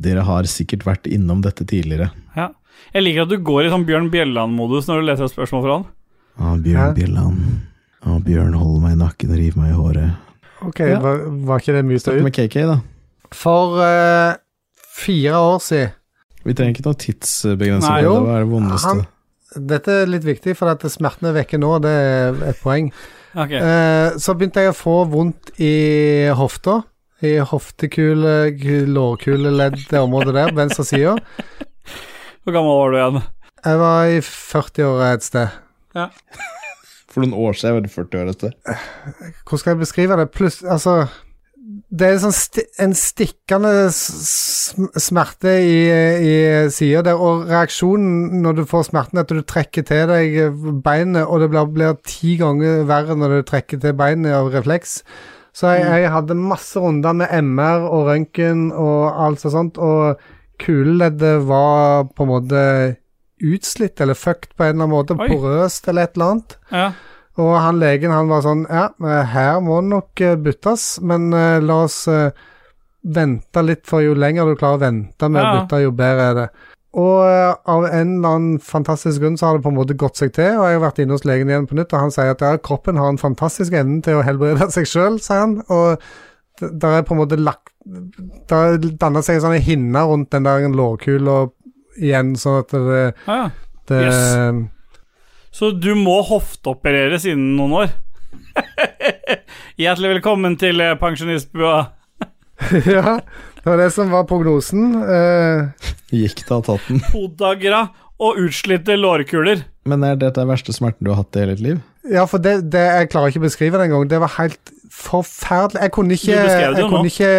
[SPEAKER 6] Dere har sikkert vært innom dette tidligere.
[SPEAKER 2] Ja. Jeg liker at du går i sånn Bjørn Bjelland-modus når du leser et spørsmål fra han.
[SPEAKER 6] Å, Ah, Bjørn
[SPEAKER 3] Hæ?
[SPEAKER 6] Bjelland. Å, Bjørn holder meg i nakken og river meg i håret.
[SPEAKER 3] Ok, var, var ikke det mye
[SPEAKER 6] Snakk
[SPEAKER 3] ut?
[SPEAKER 6] med KK, da.
[SPEAKER 3] For eh, fire år siden
[SPEAKER 6] Vi trenger ikke noe tidsbegrensning.
[SPEAKER 2] Nei,
[SPEAKER 6] på
[SPEAKER 3] jo.
[SPEAKER 6] det. Hva er det vondeste?
[SPEAKER 3] Han- Dette er litt viktig, for at smertene er vekke nå, det er et poeng.
[SPEAKER 2] Ok,
[SPEAKER 3] Eh, så begynte jeg å få vondt i hofta. i hoftekule, k- lårkuleledd, det området der, venstre sida.
[SPEAKER 2] Hvor gammel var du igjen?
[SPEAKER 3] Jeg var i 40-åra et sted.
[SPEAKER 1] For noen år siden var det 40 år etter.
[SPEAKER 3] Hvordan skal jeg beskrive det? Pluss, altså Det er sånn sti en stikkende s- sm- smerte i, i sida der, og reaksjonen når du får smerten, er at du trekker til deg beinet, og det blir, blir ti ganger verre når du trekker til beinet av refleks. Så jeg, jeg hadde masse runder med MR og røntgen og alt sånt, og kuleleddet var på en måte utslitt eller fucked på en eller annen måte,
[SPEAKER 2] Oi.
[SPEAKER 3] porøst eller et eller annet.
[SPEAKER 2] Ja.
[SPEAKER 3] Og han legen han var sånn Ja, eh, her må det nok eh, byttes, men eh, la oss eh, vente litt, for jo lenger du klarer å vente med å
[SPEAKER 2] Ja.
[SPEAKER 3] bytte, jo bedre er det. Og eh, av en eller annen fantastisk grunn så har det på en måte gått seg til, og jeg har vært inne hos legen igjen på nytt, og han sier at ja, kroppen har en fantastisk evne til å helbrede seg sjøl, sier han, og d- der er på en måte lagt Der danner seg en sånn hinne rundt den der lårkula igjen, sånn at det,
[SPEAKER 2] Ja, ja.
[SPEAKER 3] det
[SPEAKER 2] Yes. Så du må hofteopereres innen noen år. Hjertelig velkommen til eh, pensjonistbua.
[SPEAKER 3] Ja, det var det som var prognosen. Eh,
[SPEAKER 1] Gikk det av tatten.
[SPEAKER 2] Podagra og utslitte lårkuler.
[SPEAKER 1] Men er dette den verste smerten du har hatt i hele ditt liv?
[SPEAKER 3] ja, for det, det jeg klarer ikke å beskrive det engang. Det var helt forferdelig. Jeg kunne ikke
[SPEAKER 2] Du beskrev det jo
[SPEAKER 3] Jeg kunne
[SPEAKER 2] nå.
[SPEAKER 3] ikke,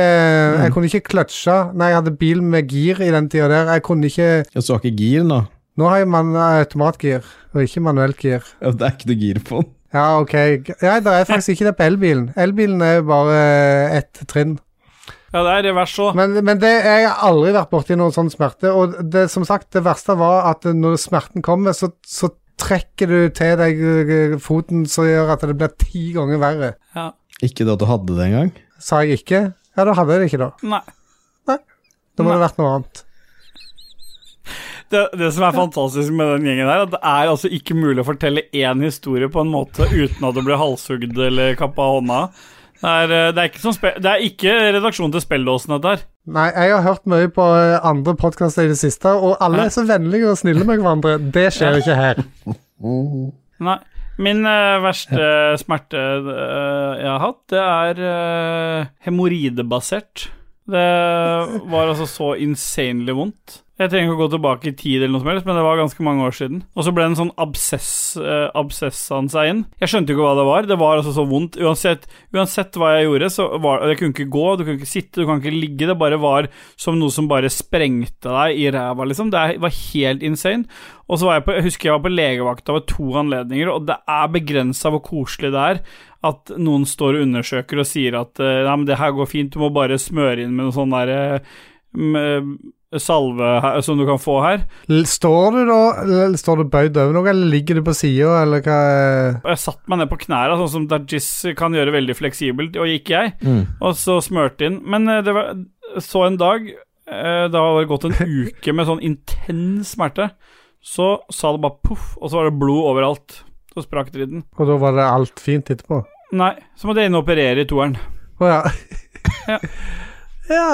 [SPEAKER 3] jeg kunne ikke kløtsje. Nei, jeg hadde bil med gir i den tida der. Jeg kunne ikke
[SPEAKER 1] Ja, så du har ikke gir nå?
[SPEAKER 3] Nå har jeg man eh, automatgir, og ikke manuelt gir.
[SPEAKER 1] Ja, det er ikke noe gir på den.
[SPEAKER 3] Ja, ok. Ja, det er faktisk ikke det på elbilen. Elbilen er jo bare eh, ett trinn.
[SPEAKER 2] Ja, det er revers òg.
[SPEAKER 3] Men, men det, jeg har aldri vært borti noen sånn smerte. Og det, som sagt, det verste var at når smerten kommer, så, så trekker du til deg eh, foten som gjør at det blir ti ganger verre.
[SPEAKER 2] Ja.
[SPEAKER 1] Ikke det at du hadde det engang?
[SPEAKER 3] Sa jeg ikke? Ja, da hadde jeg det ikke, da.
[SPEAKER 2] Nei.
[SPEAKER 3] Da må det ha vært noe annet.
[SPEAKER 2] Det, det som er fantastisk med den gjengen her, at det er altså ikke mulig å fortelle én historie på en måte uten at du blir halshugd eller kappa av hånda. Det er, eh, det er ikke, som spe det er ikke redaksjonen til Spelldåsen, dette her.
[SPEAKER 3] Nei, jeg har hørt mye på eh, andre podkaster i det siste, og alle er så vennlige og snille med hverandre. Det skjer ikke her.
[SPEAKER 2] Nei. Min eh, verste smerte eh, jeg har hatt, det er uh, hemoroidebasert. Det var altså så insanely vondt. Jeg trenger ikke å gå tilbake i tid, eller noe som helst, men det var ganske mange år siden. Og så ble det en sånn absess uh, absess an seg inn. Jeg skjønte jo ikke hva det var. Det var altså så vondt. Uansett, uansett hva jeg gjorde, så var Jeg kunne ikke gå, du kunne ikke sitte, du kan ikke ligge. Det bare var som noe som bare sprengte deg i ræva, liksom. Det er- var helt insane. Og så var jeg på, jeg husker jeg var på legevakta ved to anledninger, og det er begrensa hvor koselig det er at noen står og undersøker og sier at eh, nei, men det her går fint, du må bare smøre inn med noe sånn derre salve her, som du kan få her.
[SPEAKER 3] L- Står du da eller står du bøyd over noe, eller ligger du på sida, eller hva eh?
[SPEAKER 2] Og jeg satte meg ned på knærne, sånn som Dajis kan gjøre veldig fleksibelt, og gikk jeg, og så smørte inn. Men eh, det var så en dag, eh, da hadde det gått en uke med sånn intens smerte, så sa det bare poff, og så var det blod overalt. Så sprakk dritten.
[SPEAKER 3] Og da var det alt fint etterpå.
[SPEAKER 2] Nei, så måtte jeg inn og operere i toeren.
[SPEAKER 3] Å ja.
[SPEAKER 2] Ja.
[SPEAKER 3] ja.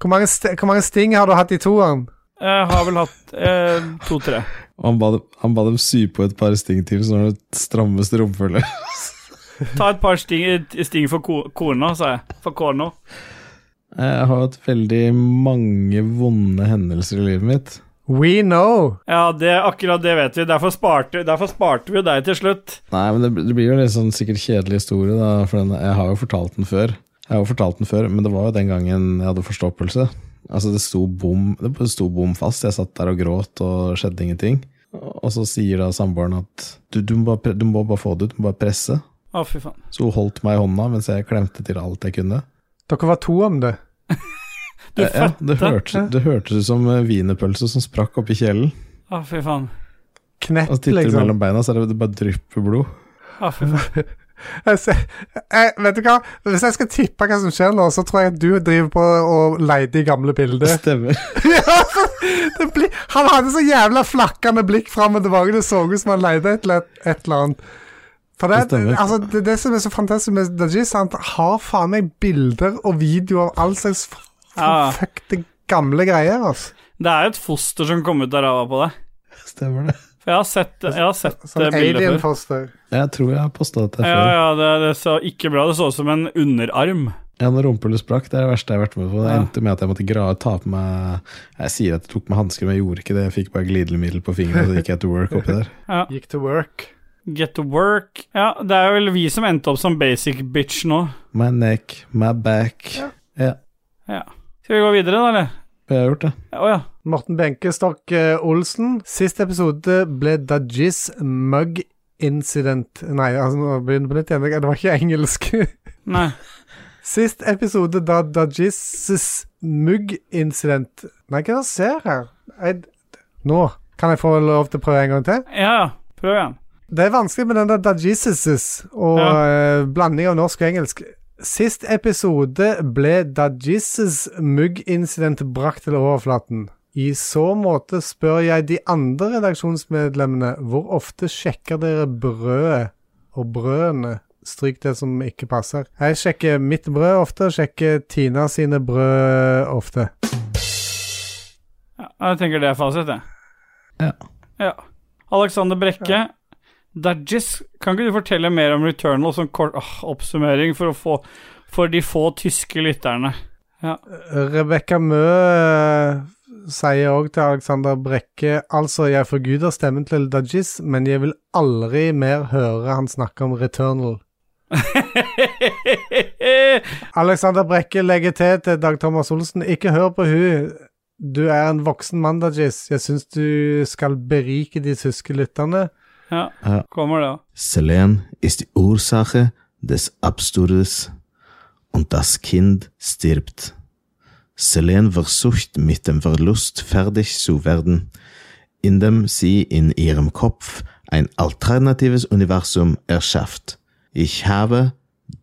[SPEAKER 3] Hvor mange, st hvor mange sting har du hatt i toeren?
[SPEAKER 2] Jeg har vel hatt eh, to-tre.
[SPEAKER 1] Og han ba, dem- han ba dem sy på et par sting til, så var det strammeste romfølge.
[SPEAKER 2] Ta et par sting, sting for ko kona, sa jeg. For kona.
[SPEAKER 1] Jeg har hatt veldig mange vonde hendelser i livet mitt.
[SPEAKER 3] We know.
[SPEAKER 2] Ja, det, akkurat det vet vi. Derfor sparte, derfor sparte vi jo deg til slutt.
[SPEAKER 1] Nei, men det, det blir jo litt sånn sikkert kjedelig historie, da, for den, jeg har jo fortalt den før. Jeg har jo fortalt den før, men det var jo den gangen jeg hadde forstoppelse. Altså, det sto bom, det bare sto bom fast. Jeg satt der og gråt, og skjedde ingenting. Og så sier da samboeren at du, du, må bare, pre- du må bare få det ut, du må bare presse.
[SPEAKER 2] Å, fy faen.
[SPEAKER 1] Så hun holdt meg i hånda mens jeg klemte til alt jeg kunne.
[SPEAKER 3] Dere var to om det.
[SPEAKER 2] Du
[SPEAKER 1] Eh, ja, det,
[SPEAKER 2] fatter.
[SPEAKER 1] hørtes, det hørtes ut som eh, wienerpølse som sprakk oppi kjelen.
[SPEAKER 2] Å, fy faen.
[SPEAKER 3] Knett,
[SPEAKER 1] Og så titter du
[SPEAKER 3] liksom.
[SPEAKER 1] mellom beina, så er det det bare drypper blod.
[SPEAKER 2] Å, fy faen.
[SPEAKER 3] Jeg ser, jeg, vet du hva? Hvis jeg skal tippe hva som skjer nå, så tror jeg at du driver på og leter i gamle
[SPEAKER 1] Det
[SPEAKER 3] bilder.
[SPEAKER 1] stemmer.
[SPEAKER 3] Det blir- han hadde så jævla flakkende blikk fram og tilbake. Det så ut som han lette et, eller- et eller annet. For det,
[SPEAKER 1] Det stemmer.
[SPEAKER 3] altså, det, det som er så fantastisk med Dajis, han har faen meg bilder og videoer av all slags f-
[SPEAKER 2] Ja.
[SPEAKER 3] fuckte gamle greier. altså.
[SPEAKER 2] Det er jo et foster som kom ut av ræva på deg.
[SPEAKER 1] stemmer det.
[SPEAKER 2] For jeg har sett, jeg har sett
[SPEAKER 3] Sånn
[SPEAKER 2] eh, bildet før.
[SPEAKER 3] alien-foster.
[SPEAKER 1] Jeg tror jeg har posta dette
[SPEAKER 2] Ja,
[SPEAKER 1] før.
[SPEAKER 2] ja, det, det så ikke bra. Det så ut som en underarm.
[SPEAKER 1] En rumpehull sprakk, det er det verste jeg har vært med på. Det
[SPEAKER 2] Ja.
[SPEAKER 1] endte med at jeg måtte gra ta på meg Jeg sier at jeg tok med hansker, men jeg gjorde ikke det. Jeg fikk bare glidemiddel på fingeren, og så gikk jeg to work oppi der.
[SPEAKER 3] Gikk to work.
[SPEAKER 2] Get to work. Ja, det er vel vi som endte opp som basic bitch nå.
[SPEAKER 1] My neck, my back.
[SPEAKER 2] Ja. Skal vi gå videre, da, eller?
[SPEAKER 1] Jeg har gjort det.
[SPEAKER 2] Å ja.
[SPEAKER 3] Morten Benkestokk eh, Olsen. Sist episode ble Dajis mug incident Nei, altså, nå begynner jeg på nytt igjen. Det var ikke engelsk.
[SPEAKER 2] Nei.
[SPEAKER 3] Sist episode da Dajis mug incident Nei, hva er det jeg ser her? Jeg, nå kan jeg få lov til å prøve en gang til.
[SPEAKER 2] Ja, ja. Prøv igjen.
[SPEAKER 3] Det er vanskelig med den der dajises og eh, blanding av norsk og engelsk. Sist episode ble dajises muggincident brakt til overflaten. I så måte spør jeg de andre redaksjonsmedlemmene hvor ofte sjekker dere brødet og brødene? Stryk det som ikke passer. Jeg sjekker mitt brød ofte, og sjekker Tina sine brød ofte.
[SPEAKER 2] Ja, jeg tenker det er fasit, jeg.
[SPEAKER 1] Ja.
[SPEAKER 2] ja. Alexander Brekke. Dajis, kan ikke du fortelle mer om Returnal som kort åh, oppsummering for, å få, for de få tyske lytterne?
[SPEAKER 3] Rebekka Mø eh, sier òg til Alexander Brekke Altså, jeg forguder stemmen til Dajis, men jeg vil aldri mer høre han snakke om Returnal. Alexander Brekke legger til til Dag Thomas Olsen Ikke hør på hun. Du er en voksen mann, Dajis. Jeg syns du skal berike de tyske lytterne.
[SPEAKER 2] ja,
[SPEAKER 1] Ja.
[SPEAKER 2] kommer det òg.
[SPEAKER 6] Selen ist die Ursache des Absturzes und das Kind stirbt. Selen versucht mit dem Verlust fertig zu werden, indem sie in ihrem Kopf ein alternatives Universum erschafft. Ich habe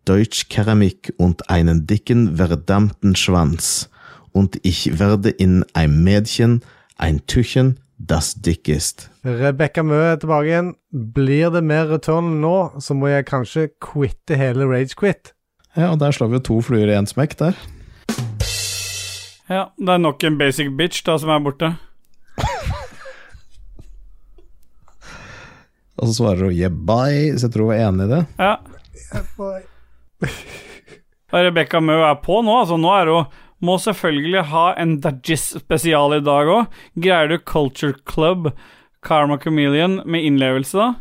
[SPEAKER 6] Deutschkeramik und einen dicken verdammten Schwanz und ich werde in ein Mädchen ein Tüchen, das dick ist.
[SPEAKER 3] Rebekka Mø er tilbake igjen. Blir det mer Returnal nå, så må jeg kanskje quitte hele Ragequit.
[SPEAKER 1] Ja, og der slår vi jo to fluer i én smekk der.
[SPEAKER 2] Ja, det er nok en basic bitch da som er borte.
[SPEAKER 1] Og så svarer hun 'yeah, bye', så jeg tror hun er enig i det.
[SPEAKER 2] Ja. Og Rebekka Mø er på nå, altså. Nå er hun Må selvfølgelig ha en Dajis-spesial i dag òg. Greier du Culture Club, Karma Chameleon med innlevelse, da?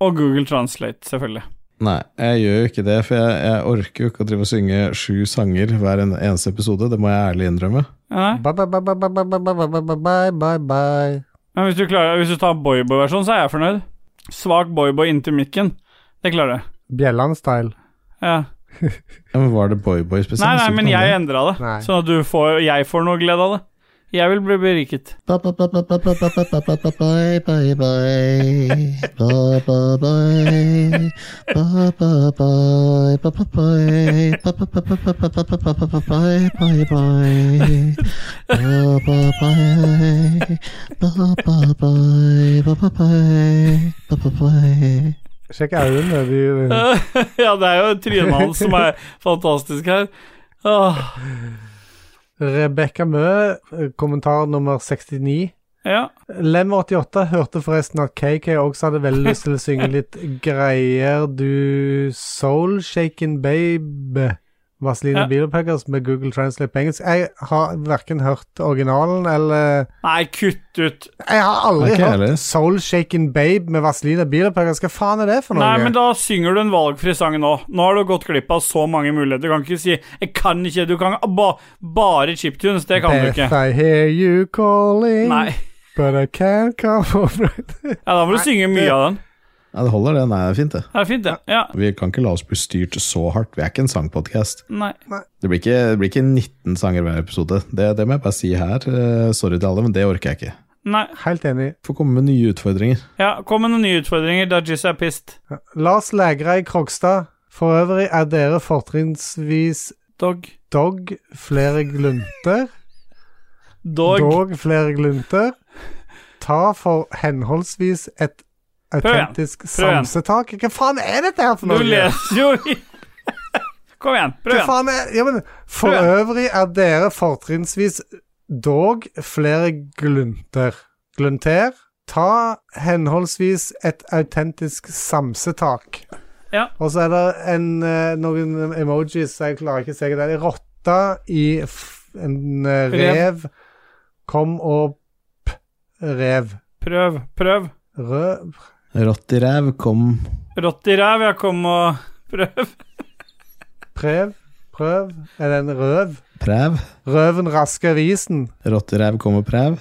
[SPEAKER 2] Og Google Translate, selvfølgelig.
[SPEAKER 1] Nei, jeg gjør jo ikke det, for jeg, jeg orker jo ikke å drive og synge sju sanger hver en, eneste episode. Det må jeg ærlig innrømme.
[SPEAKER 2] Ja, nei.
[SPEAKER 3] Bye, bye, bye, bye, bye, bye, bye, bye, bye, bye, bye, bye.
[SPEAKER 2] Men hvis du, klarer, hvis du tar boyboy-versjon, så er jeg fornøyd. Svak boyboy inntil mikken. Det klarer jeg.
[SPEAKER 3] Bjelland-style.
[SPEAKER 2] Ja.
[SPEAKER 1] Ja, men Var det Boyboy spesielt?
[SPEAKER 2] Nei, nei,
[SPEAKER 1] Så
[SPEAKER 2] men
[SPEAKER 1] kan
[SPEAKER 2] jeg
[SPEAKER 1] det-
[SPEAKER 2] endra det,
[SPEAKER 3] Nei.
[SPEAKER 2] sånn at du får, jeg får noe glede av det. Jeg vil bli beriket.
[SPEAKER 3] Sjekk øynene. De,
[SPEAKER 2] ja, det er jo trynet hans som er fantastisk her. Åh,
[SPEAKER 3] Rebekka Mø, kommentar nummer 69.
[SPEAKER 2] ja.
[SPEAKER 3] Lem88 hørte forresten at KK også hadde veldig lyst til å synge litt Greier du soul shaken babe? Vaseline
[SPEAKER 2] Ja.
[SPEAKER 3] Bilopphøggers med Google Translate på engelsk. Jeg har verken hørt originalen eller
[SPEAKER 2] Nei, kutt ut.
[SPEAKER 3] Jeg har aldri
[SPEAKER 1] Ikke jeg heller.
[SPEAKER 3] hørt Soul Shaken Babe med Vaseline Bilopphøggers. Hva faen er det for noe?
[SPEAKER 2] Nei, men da synger du en valgfri sang nå. Nå har du gått glipp av så mange muligheter. Du kan ikke si 'jeg kan ikke', du kan ba, bare chiptunes. Det kan du ikke.
[SPEAKER 3] Beth, I hear you calling,
[SPEAKER 2] Nei.
[SPEAKER 3] but I can't come over.
[SPEAKER 2] Ja, da må du synge mye av den.
[SPEAKER 1] Ja, det holder, det. Nei, det er fint, det.
[SPEAKER 2] Det er fint, det. Ja.
[SPEAKER 1] Vi kan ikke la oss bli styrt så hardt. Vi er ikke en sangpodkast.
[SPEAKER 2] Nei.
[SPEAKER 1] Det, blir ikke- det blir ikke 19 sanger hver episode. Det, det må jeg bare si her. Eh, Sorry til alle, men det orker jeg ikke.
[SPEAKER 2] Nei.
[SPEAKER 3] Helt enig.
[SPEAKER 1] Får komme med nye utfordringer.
[SPEAKER 2] Ja, kom med noen nye utfordringer. Dajis er pissed.
[SPEAKER 3] Lars Lægrei Krogstad, for øvrig er dere fortrinnsvis
[SPEAKER 2] Dog.
[SPEAKER 3] dog flere glunter.
[SPEAKER 2] Dog.
[SPEAKER 3] Dog flere glunter. Ta for henholdsvis et
[SPEAKER 2] igjen.
[SPEAKER 3] autentisk
[SPEAKER 2] Prøv igjen.
[SPEAKER 3] samsetak. Hva faen er dette her for
[SPEAKER 2] Du
[SPEAKER 3] noe?
[SPEAKER 2] leser jo i- Kom igjen, prøv
[SPEAKER 3] Hva
[SPEAKER 2] igjen.
[SPEAKER 3] faen er ja, men, For
[SPEAKER 2] Prøv
[SPEAKER 3] øvrig er dere fortrinnsvis dog flere glunter. Glunter. Ta henholdsvis et autentisk samsetak.
[SPEAKER 2] Ja.
[SPEAKER 3] Og så er det en, eh, noen emojis Jeg klarer ikke å se det. Det er rotta i f en eh, rev. Kom og p rev.
[SPEAKER 2] Prøv, prøv.
[SPEAKER 3] Røv
[SPEAKER 1] Rått i ræv, kom
[SPEAKER 2] Rått i ræv, jeg kom og prøv.
[SPEAKER 3] Prev? Prøv? Er det en røv?
[SPEAKER 1] præv.
[SPEAKER 3] Røven rasker risen.
[SPEAKER 1] Rått i ræv, kom og præv.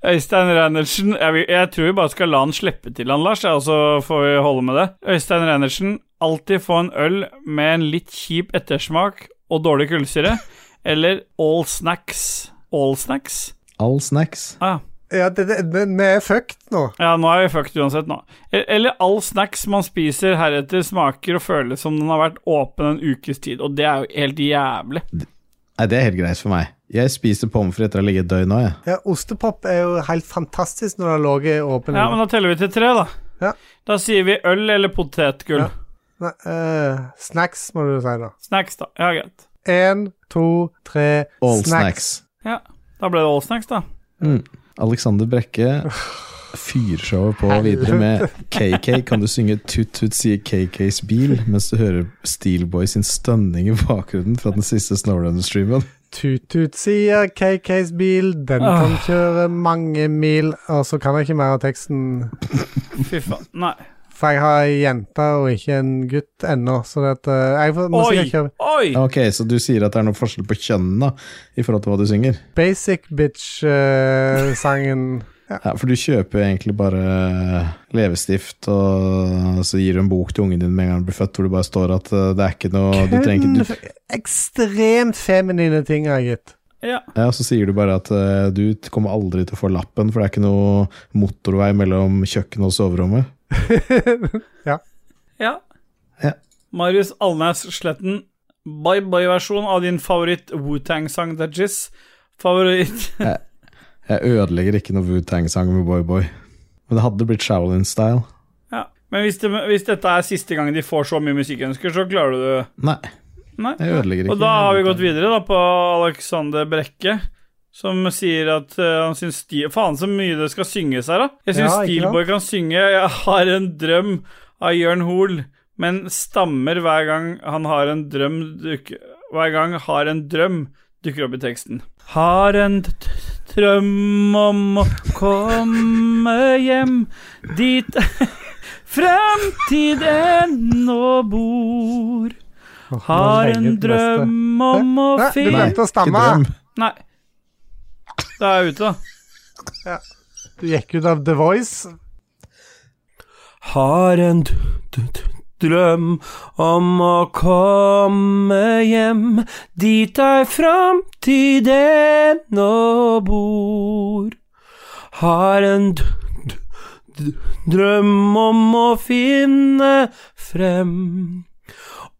[SPEAKER 2] Øystein Reinertsen jeg, vil- jeg tror vi bare skal la han slippe til han, Lars, ja, og så får vi holde med det. Øystein Reinertsen, alltid få en øl med en litt kjip ettersmak og dårlig kullsyre. Eller all snacks. All snacks?
[SPEAKER 1] All snacks.
[SPEAKER 2] Ah,
[SPEAKER 3] Ja, det, det, men vi er fucked nå.
[SPEAKER 2] ja, nå er vi fucked uansett, nå. E- Eller all snacks man spiser heretter smaker og føles som den har vært åpen en ukes tid, og det er jo helt jævlig.
[SPEAKER 1] Nei, det er helt greit for meg. Jeg spiste pommes frites etter å ha ligget et døgn nå, jeg.
[SPEAKER 3] Ja, ostepop er jo helt fantastisk når det har ligget åpen.
[SPEAKER 2] Ja, men da teller vi til tre, da.
[SPEAKER 3] Ja.
[SPEAKER 2] Da sier vi øl eller potetgull.
[SPEAKER 3] Ja. Nei, eh, snacks, må du si, da.
[SPEAKER 2] Snacks, da. Ja, greit.
[SPEAKER 3] Én, to, tre
[SPEAKER 1] All snacks.
[SPEAKER 2] Ja, da ble det all snacks, da.
[SPEAKER 1] Alexander Brekke fyrshowet på videre med KK. Kan du synge Tut Tut sier KKs bil mens du hører Steelboy sin stønning i bakgrunnen fra den siste Snowrunner-streamen?
[SPEAKER 3] Tut-tut, sier KKs bil. Den
[SPEAKER 2] Ah.
[SPEAKER 3] kan kjøre mange mil. Og så kan jeg ikke mer av teksten,
[SPEAKER 2] Fy faen. Nei.
[SPEAKER 3] for jeg har ei jente og ikke en gutt ennå. Så det, at, eh, jeg får- må
[SPEAKER 2] Oi!
[SPEAKER 3] sikkert kjøre
[SPEAKER 2] Oi!
[SPEAKER 1] Ok, så du sier at det er noe forskjell på kjønnene da, i forhold til hva du synger?
[SPEAKER 3] basic bitch-sangen.
[SPEAKER 1] Ja, For du kjøper jo egentlig bare leppestift, og så gir du en bok til ungen din med en gang du blir født, hvor det bare står at eh, det er ikke noe du trenger
[SPEAKER 3] Kun
[SPEAKER 1] ikke du,
[SPEAKER 3] f- ekstremt feminine ting, har jeg gitt.
[SPEAKER 2] Ja.
[SPEAKER 1] Ja, Så sier du bare at eh, du kommer aldri til å få lappen, for det er ikke noe motorvei mellom kjøkkenet og soverommet.
[SPEAKER 2] ja.
[SPEAKER 1] Ja.
[SPEAKER 2] Marius Alnes Sletten, bye-bye-versjon av din favoritt Wu-Tang-sang, Dajis. Favoritt
[SPEAKER 1] Jeg ødelegger ikke noe Wu-Tang-sang med Boy Boy. Men det hadde blitt Shaolin-style.
[SPEAKER 2] Ja. Men hvis, det, hvis dette er siste gang de får så mye musikkønsker, så klarer du det.
[SPEAKER 1] Nei,
[SPEAKER 2] Nei.
[SPEAKER 1] jeg ødelegger ikke.
[SPEAKER 2] Og da har vi gått videre da på Alexander Brekke, som sier at eh, han syns Steel Faen, så mye det skal synges her, da. Jeg syns
[SPEAKER 3] Ja, ikke
[SPEAKER 2] Steelboy kan synge 'Jeg har en drøm' av Jørn Hoel, men stammer hver gang han har en drøm duk, Hver gang har en drøm dukker opp i teksten. Har en d- drøm om å komme hjem dit fremtid ennå bor.
[SPEAKER 3] Åh,
[SPEAKER 2] Har
[SPEAKER 3] nå legger
[SPEAKER 2] en
[SPEAKER 3] jeg ut neste.
[SPEAKER 2] drøm om å
[SPEAKER 3] Hæ? Du
[SPEAKER 2] finne
[SPEAKER 3] glemte å stamme.
[SPEAKER 1] Ikke drøm.
[SPEAKER 2] Nei. Da er jeg ute, da.
[SPEAKER 3] Du gikk ut av The Voice.
[SPEAKER 8] Har en d d d drøm om å komme hjem dit ei framtid ennå bor. Har en d d d drøm om å finne frem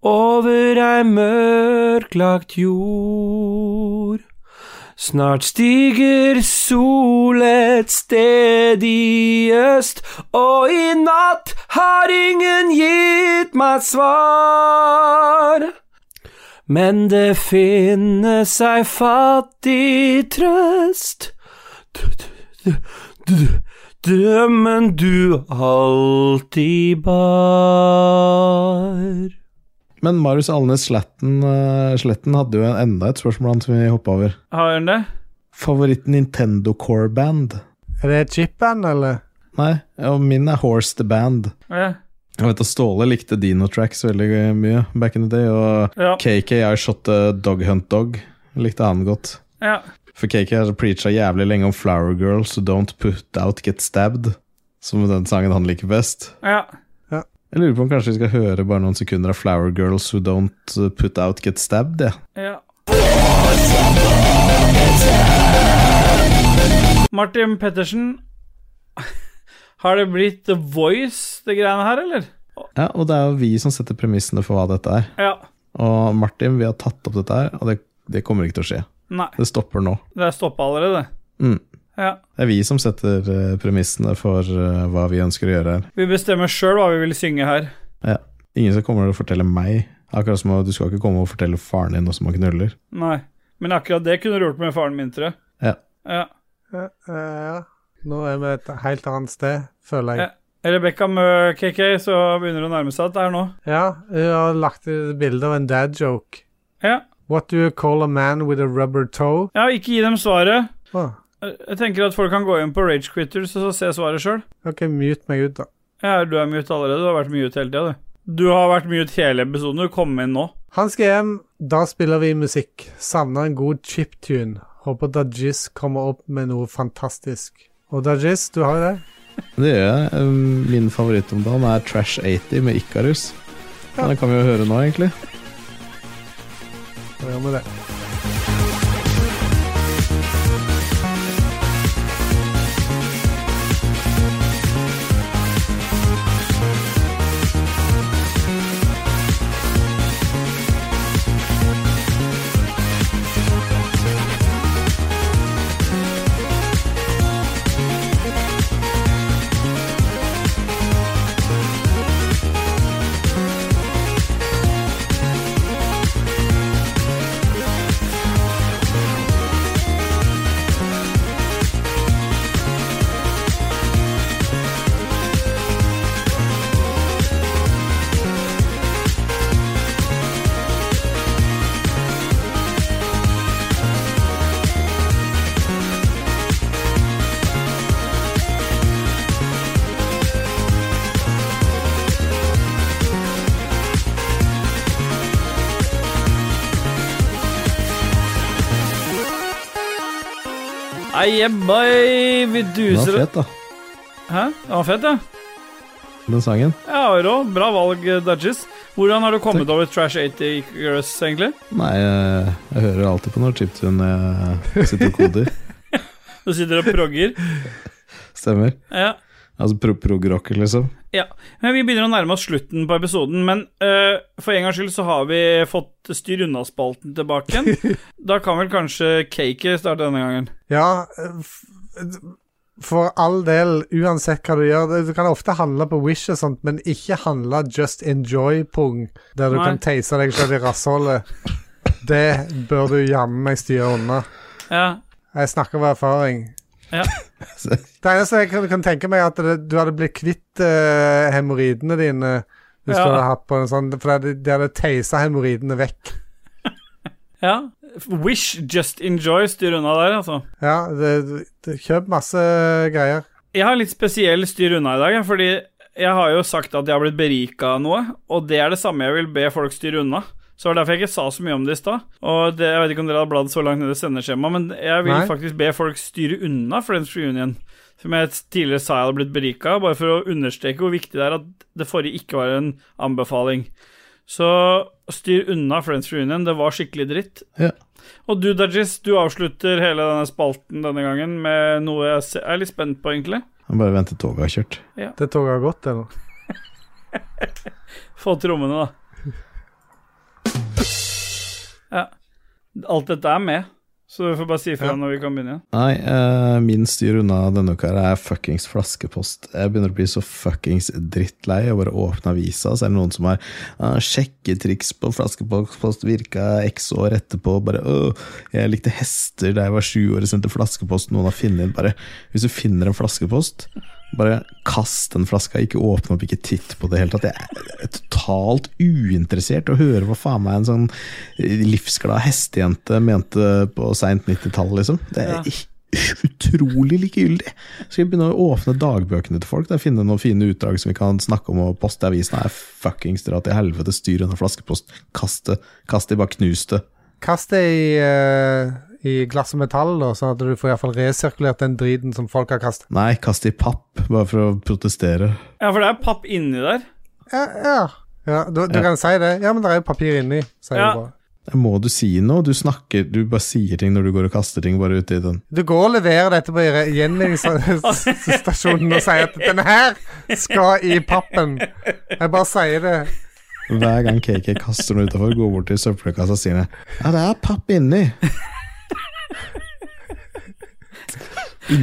[SPEAKER 8] over ei mørklagt jord. Snart stiger sol et sted i øst, og i natt har ingen gitt meg svar. Men det finnes ei fattig trøst, D- d- d- drømmen du alltid bar.
[SPEAKER 1] Men Marius Alnes Sletten, eh, Sletten hadde jo en- enda et spørsmål han som vi hoppa over.
[SPEAKER 2] Har hun det?
[SPEAKER 1] Favoritt Nintendo Core Band?
[SPEAKER 3] Er det chip-band, eller?
[SPEAKER 1] Nei, og min er Horse the Band.
[SPEAKER 2] Ja.
[SPEAKER 1] Jeg vet at Ståle likte Dino Tracks veldig eh, mye back in the day, og
[SPEAKER 2] Ja.
[SPEAKER 1] KK I Shot a Dog Hunt Dog likte han godt.
[SPEAKER 2] ja.
[SPEAKER 1] For KK har preacha jævlig lenge om Flower Girls So Don't Put Out Get Stabbed, som den sangen han liker best.
[SPEAKER 2] ja.
[SPEAKER 1] Jeg lurer på om kanskje vi skal høre bare noen sekunder av Flower Girls Who Don't uh, Put Out Get Stabbed, ja.
[SPEAKER 2] ja. Martin Pettersen, har det blitt The Voice, det greiene her, eller?
[SPEAKER 1] ja. Og det er jo vi som setter premissene for hva dette er.
[SPEAKER 2] Ja.
[SPEAKER 1] Og Martin, vi har tatt opp dette her, og det, det kommer ikke til å skje.
[SPEAKER 2] Nei.
[SPEAKER 1] Det stopper nå.
[SPEAKER 2] Det er stoppa allerede.
[SPEAKER 1] Mm.
[SPEAKER 2] Ja.
[SPEAKER 1] Det er vi som setter uh, premissene for uh, hva vi ønsker å gjøre her.
[SPEAKER 2] Vi bestemmer sjøl hva vi vil synge her.
[SPEAKER 1] Ingen som kommer til å fortelle meg. Akkurat som at du skal ikke komme og fortelle faren din noe som han knuller.
[SPEAKER 2] Nei. Men akkurat det kunne du gjort med faren min, tror jeg.
[SPEAKER 1] Ja.
[SPEAKER 2] ja.
[SPEAKER 3] Ja, eh, ja. Nå er vi et helt annet sted, føler jeg.
[SPEAKER 2] Rebekka Mø, KK, så begynner det å nærme seg dette her nå.
[SPEAKER 3] Ja, hun har lagt ut bilde av en dad joke.
[SPEAKER 2] Ja.
[SPEAKER 3] What do you call a man with a rubber toe?
[SPEAKER 2] ja, ikke gi dem svaret.
[SPEAKER 3] Åh,
[SPEAKER 2] Jeg tenker at folk kan gå inn på Rage Quitters og så se svaret sjøl.
[SPEAKER 3] OK, mute meg ut, da.
[SPEAKER 2] Ja, du er mute allerede. Du har vært mute hele tida, du. Du har vært mute hele episoden. Du kom inn nå.
[SPEAKER 3] Han skal hjem. Da spiller vi musikk. Savner en god chiptune. Håper Dajis kommer opp med noe fantastisk. Og Dajis, du har jo det.
[SPEAKER 1] Det gjør jeg. Um, Min favoritt om dagen er Trash 80 med Ikarus. Ja, den kan vi jo høre nå, egentlig.
[SPEAKER 3] Da gjør vi det.
[SPEAKER 2] Nei, jebbai, vi
[SPEAKER 1] Den var
[SPEAKER 2] duser
[SPEAKER 1] fet, da.
[SPEAKER 2] Hæ? Den var fett, ja.
[SPEAKER 1] Den sangen.
[SPEAKER 2] Ja, rå. Bra valg, Dudges. Hvordan har du kommet over Trash 80 Girls, egentlig?
[SPEAKER 1] Nei, eh, jeg hører alltid på når chiptune eh, sitter og koder.
[SPEAKER 2] Du sitter og progger.
[SPEAKER 1] Stemmer.
[SPEAKER 2] Ja.
[SPEAKER 1] Altså pro prog-rocker, liksom.
[SPEAKER 2] Men Vi begynner å nærme oss slutten på episoden, men eh, for en gangs skyld så har vi fått styr unna-spalten tilbake igjen. Da kan vel kanskje Cakey starte denne gangen.
[SPEAKER 3] Ja, f- for all del, uansett hva du gjør Du kan ofte handle på Wish og sånt, men ikke handle just enjoy-pung, der du
[SPEAKER 2] Nei.
[SPEAKER 3] kan teise deg selv i rassholdet. Det bør du jammen meg styre unna.
[SPEAKER 2] Ja.
[SPEAKER 3] Jeg snakker av erfaring.
[SPEAKER 2] Ja.
[SPEAKER 3] det eneste jeg kan, kan tenke meg, er at det, du hadde blitt kvitt uh, hemoroidene dine
[SPEAKER 2] Ja.
[SPEAKER 3] hvis du hadde hatt på en sånn, for det, de hadde teisa hemoroidene vekk.
[SPEAKER 2] ja. Wish, just enjoy, styr unna der, altså.
[SPEAKER 3] Ja, det, det, kjøp masse greier.
[SPEAKER 2] Jeg har litt spesiell styr unna i dag, jeg, fordi jeg har jo sagt at jeg har blitt berika av noe, og det er det samme jeg vil be folk styre unna. Så det var derfor jeg ikke sa så mye om det i stad. Og det, jeg vet ikke om dere har bladd så langt ned i sendeskjemaet, men jeg vil
[SPEAKER 3] Nei.
[SPEAKER 2] faktisk be folk styre unna Friends Reunion. Som jeg tidligere sa jeg hadde blitt berika av, bare for å understreke hvor viktig det er at det forrige ikke var en anbefaling. Så styr unna Friends Reunion, det var skikkelig dritt.
[SPEAKER 1] Ja.
[SPEAKER 2] Og du, Dajis, du avslutter hele denne spalten denne gangen med noe jeg se- er litt spent på, egentlig.
[SPEAKER 1] Jeg bare venter toget har kjørt.
[SPEAKER 3] Det toget har gått, det nå.
[SPEAKER 2] Få trommene, da. Ja. Alt dette er med, så du får bare si ifra
[SPEAKER 3] Ja.
[SPEAKER 2] når vi kan begynne igjen.
[SPEAKER 1] Nei, eh, min styr unna denne uka her er fuckings flaskepost. Jeg begynner å bli så fuckings drittlei av bare å åpne avisa, så er det noen som har ah, sjekketriks på flaskepost, virka x år etterpå, bare åh, jeg likte hester da jeg var sju år og sendte flaskepost, noen har funnet inn bare Hvis du finner en flaskepost, bare kast den flaska, ikke åpne opp, ikke titt på det i hele tatt. Jeg er totalt uinteressert å høre hva faen meg en sånn livsglad hestejente mente på seint 90-tall, liksom. Det er
[SPEAKER 2] Ja.
[SPEAKER 1] ik- utrolig likegyldig. Skal vi begynne å åpne dagbøkene til folk? Der, finne noen fine utdrag som vi kan snakke om og poste i avisen? Nei, fuckings dra til helvete, styr unna flaskepost. Kast det. Kast det, bare knus det.
[SPEAKER 3] Kast det i, eh, i glass og metall, da, sånn at du får i hvert fall resirkulert den driten som folk har kastet.
[SPEAKER 1] Nei, kast det i papp, bare for å protestere.
[SPEAKER 2] Ja, for det er papp inni der.
[SPEAKER 3] Ja, ja. ja du, du
[SPEAKER 1] Ja.
[SPEAKER 3] kan si det. Ja, men det er jo papir inni, sier
[SPEAKER 2] Ja.
[SPEAKER 3] du bare.
[SPEAKER 1] Må du si noe? Du snakker, du bare sier ting når du går og kaster ting bare uti den.
[SPEAKER 3] Du går og leverer dette på re- gjenvinningsstasjonen og sier at 'denne her skal i pappen'. Jeg bare sier det.
[SPEAKER 1] Hver gang KK kaster noe utafor, går bort til søppelkassa og sier han, Ja, det er papp inni.
[SPEAKER 2] Men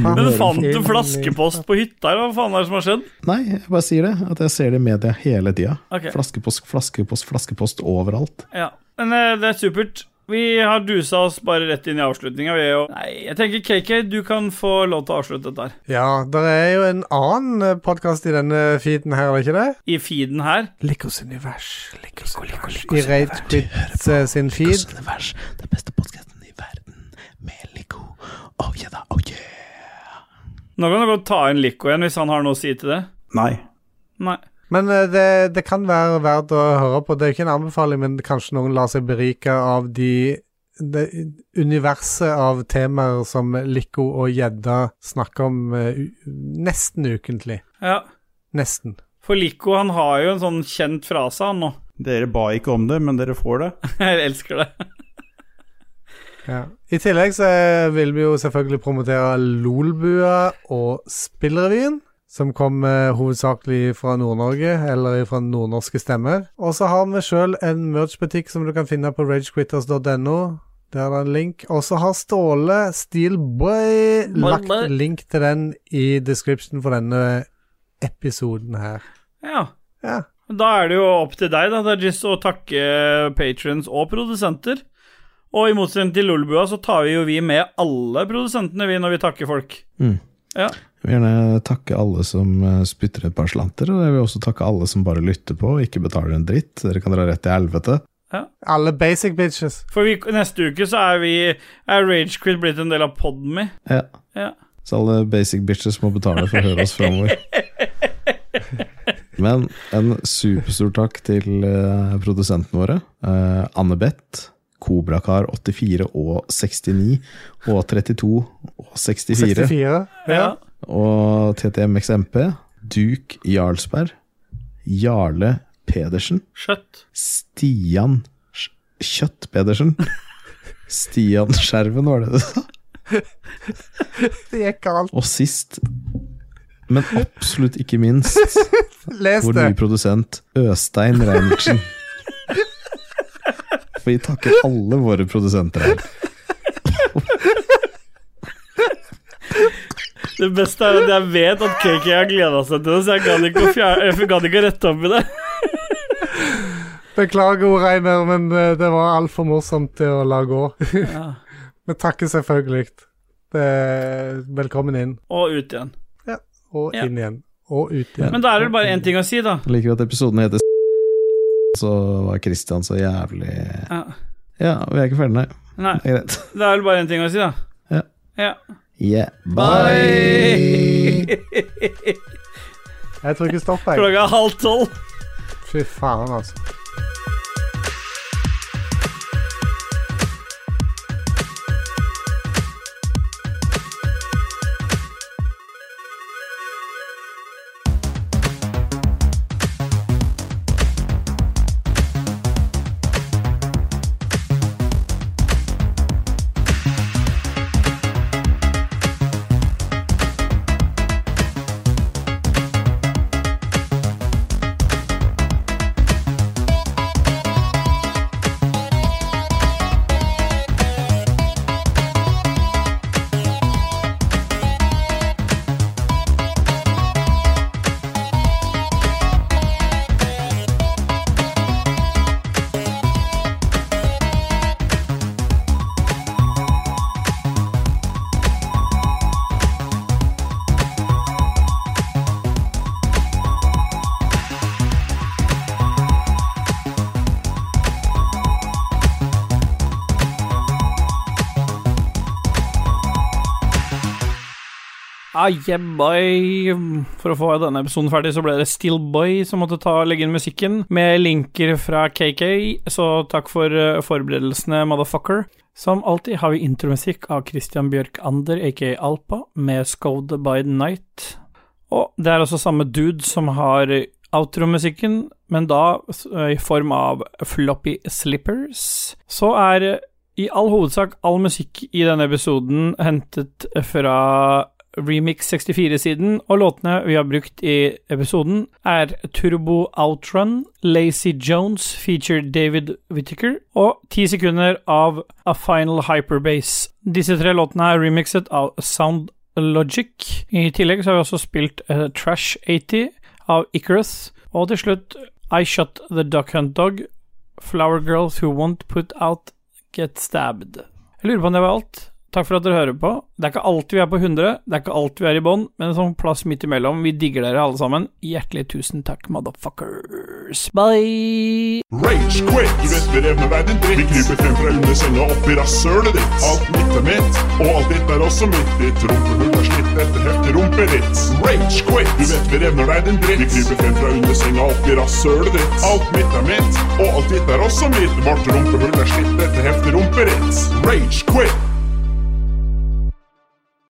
[SPEAKER 3] Papp
[SPEAKER 2] fant du
[SPEAKER 3] inni.
[SPEAKER 2] flaskepost på hytta, eller hva faen er det som har skjedd?
[SPEAKER 1] Nei, jeg bare sier det. At jeg ser det i media hele tida.
[SPEAKER 2] Ok.
[SPEAKER 1] Flaskepost, flaskepost, flaskepost overalt.
[SPEAKER 2] Ja. Men eh, det er supert. Vi har dusa oss bare rett inn i avslutninga. Vi er jo Nei, jeg tenker KK, du kan få lov til å avslutte dette her.
[SPEAKER 3] Ja, det er jo en annen podkast i denne feeden her, er det ikke det?
[SPEAKER 2] I feeden her.
[SPEAKER 3] Likos univers. Likos univers. I Rage Quit eh, sin feed.
[SPEAKER 6] Univers, den beste podkasten i verden, med Lico. Oh yeah da, oh yeah.
[SPEAKER 2] Nå kan du godt ta inn Lico igjen, hvis han har noe å si til det.
[SPEAKER 9] Nei.
[SPEAKER 2] Nei.
[SPEAKER 3] Men eh, det, det kan være verdt å høre på. Det er ikke en anbefaling, men kanskje noen lar seg berike av de det universet av temaer som Lico og gjedda snakker om eh, u- nesten ukentlig.
[SPEAKER 2] Ja.
[SPEAKER 3] Nesten.
[SPEAKER 2] For Lico, han har jo en sånn kjent frase, han nå.
[SPEAKER 9] Dere ba ikke om det, men dere får det.
[SPEAKER 2] Jeg elsker det.
[SPEAKER 3] Ja. I tillegg så eh, vil vi jo selvfølgelig promotere Lolbua og Spillrevyen, som kom eh, hovedsakelig fra Nord-Norge, eller fra nordnorske stemmer. Og så har vi sjøl en merch-butikk som du kan finne på ragequitters.no. Der er det en link. Og så har Ståle Steelboy lagt
[SPEAKER 2] Boy.
[SPEAKER 3] link til den i description for denne episoden her.
[SPEAKER 2] Ja.
[SPEAKER 3] Ja.
[SPEAKER 2] Da er det jo opp til deg, da. Det er just å takke patrons og produsenter. Og i motsetning til Lolbua, så tar vi jo vi med alle produsentene, vi, når vi takker folk.
[SPEAKER 1] Jeg vil gjerne takke alle som eh, spytter et par slanter, og jeg vil også takke alle som bare lytter på og ikke betaler en dritt. Dere kan dra rett til helvete.
[SPEAKER 3] Alle basic bitches.
[SPEAKER 2] For vi, neste uke så er vi Er Ragequit blitt en del av Podme?
[SPEAKER 1] Ja.
[SPEAKER 2] Ja.
[SPEAKER 1] Så alle basic bitches må betale for å høre oss framover. Men en superstor takk til eh, produsentene våre. Eh, Anne Beth, Kobrakar84 og 69, og 32 og 64.
[SPEAKER 3] 64.
[SPEAKER 2] Ja.
[SPEAKER 1] og TTMXMP, Duke Jarlsberg, Jarle Pedersen,
[SPEAKER 2] Skjøtt.
[SPEAKER 1] Stian Sk- Kjøtt Pedersen. Stian Skjerven, var det det du sa?
[SPEAKER 3] Det gikk galt.
[SPEAKER 1] Og sist, men absolutt ikke minst,
[SPEAKER 3] Les
[SPEAKER 1] vår
[SPEAKER 3] det.
[SPEAKER 1] nye produsent Østein Reinertsen. For vi takker alle våre produsenter her.
[SPEAKER 2] Det beste er at jeg vet at KK har gleda seg til det, så jeg gadd ikke, å fjer- jeg gadd ikke å rette opp i det.
[SPEAKER 3] Beklager, O. Reiner, men eh, det var altfor morsomt til å la gå. Vi takker selvfølgelig. Det er velkommen inn,
[SPEAKER 2] Og ut igjen.
[SPEAKER 3] og
[SPEAKER 2] Ja.
[SPEAKER 3] inn igjen, og ut igjen.
[SPEAKER 2] Men da er det bare én ting å si, da.
[SPEAKER 1] Jeg liker at episoden heter Så var Christian så jævlig
[SPEAKER 2] Ja.
[SPEAKER 1] Ja, vi er ikke ferdige, nei.
[SPEAKER 2] Nei,
[SPEAKER 1] Det er greit.
[SPEAKER 2] det er vel bare én ting å si, da.
[SPEAKER 1] Ja.
[SPEAKER 2] ja.
[SPEAKER 1] Yeah. Bye!
[SPEAKER 3] Jeg tror ikke stopp, jeg.
[SPEAKER 2] Klokka er halv tolv.
[SPEAKER 3] Fy faen, altså.
[SPEAKER 2] Ah, yeah, boy. For å få denne episoden ferdig, så ble det Stillboy som måtte ta legge inn musikken, med linker fra KK, så takk for eh, forberedelsene, motherfucker. Som alltid har vi intromusikk av Christian Bjørk Ander, aka Alpa, med Scode by the Night. Og det er også samme dude som har outromusikken, men da s- eh, i form av floppy slippers. Så er eh, i all hovedsak all musikk i denne episoden hentet fra Remix 64-siden, og låtene vi har brukt i episoden, er Turbo Outrun, Lazy Jones feature David Whittaker og 10 sekunder av A Final Hyperbase. Disse tre låtene er remixet av Sound Logic. I tillegg så har vi også spilt eh, Trash 80 av Icarus, og til slutt I Shot The Duck Hunt Dog, Flower Girls Who Won't Put Out get stabbed. Jeg lurer på om det var alt. Takk for at dere hører på. Det er ikke alltid vi er på 100, det er ikke alltid vi er i bånn, men en sånn plass midt imellom. Vi digger dere alle sammen. Hjertelig tusen takk, motherfuckers. Bye!
[SPEAKER 10] Rage quit! Du vet berev med verden dritt. Vi kryper frem fra under senga opp i rasshølet ditt. Alt mitt er mitt, og alt ditt er også mitt. Ditt rumpehull er slitt etter heftig rumpeditt. Rage quit! Du vet vi revner verden dritt. Vi kryper frem fra under senga opp i rasshølet ditt. Alt mitt er mitt, og alt ditt er også mitt. Vårt rumpehull er slitt etter heftig rumpeditt. Rage quit!